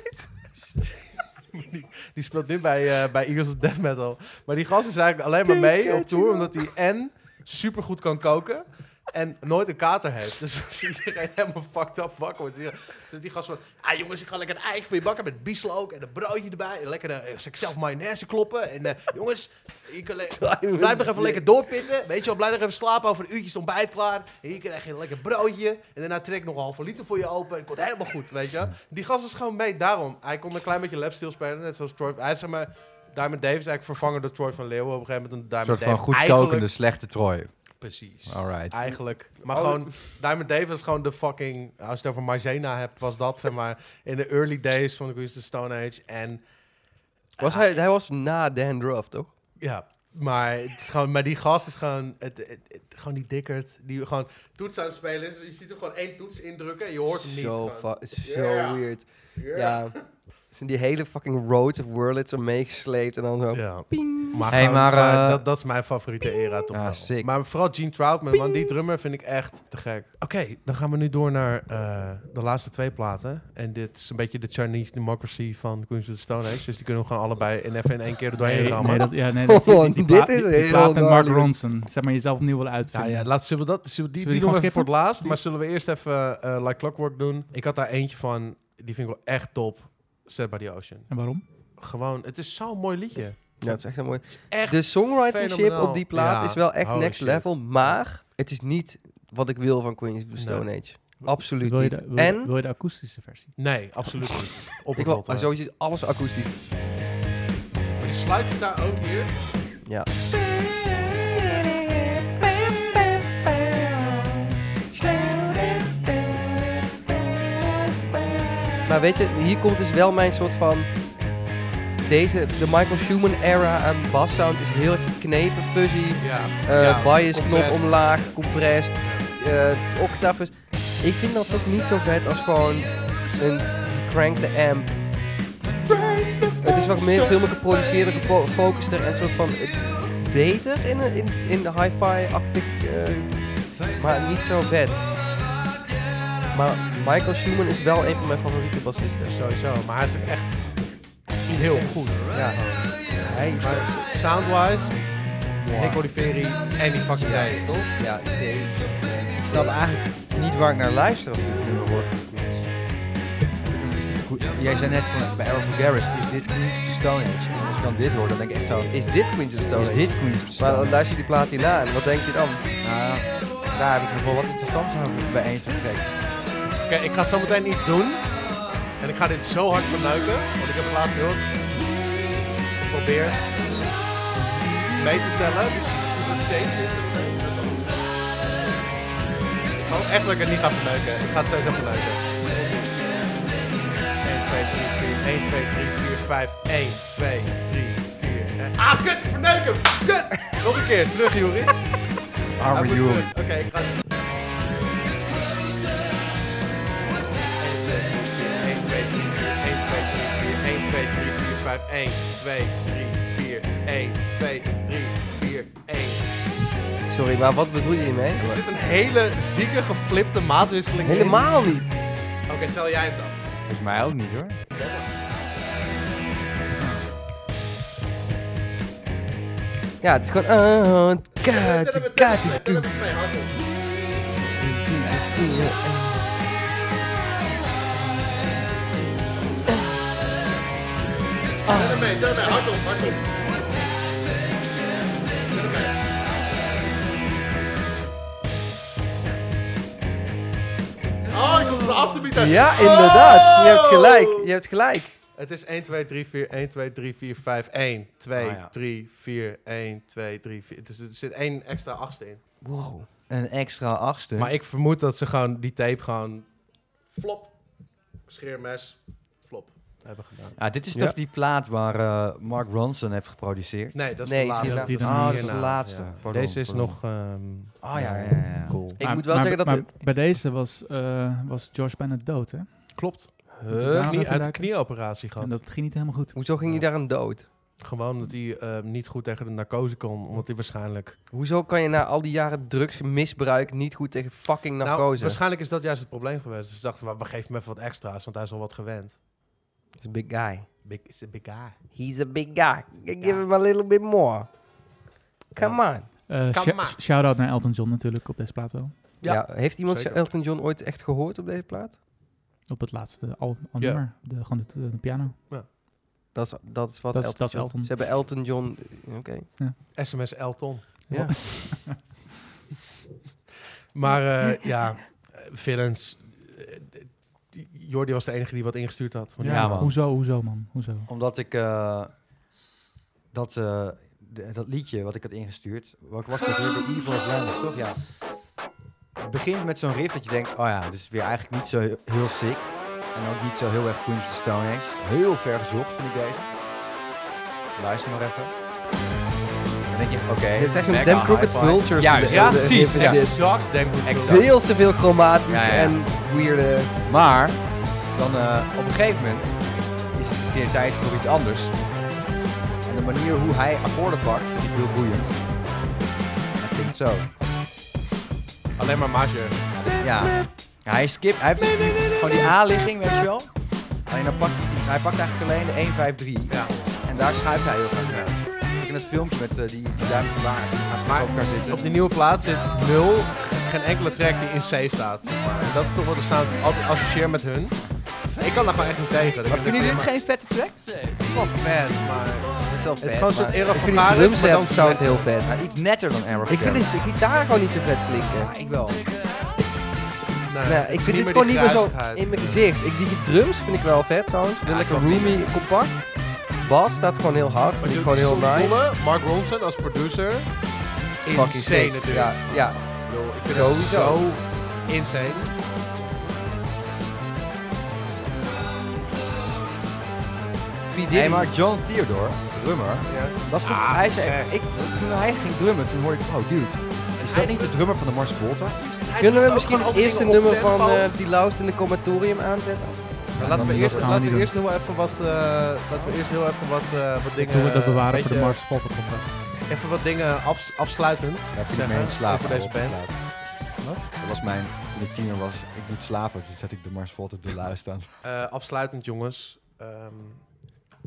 Die, die speelt nu bij, eh, bij Eagles of Death Metal. Maar die gast is eigenlijk alleen maar mee op tour... omdat hij en supergoed kan koken... En nooit een kater heeft. Dus *laughs* als iedereen helemaal fucked up wakker wordt. Dus die gast van... Ah jongens, ik ga lekker een ei voor je bakken met bieslook en een broodje erbij. En lekker eh, ik zelf mayonaise kloppen. En eh, *laughs* jongens, je kan le- blijf nog even lekker doorpitten. Weet je wel, blijf nog even slapen. Over een uurtje is het ontbijt klaar. En hier krijg je een lekker broodje. En daarna trek ik nog een halve liter voor je open. En het komt helemaal goed, weet je wel. Die gast is gewoon mee. Daarom, hij kon een klein beetje lapsteel spelen. Net zoals Troy... Hij is zeg maar... Diamond Davis eigenlijk vervangen door Troy van Leeuwen op een gegeven moment. een Een Diamond soort van Dave goed eigenlijk- kokende, slechte Troy. Precies. Alright. Eigenlijk. Maar Oh. gewoon, Diamond Dave was gewoon de fucking... Als je het over Maizena hebt, was dat zeg maar... In de early days van de Queen's of the Stone Age. En eh, Was hij, hij was na Dan Druff, toch? ja, maar, het is gewoon, maar die gast is gewoon... Het, het, het- gewoon die dikkerd. Die gewoon toets aan het spelen is. Dus Je ziet hem gewoon één toets indrukken en je hoort hem niet. Zo, gewoon. fa- zo Yeah. weird. Yeah. Ja. Zijn die hele fucking roads of Wurlitz er meegesleept en dan zo. Ja. Ping. Maar, Hey, gewoon- maar, maar eh, dat, dat is mijn favoriete era toch Ah, wel. sick. Maar vooral Gene Troutman, man, die drummer vind ik echt te gek. Oké, dan gaan we nu door naar eh, de laatste twee platen. En dit is een beetje de Chinese Democracy van Queens of the Stone Age. Dus die kunnen we gewoon allebei in even in één keer er doorheen Nee, rammen. nee, dat, ja, nee, dat Oh, die, die dit plaat- is die- die heel plaat met Mark gnarly. Ronson. Zeg maar jezelf opnieuw willen Ja, uitvinden. ja, laat, zullen we dat, Zullen we zullen we die, die die doen we gewoon even voor het laatst, maar zullen we eerst even eh, Like Clockwork doen? Ik had daar eentje van, die vind ik wel echt top, Set by the Ocean. En waarom? Gewoon, het is zo'n mooi liedje. Ja, het is echt een mooi. Echt De songwritingship fenomenaal. op die plaat Ja, is wel echt holy next shit. level, maar het is niet wat ik wil van Queens of the Stone Age. Absoluut Wil je, niet. de, wil, je- en wil je de akoestische versie? Nee, absoluut niet. Op ik het wil Ah, rot, hè. sowieso alles akoestisch. Maar Die sluitgitaar ook hier. Ja. Maar weet je, hier komt dus wel mijn soort van... Deze, de Michael Schumann era aan bassound is heel erg geknepen, fuzzy. Ja. eh ja, bias knop compressed. omlaag, compressed, eh octaves. Ik vind dat toch niet zo vet als gewoon een crankte amp. Het is wat meer, veel meer geproduceerder, gefo- gefocuster en soort van... eh, beter in, in, in de hi-fi-achtig, eh, maar niet zo vet. Maar Michael Schumann is wel een van mijn favoriete bassisten. Sowieso, maar hij is ook echt heel goed. Ja. Hij is Maar soundwise, Nick Oliveri en die fucking jij, toch? Ja, zeker. Ik snap eigenlijk niet waar ik naar luister als ik dit nummer hoor. Goed, Jij zei net van, bij Errol Garris is dit Queens of the Stone Age. En als ik dan dit hoor, dan denk ik echt zo... Is dit Queens of the Stone Is Age? dit Queens of the Maar Stone dan Age? luister je die plaat hierna en wat denk je dan? Nou, daar heb ik nog wel wat interessants over bij eens gekregen. Oké, ik ga zo meteen iets doen. En ik ga dit zo hard verneuken, want ik heb het laatst heel hard geprobeerd mee te tellen. Dus het is een zeetje. Gewoon echt dat ik het niet ga verneuken. Ik ga het sowieso verneuken. 1, 2, 3, 4, 1, 2, 3, 4, 5, 1, 2, 3, 4. en- Ah, kut, ik verneuk hem! Kut! Nog een keer, terug, Juri. Arme Hij moet Juri. terug. Oké, ik ga... 1, 2, 3, 4, 1, 2, 3, 4, 5, 1, 2, 3, 4, 1, 2, 3, 4, 1. Sorry, maar wat bedoel je hiermee? Er zit een hele zieke geflipte maatwisseling in. Helemaal niet. Oké, tel jij hem dan. Volgens mij ook niet hoor. Ja, het is gewoon... Oh, Tel kaart, hem- tel kaart, hem- tel hem eens mee, hardop. Tel hem mee, tel hem mee, hardop, hardop. Tel hem mee. Oh, ik kom op de afterbeat uit. Ja, inderdaad. Je hebt gelijk. Oh! Je hebt gelijk. Het is 1, 2, 3, 4, 1, 2, 3, 4, 5, 1, 2, Ah, 3, 4, 1, 2, 3, 4. Dus er zit één extra achtste in. Wow. Een extra achtste. Maar ik vermoed dat ze gewoon die tape gewoon flop, scheermes, flop hebben gedaan. Ah, dit is Ja. toch die plaat waar eh, Mark Ronson heeft geproduceerd? Nee, dat is Nee, de laatste. zie je dat? Ah, dat is de hierna. laatste. Ja. Pardon, Deze is pardon. nog... ehm Ah, ja, ja, ja, ja. Cool. Ik moet wel zeggen dat... maar het- bij deze was, eh, was George bijna dood, hè? Klopt. Moet ik daar nog Knie, even uit de duiken? knieoperatie En gehad. dat ging niet helemaal goed. Hoezo ging hij daar aan dood? Gewoon dat hij eh, niet goed tegen de narcose kon, omdat hij waarschijnlijk... Hoezo kan je na al die jaren drugsmisbruik niet goed tegen fucking Nou, narcose? waarschijnlijk is dat juist het probleem geweest. Dus ze dachten, we- we geven hem even wat extra's, want hij is al wat gewend. He's a big guy. Big, is a big guy. He's a big guy. Give him a little bit more. Come on. Eh, Come sh- on. Shout-out naar Elton John natuurlijk, op deze plaat wel. Ja. Ja. heeft iemand Zeker. Elton John ooit echt gehoord op deze plaat? Op het laatste al, al Ja. nummer, de, gewoon eh, de, de piano. Dat is, dat is wat Dat is- Elton dat is John. Elton. Ze hebben Elton John... Oké. SMS Elton. Ja. Maar eh, ja, eh, villains. eh, eh, Jordi was de enige die wat ingestuurd had. Maar die- Ja, man. Hoezo, hoezo, man? Hoezo? Omdat ik eh, dat, eh, de- dat liedje wat ik had ingestuurd, wat was dat weer? De Evil is Landed, toch? Ja. Het begint met zo'n riff dat je denkt, oh ja, dit is weer eigenlijk niet zo he- heel sick. En ook niet zo heel erg Queens of the Stone Age. Heel ver gezocht vind ik deze. Luister maar even. Dan denk je, oké. Dit is echt zo'n mega Damn Crooked high five. Vultures. Juist, Ja, De- de- precies. de- Ja. de- Exact. Denk ik Exact. wel. Veel te veel chromatiek Ja, ja, ja. en weirde... Maar dan eh, op een gegeven moment is het een keer tijd voor iets anders. En de manier hoe hij akkoorden pakt, vind ik heel boeiend. Dat klinkt zo. Alleen maar majeur. Ja. Ja, hij skipt, hij heeft dus die, gewoon die A-ligging, weet je wel. Alleen dan pakt hij, hij pakt eigenlijk alleen de 1, 5, 3. Ja. En daar schuift hij heel graag naar. Kijk in het filmpje met eh, die, die duim van daar. Gaan ze Maar op elkaar zitten. Op die nieuwe plaat zit nul, geen enkele track die in C staat. En dat is toch wat de sound die ik altijd associeer met hun. Ik kan daar gewoon echt niet tegen. maar vinden jullie dit geen vette track? Het is wel vet, maar... Het is wel Het vet, is gewoon zo'n maar- era Ik van vind die Paris, maar dan drumset sound heel vet. Ja, iets netter dan Arrow. Ik eh, vind die gitaar gewoon niet zo vet klinken. Ja, ik wel. Nee, Nou, het ik is vind dit meer gewoon die niet meer zo grazigheid. in mijn gezicht. Ik, die drums vind ik wel vet trouwens. Ik ben Ja, lekker ik snap roomy, compact. Bas staat gewoon heel hard. Vind ik Maar gewoon heel die nice. Bolle, Mark Ronson als producer. Fucking Insane sick. natuurlijk. Ja, ja. Ik bedoel, ik vind het Sowieso. zo insane. Wie dit? Hey, maar John Theodore, drummer, dat is toch, Ah, hij zei, zeg. ik, toen hij ging drummen, toen hoorde ik, oh dude, is dat niet de drummer van de Mars Volta? Kunnen we misschien eerst een nummer van eh, die Loust in de Comatorium *laughs* aanzetten? Nou, laten we dat eerst, gaan we laten niet we doen. eerst heel even wat, eh, laten we eerst heel even wat, eh, wat dingen... Ik doe het dat bewaren weet voor de je, Mars Volta podcast. Even wat dingen afs- afsluitend. Daar vind ik zeggen mee in slaap. Over deze op de band. plaat. Wat? Dat was mijn, toen ik tiener was, ik moet slapen. Toen zet ik de Mars Volta te luisteren. Eh, afsluitend, jongens. Ehm,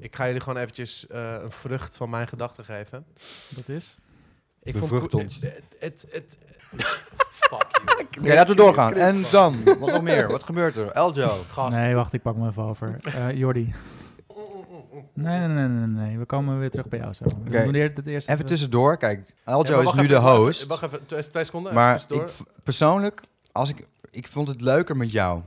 ik ga jullie gewoon eventjes eh, een vrucht van mijn gedachten geven. Dat is? Ik Bevrucht Ko- ons. Het, het, het- *laughs* fuck *laughs* you. Oké, laten we doorgaan. En dan, wat nog meer? Wat gebeurt er? Eljo. Gast. Nee, wacht, ik pak me even over. Eh, Jordi. Nee, nee, nee, nee, nee. We komen weer terug bij jou zo. We Oké. doen eerst het eerste Even tussendoor, kijk, Aljo Ja, maar is wacht nu de even, host. Wacht even, wacht even, twee, twee seconden. maar even tussendoor. ik, v- persoonlijk, als ik, ik vond het leuker met jou.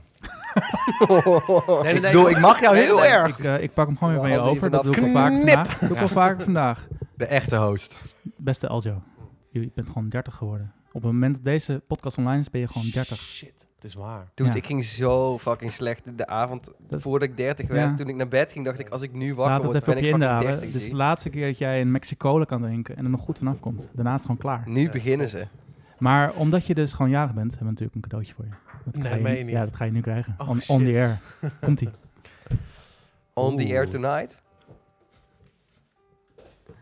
nee, ik bedoel, ik mag jou heel oh, erg. Ik, eh, ik pak hem gewoon weer van je Al die over. Dat doe vanaf ik al vaker knip. vandaag. Doe ik al Ja. vaker vandaag. De echte host. Beste Eljo, je bent gewoon 30 geworden. Op het moment dat deze podcast online is, ben je gewoon 30. Shit, het is waar. Dude, Ja. ik ging zo fucking slecht de avond Dat- voordat ik 30 werd. Ja. Toen ik naar bed ging, dacht ik, als ik nu wakker Laat het word, even ben op ik je fucking inhalen. dus 30. Dit is G. de laatste keer dat jij een Mexicola kan drinken en er nog goed vanaf komt. Daarna is het gewoon klaar. Nu beginnen ze. Maar omdat je dus gewoon jarig bent, hebben we natuurlijk een cadeautje voor je. Dat Nee, ga je meen nu- je niet. Ja, dat ga je nu krijgen. Oh, on, shit. on the *laughs* air. Komt-ie. On the air Oeh. tonight.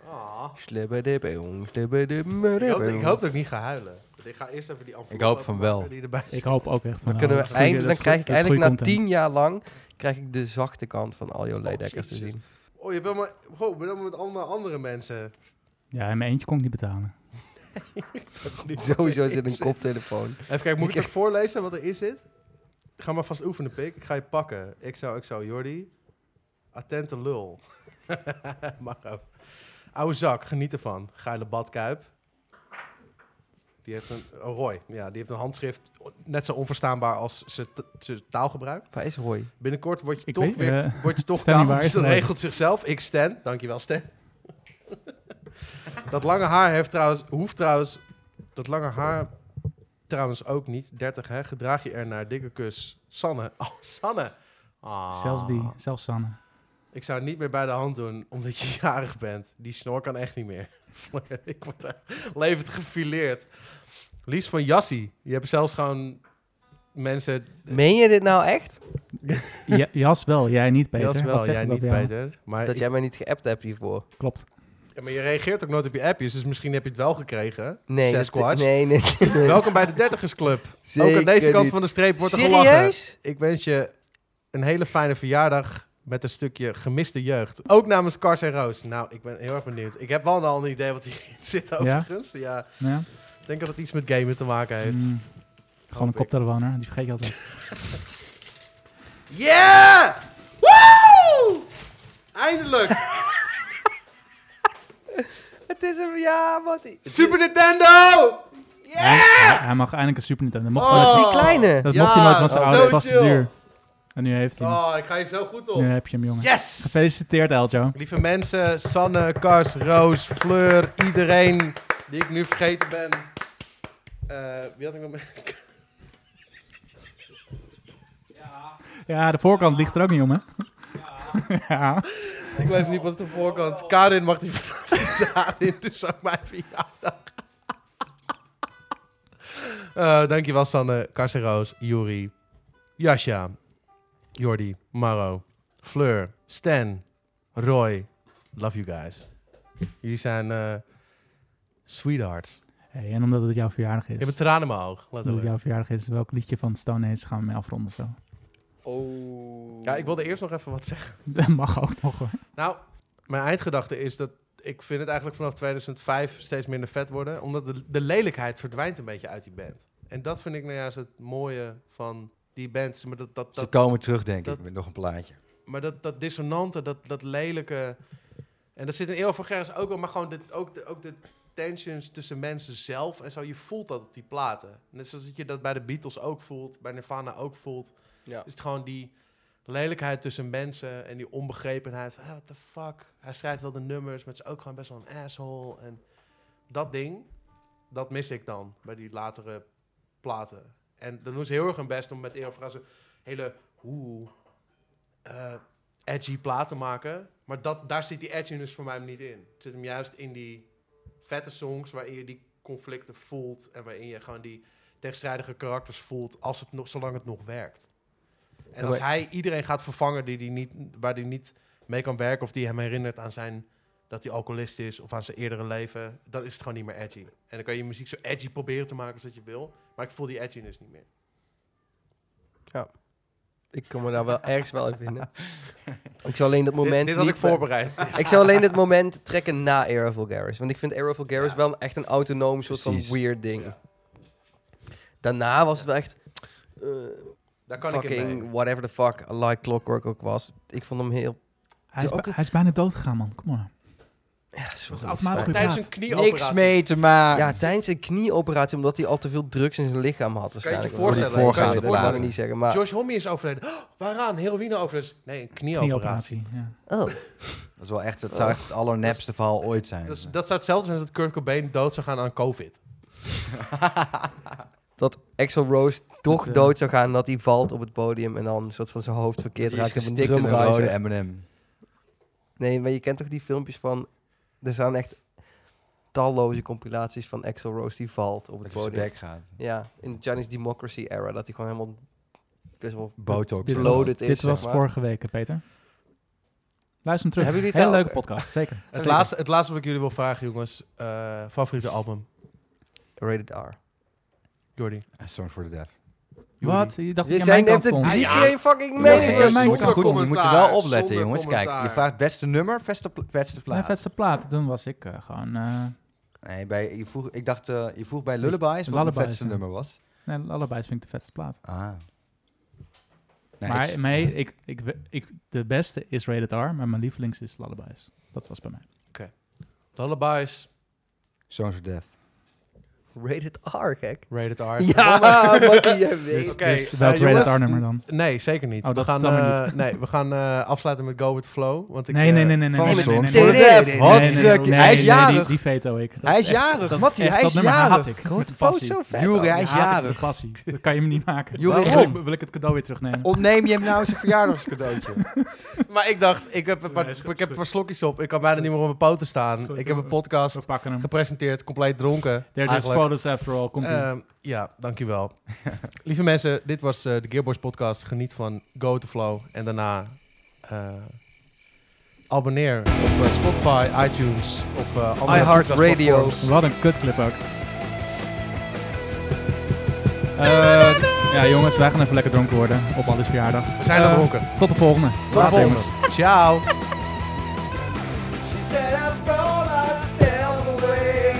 Ah. Slibbedibbing, Ik, hoop, ik slibbedibbing. hoop dat ik niet ga huilen. Want Ik ga eerst even die envelop Ik hoop van openmaken wel. Die erbij Ik zit. hoop ook echt van Dan, wel. kunnen we Dat is goeie- eindelijk, dat dan is goeie- krijg ik dat is eigenlijk na goeie content. tien jaar lang krijg ik de zachte kant van al jouw ledekkers te jezus. *laughs* zien. Oh, je bent maar, wow, ben met allemaal andere *laughs* mensen. Ja, in mijn eentje kon ik niet betalen. Sowieso zit een Jezus. koptelefoon. Even kijken, moet ik het voorlezen wat erin zit? Ga maar vast oefenen, pik. Ik ga je pakken. Ik zou, ik zou, Jordi. Attente lul. *laughs* Mag ook. Oude zak, geniet ervan. Geile badkuip. Die heeft een... Oh, Roy. Ja, die heeft een handschrift net zo onverstaanbaar als zijn t- zijn taalgebruik. Waar is Roy? Binnenkort word je Ik toch weet- weer... eh, word je toch Stanley, kaal. waar Dus is dat Roy? regelt zichzelf. Ik, Stan. Dankjewel, Stan. *laughs* dat lange haar heeft trouwens... Hoeft trouwens... Dat lange haar trouwens ook niet. 30, hè? Gedraag je er naar dikke kus. Sanne. *laughs* Oh, Sanne. Ah. eh, Zelfs die, zelfs Sanne. Ik zou het niet meer bij de hand doen, omdat je jarig bent. Die snor kan echt niet meer. *laughs* ik word echt levend gefileerd. Lies van Jassie. Je hebt zelfs gewoon mensen... Meen je dit nou *laughs* echt? Ja, Jas wel, jij niet, Peter. Jas wel, Wat zeg jij je dat niet, jou? Peter. Maar Dat jij mij niet geappt hebt hiervoor. Klopt. Ja, maar je reageert ook nooit op je appjes, dus misschien heb je het wel gekregen. Nee, dat- Sasquatch. *laughs* nee, nee. nee. Welkom bij de *laughs* Dertigersclub. Club. ook aan Zeker deze kant niet. van de streep wordt er gelachen. Serieus? Ik wens je een hele fijne verjaardag met een stukje gemiste jeugd. Ook namens Cars en Roos. Nou, ik ben heel erg benieuwd. Ik heb wel al een idee wat hierin *laughs* zit overigens. Ja? Ja. ik denk dat het iets met gamen te maken heeft. Mm. Gewoon een ik. koptelefoon, hè? die vergeet je altijd. Yeah! Woo! *laughs* Eindelijk! Het is een... Ja, wat... Super Nintendo! Hij, hij mag eindelijk een Super Nintendo. Dat mocht, hij Oh, nooit- die kleine. dat ja, mocht hij nooit van zijn zo ouders, vast te chill. duur. En nu heeft hij hem. Oh, ik ga je zo goed op. Nu heb je hem, jongen. Yes! Gefeliciteerd, Eljo. Lieve mensen, Sanne, Kars, Roos, Fleur, iedereen die ik nu vergeten ben. Eh, wie had ik nog meer? *laughs* Ja, de voorkant ligt er ook niet om, hè? *laughs* Ja. Ik lees niet pas de voorkant. Karin mag die *laughs* vanaf niet aan. Dus aan mijn verjaardag. *laughs* Eh, dankjewel Sanne, Kars en Roos, Juri, Jasja, Jordi, Maro, Fleur, Stan, Roy. Love you guys. Jullie zijn eh, sweethearts. Hey, en omdat het jouw verjaardag Ik heb een is. tranen in mijn oog, Omdat het letterlijk. jouw verjaardag is, welk liedje van Stone Age gaan we mee afronden zo? *laughs* Oh. Ja, ik wilde eerst nog even wat zeggen. Dat mag ook nog hoor. Nou, mijn eindgedachte is dat ik vind het eigenlijk vanaf 2005 steeds minder vet worden. Omdat de, de lelijkheid verdwijnt een beetje uit die band. En dat vind ik nou juist het mooie van die bands. Maar dat, dat, Ze dat, komen terug, denk dat- ik, met nog een plaatje. maar dat, dat dissonante, dat, dat lelijke... En dat zit in Eeuw van Gerrits ook wel, maar gewoon de, ook, de, ook de tensions tussen mensen zelf en zo. Je voelt dat op die platen. Net zoals dat je dat bij de Beatles ook voelt, bij Nirvana ook voelt. Ja. Is het gewoon die lelijkheid tussen mensen en die onbegrepenheid van, ah, what the fuck. Hij schrijft wel de nummers, maar het is ook gewoon best wel een asshole. En dat ding, dat mis ik dan bij die latere platen. En dan doen ze heel erg hun best om met Erofrazen hele oeh, eh, edgy platen te maken. Maar dat, daar zit die edginess voor mij niet in. Het zit hem juist in die vette songs waarin je die conflicten voelt en waarin je gewoon die tegenstrijdige karakters voelt als het nog, zolang het nog werkt. En als hij iedereen gaat vervangen die die niet, waar hij niet mee kan werken of die hem herinnert aan zijn dat hij alcoholist is of aan zijn eerdere leven, dan is het gewoon niet meer edgy. En dan kan je je muziek zo edgy proberen te maken als dat je wil, maar ik voel die edginess niet meer. Ik kan me daar *laughs* wel ergens wel in vinden. Ik zou alleen dat moment. dit had niet ik voorbereid. Ik *laughs* zou alleen dit moment trekken na Era Vulgaris. Want ik vind Era Vulgaris wel echt een autonoom soort Precies. van weird ding. Daarna was het wel echt. eh, Daar kan ik in fucking mee. whatever the fuck. I like Clockwork ook was. Ik vond hem heel. Hij is, ook bij- hij is bijna dood gegaan, man. Kom maar. Ja, sorry. automatisch Spijt. goed. Tijdens Praat. een knieoperatie. te maken. Ah, Ja, tijdens een knieoperatie, omdat hij al te veel drugs in zijn lichaam had. Kan je je Waarschijnlijk. voorstellen? Door die Kan je je voorgaande Dat kan ik voorstellen? platen. niet zeggen. Maar Josh Homme is overleden. Oh, waaraan? Heroïne overleden. Nee, een knieoperatie. Knieoperatie. Ja. oh. Dat is wel echt, dat zou echt het allernepste verhaal ooit zijn. Dat, is- dat zou hetzelfde zijn als dat Kurt Cobain dood zou gaan aan COVID. dat Axel Rose toch Dat, eh, dood zou gaan. Dat hij valt op het podium en dan een soort van zijn hoofd verkeerd Die is raakt op een gestikt in een drumriser. rode M&M. Nee, maar je kent toch die filmpjes van... Er staan echt talloze compilaties van Axel Rose die valt op het Dat je op podium. zijn bek gaat. Ja, in de Chinese democracy era. Dat hij gewoon helemaal best wel... Botox. Dit- Gewoon. Loaded is, Dit zeg was maar. vorige week, Peter. Luister hem terug. Hebben jullie het Hele al- leuke podcast, *laughs* zeker. Het laatste, het laatste wat ik jullie wil vragen, jongens. eh, favoriete album, Rated R. Jordi? A Song for the Deaf. Wat? Je dacht dat Je je aan mijn zei net kant de stond. drie Ja. keer fucking Jongens, nee, mening nee, jongens, nee, je, moet zonder goed, je moet er wel op letten, zonder jongens. Kijk, je commentaar. vraagt beste nummer, beste, pla- beste Mijn plaat. vetste plaat, toen was ik eh, gewoon... eh Nee, bij, je vroeg, ik dacht, eh, je vroeg bij Lullabies wat het Lullabies, vetste ja. nummer was. nee, allebei vind ik de vetste plaat. Ah. Nee, maar ik- nee, ik, ik, we- ik, de beste is Rated R, maar mijn lievelings is Lullabies. Dat was bij mij. Lullabies, Songs for Death. Rated R, gek. Rated R. Dus- Ja, *laughs* Mattie, jij weet. Dus, Oké, dus eh, welk Rated jongens, R nummer dan? Nee, zeker niet. Oh, we dat gaan, kan maar eh, Nee, we gaan eh, afsluiten met Go With The Flow. Want ik, Nee, eh, nee, nee, nee, nee, van nee, nee, nee, Songs nee, for the nee, nee, Deaf. nee, nee, nee, nee, Hartstikke. nee, Hij is nee, nee, jarig. Die, die veto ik. Dat Hij is echt- jarig, dat Mattie, echt- hij dat is nummer haat jarig. ik. Met de Oh, passie. zo vet. Jure, ook. hij is haat ik met jarig. passie. Dat kan je me niet maken. Jure, Wil ik- waarom? Wil ik het cadeau weer terugnemen? Ontneem je hem nou zijn verjaardagscadeautje? Maar ik dacht, ik heb een paar, Nee, is goed, ik heb een is paar goed. slokjes op. Ik kan bijna niet meer op mijn poten staan. Is goed, ik heb doe- een podcast We pakken hem. gepresenteerd, compleet dronken. There's just eigenlijk. photos after all. Komt ie. Ehm, ja, *laughs* dankjewel. Lieve mensen, dit was eh, de Gearboys podcast. Geniet van Go With The Flow. En daarna eh, abonneer op eh, Spotify, iTunes of eh andere iHeart podcastplatforms. Radio. Wat een kutclip ook. Eh, ja, jongens, wij gaan even lekker dronken worden op alles verjaardag. We zijn Eh, er dronken. Tot de volgende. Tot de volgende. Ciao. She said I throw myself away.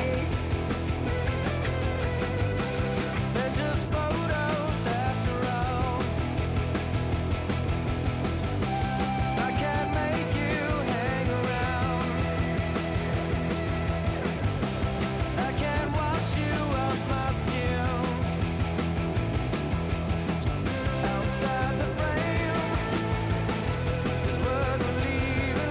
They're just photos after all. I can't make you hang around. I can't wash you off my skin. Outside the frame is where we leave.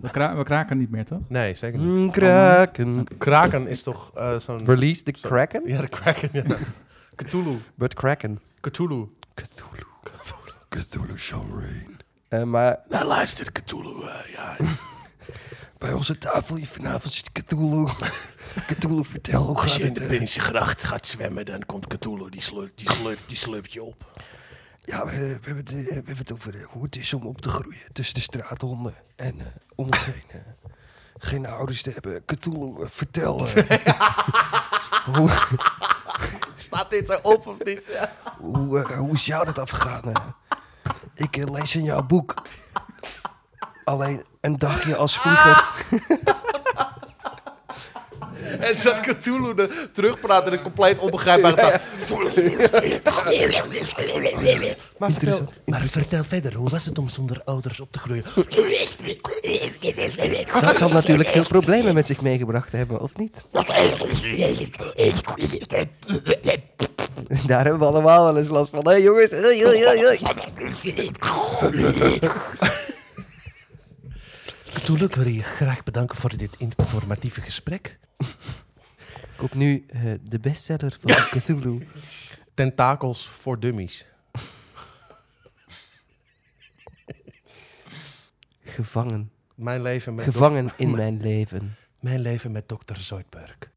We, kra- we kraken niet meer, toch? Nee, zeker Mm, Oh, niet. kraken. Oké. Kraken is toch eh, zo'n... Release the zo'n- Kraken? Ja, de kraken, *laughs* ja. Cthulhu. But Kraken. Cthulhu. Cthulhu. Cthulhu shall reign. Eh, maar Nou, luister, Cthulhu, eh, ja. *laughs* Bij onze tafel hier vanavond zit Cthulhu. *laughs* Cthulhu, vertel. hoe Als gaat je in het, de eh? Binnense gracht gaat zwemmen, dan komt Cthulhu, die slurpt, die slurpt, die slurpt je op. Ja, we, we, hebben het, eh, we hebben het over eh, hoe het is om op te groeien tussen de straathonden en eh, om geen, eh, geen ouders te hebben. Cthulhu, eh, *laughs* vertel. eh, hoe, *laughs* Staat dit erop of niet? *laughs* Ja. hoe, eh, hoe is jou dat afgegaan? eh? Ik eh, lees in jouw boek. Alleen een dagje als vroeger. En dat Cthulhu de terugpraat in een compleet *laughs* onbegrijpbare taal. Maar vertel, maar vertel verder, hoe was het om zonder ouders op te groeien? dat zal natuurlijk veel problemen met zich meegebracht hebben, of niet? Daar hebben we allemaal wel eens last van. Hé jongens, hoi, hoi, hoi, hoi. Cthulhu, ik wil je graag bedanken voor dit informatieve gesprek. Koop nu eh, de bestseller *laughs* van Cthulhu. Tentakels voor dummies. Gevangen. Mijn leven met Gevangen Dok- in mijn leven. Mijn leven met dokter Zoidberg.